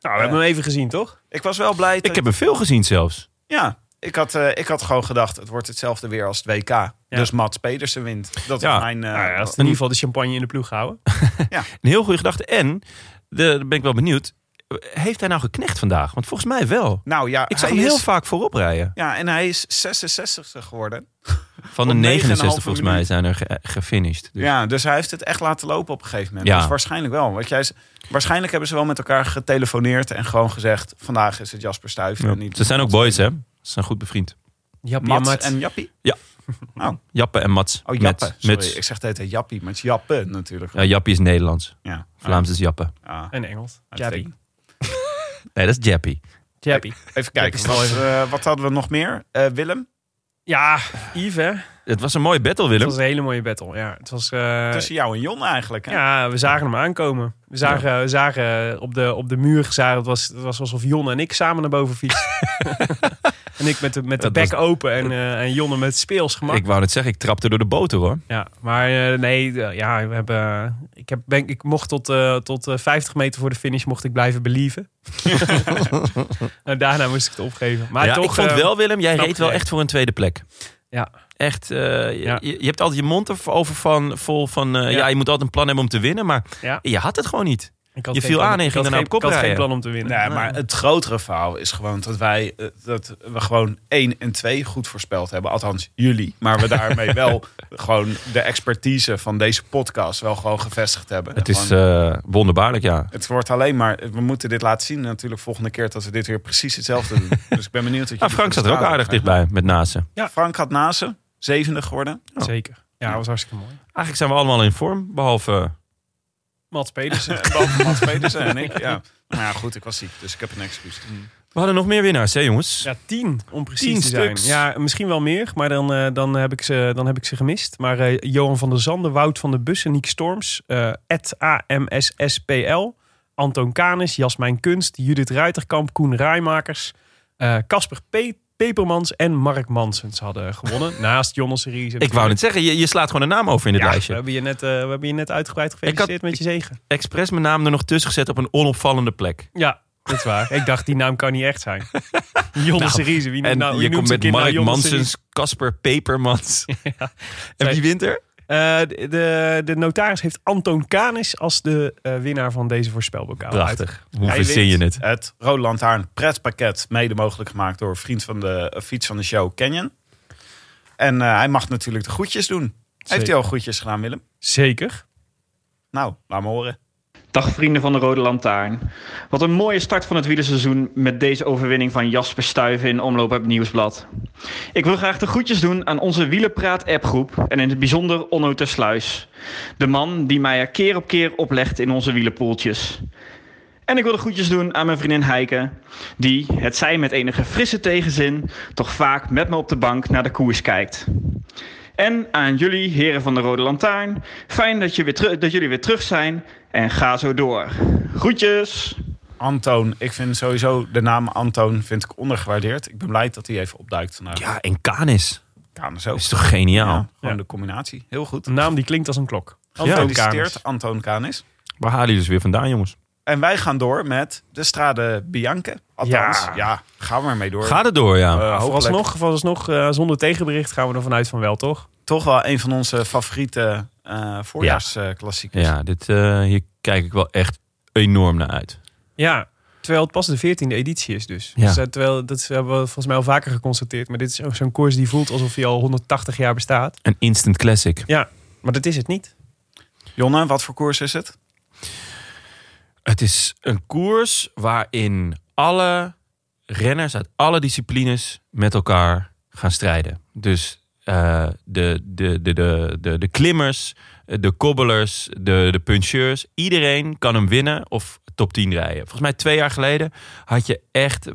Speaker 2: Nou, we hebben hem even gezien, toch?
Speaker 6: Ik was wel blij. dat-
Speaker 1: Ik heb er veel gezien zelfs.
Speaker 6: Ja, ik had, eh, ik had gewoon gedacht, het wordt hetzelfde weer als het WK. Dus Mats Pedersen wint. Dat
Speaker 1: Ja.
Speaker 6: is mijn... eh,
Speaker 2: Nou ja, als in ieder geval de champagne in de ploeg houden.
Speaker 1: Een heel goede gedachte. En, de, daar ben ik wel benieuwd, heeft hij nou geknecht vandaag? Want volgens mij wel.
Speaker 6: nou ja,
Speaker 1: Ik zag
Speaker 6: hij
Speaker 1: hem heel
Speaker 6: is-
Speaker 1: vaak voorop rijden.
Speaker 6: Ja, en hij is 66 geworden.
Speaker 1: Van de
Speaker 6: Op
Speaker 1: 69
Speaker 6: 9,5
Speaker 1: volgens mij
Speaker 6: minuut.
Speaker 1: zijn er ge- gefinished. Dus.
Speaker 6: Ja, dus hij heeft het echt laten lopen op een gegeven moment.
Speaker 1: Ja.
Speaker 6: Dus waarschijnlijk wel. Want jij, is- waarschijnlijk hebben ze wel met elkaar getelefoneerd en gewoon gezegd... vandaag is het Jasper Stuyven. en niet
Speaker 1: Ze zijn ook boys, hè? Ze zijn goed bevriend.
Speaker 2: Ja,
Speaker 6: Mats en Jappie.
Speaker 1: Jappe en Mats.
Speaker 6: Oh, Jappe.
Speaker 1: Mets.
Speaker 6: Sorry,
Speaker 1: Mets.
Speaker 6: ik zeg het heet Jappie, maar het is Jappe natuurlijk.
Speaker 1: Ja, Jappie is Nederlands.
Speaker 6: Ja.
Speaker 1: Vlaams is Jappe.
Speaker 6: Ah,
Speaker 2: en Engels.
Speaker 6: ah,
Speaker 2: Jappie.
Speaker 1: Nee, dat is Jappie.
Speaker 2: Jappie.
Speaker 6: Even kijken, wat, eh, wat hadden we nog meer? Eh, Willem,
Speaker 2: Ja, Yves, hè?
Speaker 1: Het was een mooie battle,
Speaker 2: Het
Speaker 1: Willem.
Speaker 2: was een hele mooie battle. Ja, het was, eh,
Speaker 6: tussen jou en Jon eigenlijk. Hè?
Speaker 2: ja we zagen hem aankomen. We zagen, we zagen eh, op, de, op de muur, zagen, het, was, het was alsof Jon en ik samen naar boven fietsten. en ik met de, met de
Speaker 1: Dat
Speaker 2: bek
Speaker 1: was-
Speaker 2: open en, eh en Jonne met speels gemak.
Speaker 1: Ik wou net zeggen, ik trapte door de boter, hoor.
Speaker 2: Ja, maar eh, nee, eh, ja, we hebben, eh, ik, heb, ben, ik mocht tot, eh, tot eh, 50 meter voor de finish mocht ik blijven believen. en daarna moest ik het opgeven. Maar
Speaker 1: ja,
Speaker 2: toch,
Speaker 1: ik vond
Speaker 2: eh,
Speaker 1: wel, Willem, jij
Speaker 2: knap
Speaker 1: reed wel
Speaker 2: gereden.
Speaker 1: echt voor een tweede plek.
Speaker 2: Ja.
Speaker 1: Echt, eh, je-
Speaker 2: Ja.
Speaker 1: je, je hebt altijd je mond erover van, vol van... eh, ja. je moet altijd een plan hebben om te winnen, maar
Speaker 2: Ja.
Speaker 1: je had het gewoon niet.
Speaker 2: ik had
Speaker 1: je
Speaker 2: geen
Speaker 1: viel
Speaker 2: plan-
Speaker 1: aan en je
Speaker 2: ik
Speaker 1: ging
Speaker 2: had
Speaker 1: daarna
Speaker 2: geen-
Speaker 1: op kop
Speaker 2: Ik had geen
Speaker 1: rijden.
Speaker 2: plan om te winnen.
Speaker 6: Nee, maar het grotere verhaal is gewoon dat wij eh, dat we gewoon 1 en 2 goed voorspeld hebben. Althans, jullie. Maar we daarmee wel gewoon de expertise van deze podcast wel gewoon gevestigd hebben.
Speaker 1: Het is
Speaker 6: Gewoon,
Speaker 1: eh, wonderbaarlijk, ja.
Speaker 6: het wordt alleen maar, we moeten dit laten zien natuurlijk volgende keer dat we dit weer precies hetzelfde doen. Dus ik ben benieuwd dat je.
Speaker 1: Nou, Frank zat er ook aardig dichtbij, met Nase.
Speaker 6: Frank had Nase, zevende geworden.
Speaker 1: Oh.
Speaker 2: Zeker. Ja, dat was hartstikke mooi.
Speaker 1: Eigenlijk zijn we allemaal in vorm, behalve... eh,
Speaker 2: Mats Pedersen.
Speaker 6: Behalve Mats Pedersen en ik. Ja. Maar ja, goed, ik was ziek, dus ik heb een excuus.
Speaker 1: we hadden nog meer winnaars, hè, jongens?
Speaker 2: Ja, tien om precies
Speaker 1: Tien
Speaker 2: te zijn.
Speaker 1: stuks.
Speaker 2: Ja, misschien wel meer, maar dan, eh, dan, heb, ik ze, dan heb ik ze gemist. Maar eh, Johan van der Zanden, Wout van der Bussen, Niek Storms, eh Ed AMSSPL, Anton Kanis, Jasmijn Kunst, Judith Ruiterkamp, Koen Rijmakers, eh, Casper P. Pepermans en Mark Mansens hadden gewonnen. naast Jonas Ries.
Speaker 1: Ik wou net zeggen, je, je slaat gewoon een naam over in het
Speaker 2: ja, we
Speaker 1: lijstje.
Speaker 2: hebben, je net, eh, we hebben je net uitgebreid gefeliciteerd met je zegen.
Speaker 1: Express mijn naam er nog tussen gezet op een onopvallende plek.
Speaker 2: Ja, dat is waar. ik dacht, die naam kan niet echt zijn. Jonas Ries. Wie,
Speaker 1: En
Speaker 2: nou, wie
Speaker 1: je komt
Speaker 2: noemt
Speaker 1: met
Speaker 2: zijn kind nou
Speaker 1: Mark
Speaker 2: Jonas Ries?
Speaker 1: Mansens, Casper Pepermans. En wie wint er?
Speaker 2: Eh, de, de, de notaris heeft Anton Kanis als de eh, winnaar van deze voorspelbokaal.
Speaker 1: Prachtig. Hoe
Speaker 6: Hij
Speaker 1: verzin je
Speaker 6: wint
Speaker 1: het?
Speaker 6: Het Rode Lantaarn pretpakket, mede mogelijk gemaakt door vriend van de eh, fiets van de show Canyon. En eh, hij mag natuurlijk de groetjes doen. Heeft hij al groetjes gedaan, Willem?
Speaker 2: Zeker.
Speaker 6: Nou, laat me horen.
Speaker 4: Dag vrienden van de Rode Lantaarn. Wat een mooie start van het wielerseizoen met deze overwinning van Jasper Stuyven in Omloop op het Nieuwsblad. Ik wil graag de groetjes doen aan onze Wielerpraat appgroep en in het bijzonder Onno Tersluis. De man die mij er keer op keer oplegt in onze wielerpoeltjes. En ik wil de groetjes doen aan mijn vriendin Heike, die, het zij met enige frisse tegenzin, toch vaak met me op de bank naar de koers kijkt. En aan jullie, heren van de Rode Lantaarn, fijn dat, je weer teru- dat jullie weer terug zijn en ga zo door. Groetjes!
Speaker 6: Antoon, ik vind sowieso de naam Antoon vind ik ondergewaardeerd. Ik ben blij dat hij even opduikt vandaag.
Speaker 1: Ja, en Kanis.
Speaker 6: Canes ook.
Speaker 1: is toch geniaal?
Speaker 6: Ja, gewoon
Speaker 2: Ja.
Speaker 6: de combinatie. Heel goed.
Speaker 1: Nou,
Speaker 2: Een naam die klinkt als een klok.
Speaker 6: Antoon
Speaker 2: Canis.
Speaker 6: Kanis. Antoon Kanis.
Speaker 1: Waar halen jullie dus weer vandaan, jongens?
Speaker 6: En wij gaan door met de Strade Bianca. Althans,
Speaker 2: Ja.
Speaker 6: ja, gaan we ermee door.
Speaker 1: Gaat het door, ja.
Speaker 6: Eh, hopelijk
Speaker 2: Vooralsnog, vooralsnog eh, zonder tegenbericht gaan we er vanuit van wel, toch?
Speaker 6: toch wel een van onze favoriete eh voorjaarsklassiekers.
Speaker 1: ja, dit, eh, hier kijk ik wel echt enorm naar uit.
Speaker 2: Ja, terwijl het pas de 14e editie is dus.
Speaker 1: Ja.
Speaker 2: Dus, eh, terwijl, dat hebben we volgens mij al vaker geconstateerd. Maar dit is ook zo'n koers die voelt alsof hij al 180 jaar bestaat.
Speaker 1: Een instant classic.
Speaker 2: Ja, maar dat is het niet.
Speaker 6: Jonne, wat voor koers is het?
Speaker 1: Het is een koers waarin alle renners uit alle disciplines met elkaar gaan strijden. Dus eh, de, de, de, de, de, de klimmers, de kobbelers, de, de puncheurs. Iedereen kan hem winnen of top 10 rijden. Volgens mij twee jaar geleden had je echt... eh,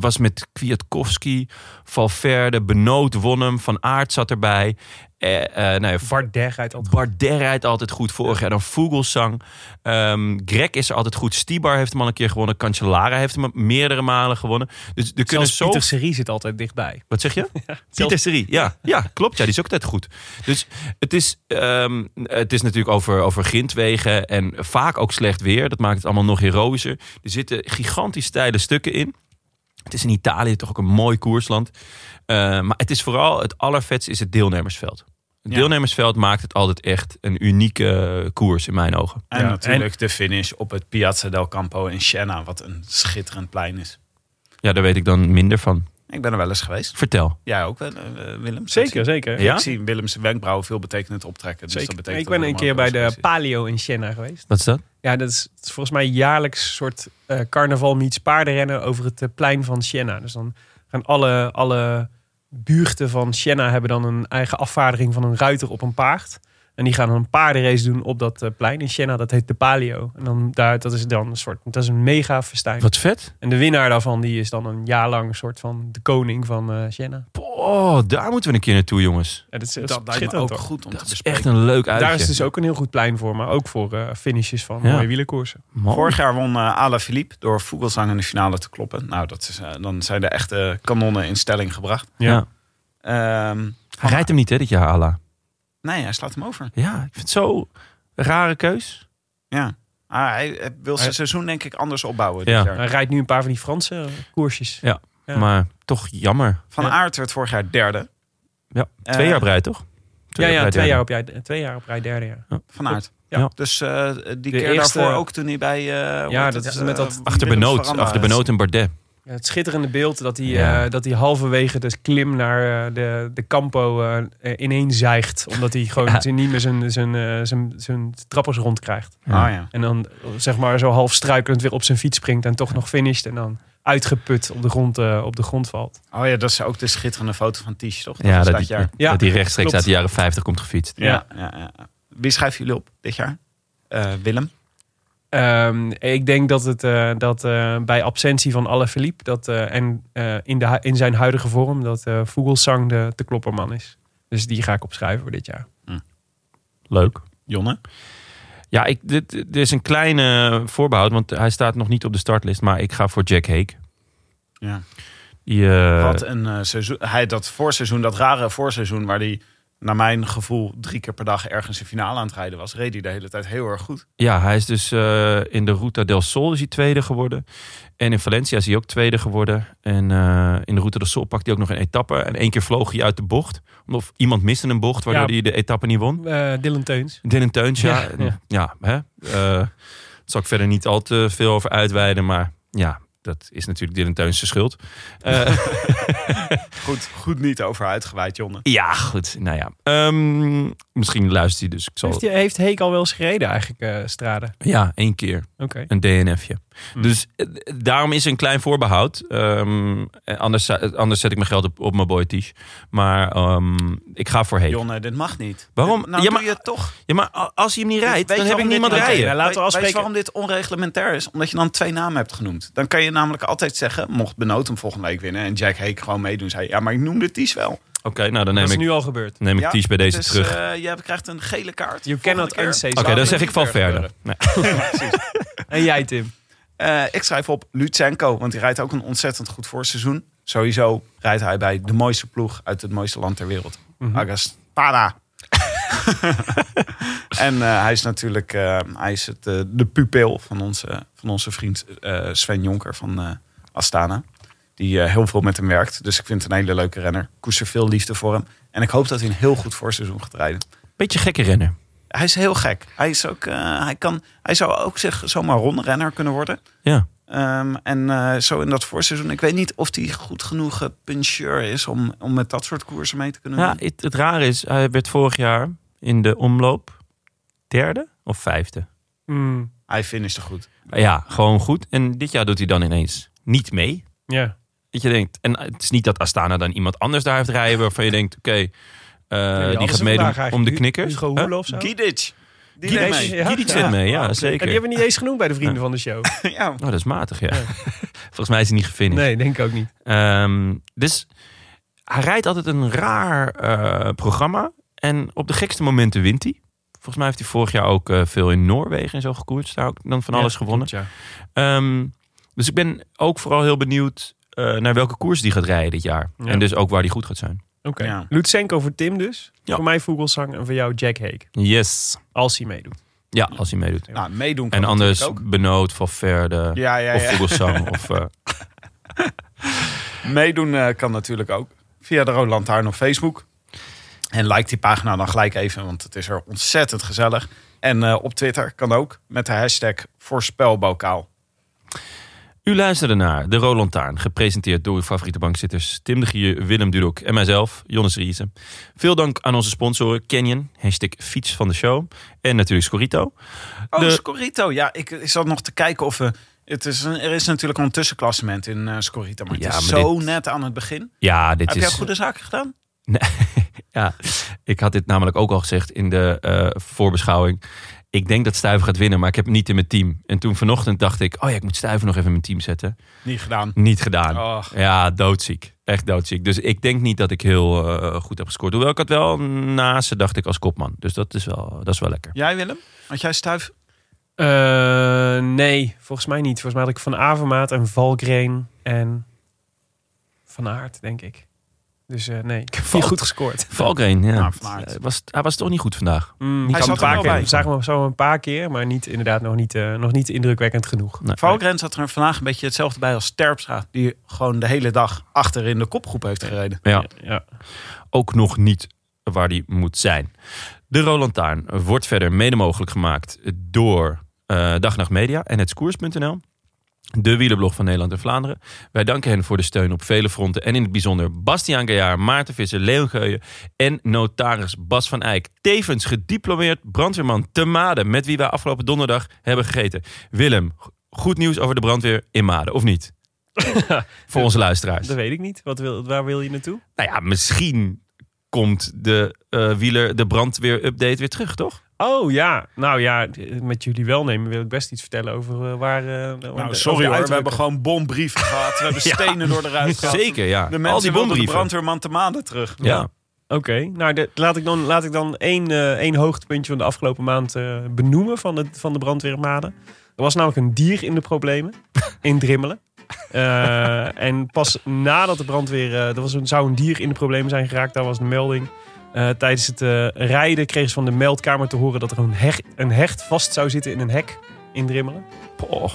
Speaker 1: was met Kwiatkowski, Valverde, Benoot won hem. Van Aert zat erbij. Eh, eh, nou ja,
Speaker 2: Vardeg uit altijd.
Speaker 1: Bardet rijdt altijd goed. Vorig jaar dan Vogelsang. Ehm Greg is er altijd goed. Stibar heeft hem al een keer gewonnen. Cancellara heeft hem meerdere malen gewonnen. Dus er kunnen
Speaker 2: Zelfs
Speaker 1: zo...
Speaker 2: Pieter Serie zit altijd dichtbij.
Speaker 1: Wat zeg je? Pieter
Speaker 2: zelfs-
Speaker 1: Serie, ja. Ja, klopt. Ja, die is ook altijd goed. Dus het is, ehm, het is natuurlijk over, over grindwegen en vaak ook slecht weer. Dat maakt het allemaal nog heroïser. Er zitten gigantisch steile stukken in. Het is in Italië toch ook een mooi koersland. Eh, maar het is vooral, het allervetste is het deelnemersveld. Het
Speaker 6: Ja.
Speaker 1: deelnemersveld maakt het altijd echt een unieke eh, koers in mijn ogen.
Speaker 6: En natuurlijk de finish op het Piazza del Campo in Siena, wat een schitterend plein is.
Speaker 1: Ja, daar weet ik dan minder van.
Speaker 6: Ik ben er wel eens geweest.
Speaker 1: Vertel.
Speaker 6: Jij ook wel, eh, Willem?
Speaker 2: Zeker, zeker.
Speaker 6: Ja?
Speaker 1: Ja?
Speaker 6: Ik zie Willems wenkbrauwen veel betekend optrekken. Dus
Speaker 2: Zeker.
Speaker 6: Dat betekent
Speaker 2: ik ben
Speaker 6: dat
Speaker 2: een
Speaker 6: er
Speaker 2: keer bij
Speaker 6: allemaal
Speaker 2: de
Speaker 6: geweest is.
Speaker 2: Palio in Siena geweest.
Speaker 1: Wat is dat?
Speaker 2: Ja, dat is, het is volgens mij jaarlijks soort eh, carnaval meets paardenrennen over het eh, plein van Siena. Dus dan gaan alle, alle buurten van Siena hebben dan een eigen afvaardiging van een ruiter op een paard. En die gaan dan een paardenrace doen op dat eh, plein in Siena. Dat heet de Palio. En dan daar, dat is dan een soort, dat is een mega festijn.
Speaker 1: Wat vet.
Speaker 2: En de winnaar daarvan, die is dan een jaar lang een soort van de koning van eh Siena.
Speaker 1: Oh, daar moeten we een keer naartoe, jongens.
Speaker 2: Ja, dat is,
Speaker 6: Dat lijkt me
Speaker 2: schitterend,
Speaker 6: ook
Speaker 2: toch?
Speaker 6: goed om
Speaker 1: Dat
Speaker 6: te
Speaker 1: is
Speaker 6: bespreken.
Speaker 1: echt een leuk uitje.
Speaker 2: Daar is dus ook een heel goed plein voor, maar ook voor eh, finishes van
Speaker 1: Ja.
Speaker 2: mooie wielenkoersen.
Speaker 1: Man.
Speaker 6: Vorig jaar won eh Ala Philippe door Vogelsang in de finale te kloppen. Nou, dat is, eh, dan zijn de echte kanonnen in stelling gebracht.
Speaker 1: Ja.
Speaker 6: Ehm,
Speaker 1: Hij rijdt hem niet, hè, dit jaar, Ala.
Speaker 6: nee, hij slaat hem over.
Speaker 1: Ja, ik vind het zo een rare keus.
Speaker 6: Ja. Ah, hij eh, wil zijn seizoen denk ik anders opbouwen
Speaker 1: Ja.
Speaker 6: dit jaar.
Speaker 2: Hij rijdt nu een paar van die Franse eh, koersjes. Ja.
Speaker 1: Maar toch jammer.
Speaker 6: Van
Speaker 2: Ja.
Speaker 6: Aert werd vorig jaar derde.
Speaker 1: Ja,
Speaker 6: Eh,
Speaker 1: twee jaar breid, toch?
Speaker 2: Ja, ja,
Speaker 1: breid,
Speaker 2: twee,
Speaker 1: ja.
Speaker 2: jaar op, jij- twee jaar op rij derde jaar.
Speaker 6: Van Aert.
Speaker 2: Ja.
Speaker 1: Ja.
Speaker 6: Dus eh, die keer
Speaker 2: eerste-
Speaker 6: daarvoor ook toen hij bij... eh, hoe
Speaker 2: Ja,
Speaker 6: heet
Speaker 2: dat
Speaker 6: het,
Speaker 2: is
Speaker 6: eh,
Speaker 2: met dat-
Speaker 1: Achter
Speaker 6: Willems
Speaker 1: Benoot,
Speaker 6: Veranda.
Speaker 1: achter Benoot en Bardet.
Speaker 2: Ja, het schitterende beeld dat hij,
Speaker 1: Ja.
Speaker 2: eh, dat hij halverwege de klim naar eh, de, de Campo eh, eh, ineen zeigt. Omdat hij gewoon
Speaker 1: Ja.
Speaker 2: zijn- niet meer zijn, zijn, eh, zijn, zijn trappers rond krijgt.
Speaker 6: Ah ja.
Speaker 2: En dan eh, zeg maar zo half struikelend weer op zijn fiets springt en toch nog finisht. En dan uitgeput op de grond, eh, op de grond valt.
Speaker 6: Oh ja, dat is ook de schitterende foto van Ties, toch? Dat
Speaker 1: Ja,
Speaker 6: is
Speaker 1: dat,
Speaker 6: dat
Speaker 1: die,
Speaker 6: jaar.
Speaker 2: Ja,
Speaker 1: dat die rechtstreeks
Speaker 2: klopt.
Speaker 1: uit de jaren 50 komt gefietst.
Speaker 6: Ja. Ja, ja. Wie schrijven jullie op dit jaar? Eh, Willem.
Speaker 2: Ehm, ik denk dat het eh, dat, eh, bij absentie van Alaphilippe dat, eh, en eh, in, de, hu- in zijn huidige vorm dat eh Vogelsang de, de klopperman is. Dus die ga ik opschrijven voor dit jaar.
Speaker 1: Leuk.
Speaker 6: Jonne.
Speaker 1: Ja, ik, dit, dit is een kleine eh, voorbehoud, want hij staat nog niet op de startlist. Maar ik ga voor Jack Hake.
Speaker 6: Ja.
Speaker 1: Die, eh,
Speaker 6: Wat een eh, seizoen. Hij dat voorseizoen, dat rare voorseizoen, waar hij naar mijn gevoel drie keer per dag ergens een finale aan het rijden was, reed hij de hele tijd heel erg goed.
Speaker 1: Ja, hij is dus eh, in de Ruta del Sol is hij tweede geworden. En in Valencia is hij ook tweede geworden. En eh, in de Ruta del Sol pakte hij ook nog een etappe. En één keer vloog hij uit de bocht. Of iemand miste een bocht, waardoor
Speaker 2: Ja.
Speaker 1: hij de etappe niet won.
Speaker 2: Eh, Dylan Teuns.
Speaker 1: Dylan Teuns, ja.
Speaker 2: Ja,
Speaker 1: En,
Speaker 2: ja.
Speaker 1: Ja, hè? Eh, daar zal ik verder niet al te veel over uitweiden. Maar ja, dat is natuurlijk Dylan Teuns' zijn schuld. Eh,
Speaker 6: Goed, goed niet over uitgeweid, Jonne.
Speaker 1: ja, goed. Nou ja. Ehm, misschien luistert hij dus. Ik zal,
Speaker 2: Heeft, hij- heeft Heek al wel eens gereden eigenlijk, eh Strade?
Speaker 1: Ja, één keer.
Speaker 2: Oké.
Speaker 1: Een DNFje.
Speaker 6: Hmm.
Speaker 1: Dus eh, daarom is een klein voorbehoud. Ehm, eh, anders, eh, anders zet ik mijn geld op, op mijn boy Tisch. Maar ehm, ik ga voor Heek.
Speaker 6: Jonne, dit mag niet.
Speaker 1: Waarom?
Speaker 6: Dit- nou,
Speaker 1: Ja,
Speaker 6: doe
Speaker 1: maar-
Speaker 6: je het toch.
Speaker 1: Ja, maar a- als hij hem niet rijdt,
Speaker 6: Weet
Speaker 1: dan
Speaker 6: je
Speaker 1: heb ik
Speaker 6: waarom
Speaker 1: niemand
Speaker 6: dit-
Speaker 1: rijden.
Speaker 6: Oké,
Speaker 2: laten we
Speaker 6: weet- Weet
Speaker 2: afspreken.
Speaker 6: je waarom dit onreglementair is? Omdat je dan twee namen hebt genoemd. Dan kan je namelijk altijd zeggen, mocht Benoot hem volgende week winnen en Jack Hake gewoon meedoen, zei hij, ja, maar ik noemde Ties wel.
Speaker 1: Oké, nou dan
Speaker 2: Dat
Speaker 1: neem
Speaker 2: is
Speaker 1: ik,
Speaker 2: nu al gebeurd.
Speaker 1: neem ik
Speaker 6: Ja,
Speaker 1: Ties bij deze
Speaker 6: dus,
Speaker 1: terug. Oké,
Speaker 6: eh, je krijgt een gele kaart.
Speaker 2: You
Speaker 6: Volgende
Speaker 2: cannot
Speaker 6: keer.
Speaker 2: unsay
Speaker 6: Oké,
Speaker 2: zou
Speaker 1: dan
Speaker 2: het
Speaker 1: zeg ik van verder.
Speaker 2: En jij Tim?
Speaker 6: Eh, ik schrijf op Lutsenko, want die rijdt ook een ontzettend goed voorseizoen. sowieso rijdt hij bij de mooiste ploeg uit het mooiste land ter wereld. Agastana. en eh, hij is natuurlijk eh, hij is het, eh, de pupil van onze, van onze vriend eh, Sven Jonker van eh, Astana. Die eh, heel veel met hem werkt. Dus ik vind het een hele leuke renner. Ik Koester veel liefde voor hem. En ik hoop dat hij een heel goed voorseizoen gaat rijden.
Speaker 1: Beetje gekke renner.
Speaker 6: Hij is heel gek. Hij, is ook, eh, hij, kan, hij zou ook zich zomaar rondrenner kunnen worden.
Speaker 1: Ja.
Speaker 6: Ehm, en eh, zo in dat voorseizoen. Ik weet niet of hij goed genoeg eh, puncheur is om, om met dat soort koersen mee te kunnen
Speaker 1: ja
Speaker 6: doen.
Speaker 1: het, het rare is, hij werd vorig jaar in de omloop derde of vijfde.
Speaker 2: Hmm,
Speaker 6: Hij finishte goed.
Speaker 1: Ja, gewoon goed. En dit jaar doet hij dan ineens niet mee.
Speaker 2: ja.
Speaker 1: Dat je denkt, en het is niet dat Astana dan iemand anders daar heeft rijden waarvan je denkt, oké, eh, die
Speaker 2: hadden
Speaker 1: gaat
Speaker 2: ze vandaag
Speaker 1: meedoen om de
Speaker 2: eigenlijk.
Speaker 1: knikkers.
Speaker 2: Hugo
Speaker 1: Huh?
Speaker 2: Hoele of zo.
Speaker 6: Gidic. Die
Speaker 1: Gidic.
Speaker 6: deed mee.
Speaker 2: Ja. Oh,
Speaker 1: Gidic zit mee, ja, zeker.
Speaker 2: En die hebben we niet eens genoemd bij de vrienden van de show.
Speaker 6: Ja.
Speaker 1: Oh, dat is matig, ja. Volgens mij is hij niet gefinished.
Speaker 2: Nee, denk ik ook niet.
Speaker 1: Ehm, dus hij rijdt altijd een raar eh, programma. En op de gekste momenten wint hij. Volgens mij heeft hij vorig jaar ook eh, veel in Noorwegen en zo gekoerd. Daar ook dan van alles
Speaker 2: Ja,
Speaker 1: gewonnen.
Speaker 2: klopt,
Speaker 1: Ehm, dus ik ben ook vooral heel benieuwd eh, naar welke koers die gaat rijden dit jaar.
Speaker 2: Ja.
Speaker 1: En dus ook waar die goed gaat zijn.
Speaker 2: ja. Oké.
Speaker 6: Ja.
Speaker 2: Lutsenko voor Tim dus.
Speaker 1: Ja.
Speaker 2: Voor mij Vogelsang en voor jou Jack Hake.
Speaker 1: Yes.
Speaker 2: Als hij meedoet.
Speaker 1: Ja, als hij meedoet.
Speaker 6: Nou, meedoen kan
Speaker 1: En anders
Speaker 6: natuurlijk
Speaker 1: Benoot, Valverde
Speaker 6: ook. Ja, ja,
Speaker 1: of
Speaker 6: ja.
Speaker 1: Vogelsang. of, eh,
Speaker 6: Meedoen eh, kan natuurlijk ook. Via de Rode Lantaarn op Facebook. En like die pagina dan gelijk even, want het is er ontzettend gezellig. En eh, op Twitter kan ook met de hashtag voorspelbokaal.
Speaker 1: U luisterde naar De Roland Taarn, gepresenteerd door uw favoriete bankzitters Tim de Gier, Willem Dudok en mijzelf, Jonas Riese. Veel dank aan onze sponsoren Canyon, hashtag fiets van de show en natuurlijk Scorito.
Speaker 6: Oh,
Speaker 1: De-
Speaker 6: Scorito. Ja, ik, ik zat nog te kijken of we... Het is een, er is natuurlijk al een tussenklassement in eh, Scorito. Maar het
Speaker 1: Ja,
Speaker 6: is
Speaker 1: maar
Speaker 6: zo
Speaker 1: dit-
Speaker 6: net aan het begin.
Speaker 1: Ja, dit
Speaker 6: Heb jij
Speaker 1: is...
Speaker 6: goede zaken gedaan?
Speaker 1: Ja, ik had dit namelijk ook al gezegd in de eh, voorbeschouwing. Ik denk dat Stuiven gaat winnen, maar ik heb hem niet in mijn team. En toen vanochtend dacht ik, oh ja, ik moet Stuiven nog even in mijn team zetten.
Speaker 6: Niet gedaan.
Speaker 1: Niet gedaan.
Speaker 6: Och.
Speaker 1: Ja, doodziek. Echt doodziek. Dus ik denk niet dat ik heel eh, goed heb gescoord. Hoewel ik had wel naast ze, dacht ik, als kopman. Dus dat is wel, dat is wel lekker.
Speaker 6: Jij Willem? Want jij stuif?
Speaker 2: Eh, nee, volgens mij niet. Volgens mij had ik Van Avermaat en Valkrein en Van Aert, denk ik. Dus eh, nee, ik heb
Speaker 1: Valk-
Speaker 2: niet goed gescoord.
Speaker 1: Valkrein, ja.
Speaker 6: Nou, Van Aert.
Speaker 1: Hij was, hij was toch niet goed vandaag.
Speaker 2: Mm,
Speaker 6: Hij
Speaker 2: ik had
Speaker 6: zat
Speaker 2: hem
Speaker 6: er wel
Speaker 2: een paar
Speaker 6: bij.
Speaker 2: keer. Zagen we hem zo een paar keer, maar niet, inderdaad nog niet, eh, nog niet indrukwekkend genoeg.
Speaker 1: Nee.
Speaker 6: Valkren zat er vandaag een beetje hetzelfde bij als Terpstra. Die gewoon de hele dag achter in de kopgroep heeft gereden.
Speaker 1: Ja,
Speaker 2: Ja.
Speaker 1: ook nog niet waar hij moet zijn. De Roland Taarn wordt verder mede mogelijk gemaakt door eh Dag en Nacht Media en het Koers.nl. De wielerblog van Nederland en Vlaanderen. Wij danken hen voor de steun op vele fronten. En in het bijzonder Bastiaan Gaillard, Maarten Visser, Leon Geuyen en notaris Bas van Eyck. Tevens gediplomeerd brandweerman te Maden, met wie wij afgelopen donderdag hebben gegeten. Willem, go- goed nieuws over de brandweer in Maden, of niet? voor onze luisteraars.
Speaker 2: Dat weet ik niet. Wat wil, waar wil je naartoe?
Speaker 1: Nou ja, misschien komt de eh, wieler, de brandweer-update weer terug, toch?
Speaker 2: Oh ja, nou ja, met jullie welnemen wil ik best iets vertellen over eh, waar... eh, over de-
Speaker 6: Nou,
Speaker 2: over
Speaker 6: sorry
Speaker 2: de
Speaker 6: hoor, we hebben
Speaker 2: uiterlijke.
Speaker 6: gewoon bombrieven gehad. We hebben
Speaker 1: Ja.
Speaker 6: stenen door de ruit gehad.
Speaker 1: Zeker, ja.
Speaker 6: De
Speaker 1: Al die
Speaker 6: mensen wilden de
Speaker 1: bombrieven.
Speaker 6: brandweerman te maanden terug.
Speaker 1: ja.
Speaker 2: Oké, nou de- laat ik dan, laat ik dan één, eh, één hoogtepuntje van de afgelopen maand eh, benoemen van de, van de brandweermaden. Er was namelijk een dier in de problemen, in Drimmelen. Eh, en pas nadat de brandweer, eh, er was een, zou een dier in de problemen zijn geraakt, daar was de melding. Eh, tijdens het eh, rijden kregen ze van de meldkamer te horen dat er een, heg, een hecht vast zou zitten in een hek in Drimmelen.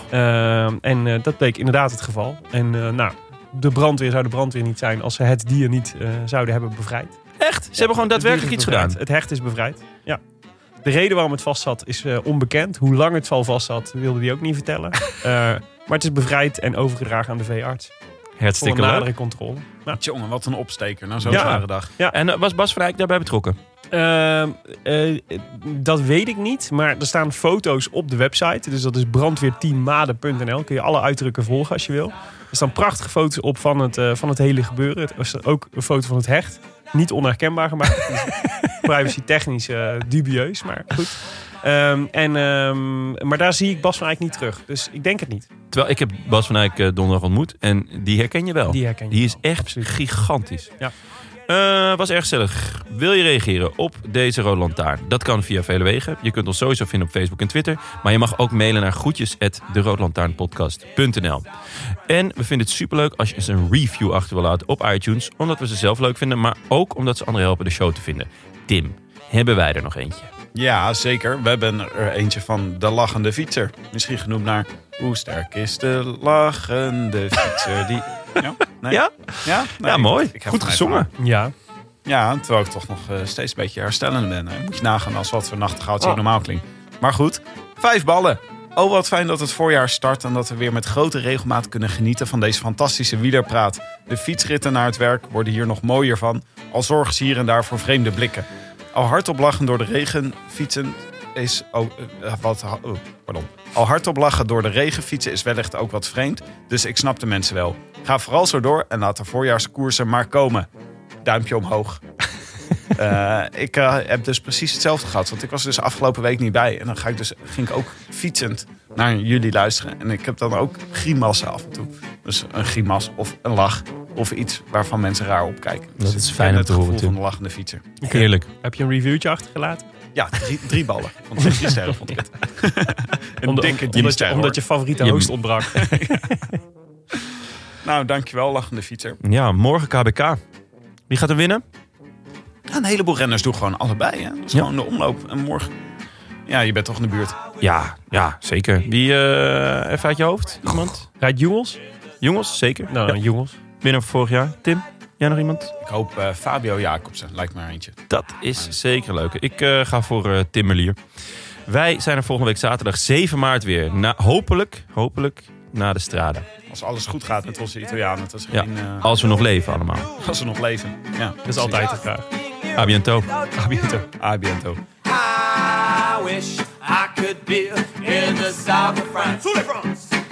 Speaker 2: Ehm, en eh, dat bleek inderdaad het geval. En eh, nou, de brandweer zou de brandweer niet zijn als ze het dier niet eh, zouden hebben bevrijd.
Speaker 1: Echt? Ze hebben gewoon daadwerkelijk
Speaker 2: Het
Speaker 1: iets
Speaker 2: dier is
Speaker 1: gedaan.
Speaker 2: bevrijd. Het hecht is bevrijd. Ja. De reden waarom het vast zat is eh, onbekend. Hoe lang het val vast zat, wilde die ook niet vertellen. Eh, maar het is bevrijd en overgedragen aan de veearts. Voor een
Speaker 1: Hartstikke leuk.
Speaker 2: nadere controle. Nou,
Speaker 6: Jongen, wat een opsteker. Nou, zo'n
Speaker 2: Ja.
Speaker 6: zware dag.
Speaker 1: En eh, was Bas van Eyck daarbij betrokken?
Speaker 2: Ehm, eh, dat weet ik niet, maar er staan foto's op de website. Dus dat is brandweer10maden.nl. Kun je alle uitdrukken volgen als je wil. Er staan prachtige foto's op van het, eh, van het hele gebeuren. Er is ook een foto van het hecht. Niet onherkenbaar gemaakt. Privacy technisch eh, dubieus, maar goed. Ehm, en, ehm, maar daar zie ik Bas van Eyck niet terug. Dus ik denk het niet.
Speaker 1: Terwijl ik heb Bas van Eyck eh, donderdag ontmoet en die herken je wel.
Speaker 2: Die herken je
Speaker 1: Die is
Speaker 2: wel.
Speaker 1: echt
Speaker 2: Absoluut.
Speaker 1: gigantisch.
Speaker 2: Ja.
Speaker 1: Eh, was erg gezellig. Wil je reageren op deze Rode Lantaarn? Dat kan via vele wegen. Je kunt ons sowieso vinden op Facebook en Twitter. Maar je mag ook mailen naar groetjes at deroodlantaarnpodcast.nl. En we vinden het superleuk als je eens een review achter wil laten op iTunes. Omdat we ze zelf leuk vinden, maar ook omdat ze anderen helpen de show te vinden. Tim, hebben wij er nog eentje?
Speaker 6: Ja, zeker. We hebben er eentje van de lachende fietser. Misschien genoemd naar hoe sterk is de lachende fietser. Die... Ja? Nee.
Speaker 1: Ja?
Speaker 6: Ja, Nee,
Speaker 1: ja, mooi.
Speaker 6: ik- ik heb
Speaker 1: Goed
Speaker 6: het
Speaker 1: gezongen.
Speaker 2: Ja.
Speaker 6: Ja, terwijl ik toch nog eh, steeds een beetje herstellend ben. Hè. Moet je nagaan als wat voor nachtegaaltje ik normaal klink. Maar goed, vijf ballen. Oh, wat fijn dat het voorjaar start en dat we weer met grote regelmaat kunnen genieten van deze fantastische wielerpraat. De fietsritten naar het werk worden hier nog mooier van, al zorgen ze hier en daar voor vreemde blikken. Al hardop lachen door de regen, fietsen is... Oh, eh, wat, ha- oh, pardon. Al hardop lachen door de regen, fietsen is wellicht ook wat vreemd, dus ik snap de mensen wel. Ga vooral zo door en laat de voorjaarskoersen maar komen duimpje omhoog. Eh, ik eh, heb dus precies hetzelfde gehad. Want ik was dus afgelopen week niet bij. En dan ga ik dus, ging ik ook fietsend naar jullie luisteren. En ik heb dan ook grimassen af en toe. Dus een grimas of een lach. Of iets waarvan mensen raar opkijken. Dus
Speaker 1: is
Speaker 6: ik
Speaker 1: fijn
Speaker 6: ken
Speaker 1: om
Speaker 6: het
Speaker 1: te horen,
Speaker 6: gevoel van
Speaker 1: Tim.
Speaker 6: de lachende fietser.
Speaker 1: Heerlijk.
Speaker 2: Heb je een reviewtje achtergelaten?
Speaker 6: Ja, drie, drie ballen. Want drie sterren vond ik het. Een
Speaker 2: Omdat-
Speaker 6: dikke drie
Speaker 2: omdat, je,
Speaker 6: sterren,
Speaker 2: omdat je favoriete
Speaker 1: Je-
Speaker 2: host ontbrak.
Speaker 6: hoor. Nou, dankjewel, lachende fietser.
Speaker 1: Ja, morgen KBK. Wie gaat er winnen?
Speaker 6: Ja, een heleboel renners doen gewoon allebei. Hè? Dat is
Speaker 1: Ja.
Speaker 6: gewoon de omloop. En morgen... Ja, je bent toch in de buurt.
Speaker 1: Ja, ja zeker. Wie eh, even uit je hoofd? Iemand?
Speaker 2: Rijdt Jongels?
Speaker 1: Jongens, zeker.
Speaker 2: Nou,
Speaker 1: Ja.
Speaker 2: Jongels.
Speaker 1: Winnaar van vorig jaar. Tim, jij nog iemand?
Speaker 6: Ik hoop eh, Fabio Jacobsen. Lijkt me er eentje.
Speaker 1: Dat is zeker leuk. Ik eh, ga voor eh, Tim Merlier. Wij zijn er volgende week zaterdag 7 maart weer. Na, hopelijk, hopelijk na de strade.
Speaker 6: Als alles goed gaat met onze Italianen. Dat is
Speaker 1: Ja,
Speaker 6: geen, eh,
Speaker 1: als we nog leven allemaal.
Speaker 6: als ze nog leven. Ja,
Speaker 2: Dat is altijd de vraag.
Speaker 1: A bientôt.
Speaker 6: Abiento.
Speaker 5: I wish I could be in the south of France.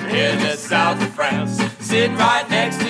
Speaker 5: In the south of France. Sitting right next to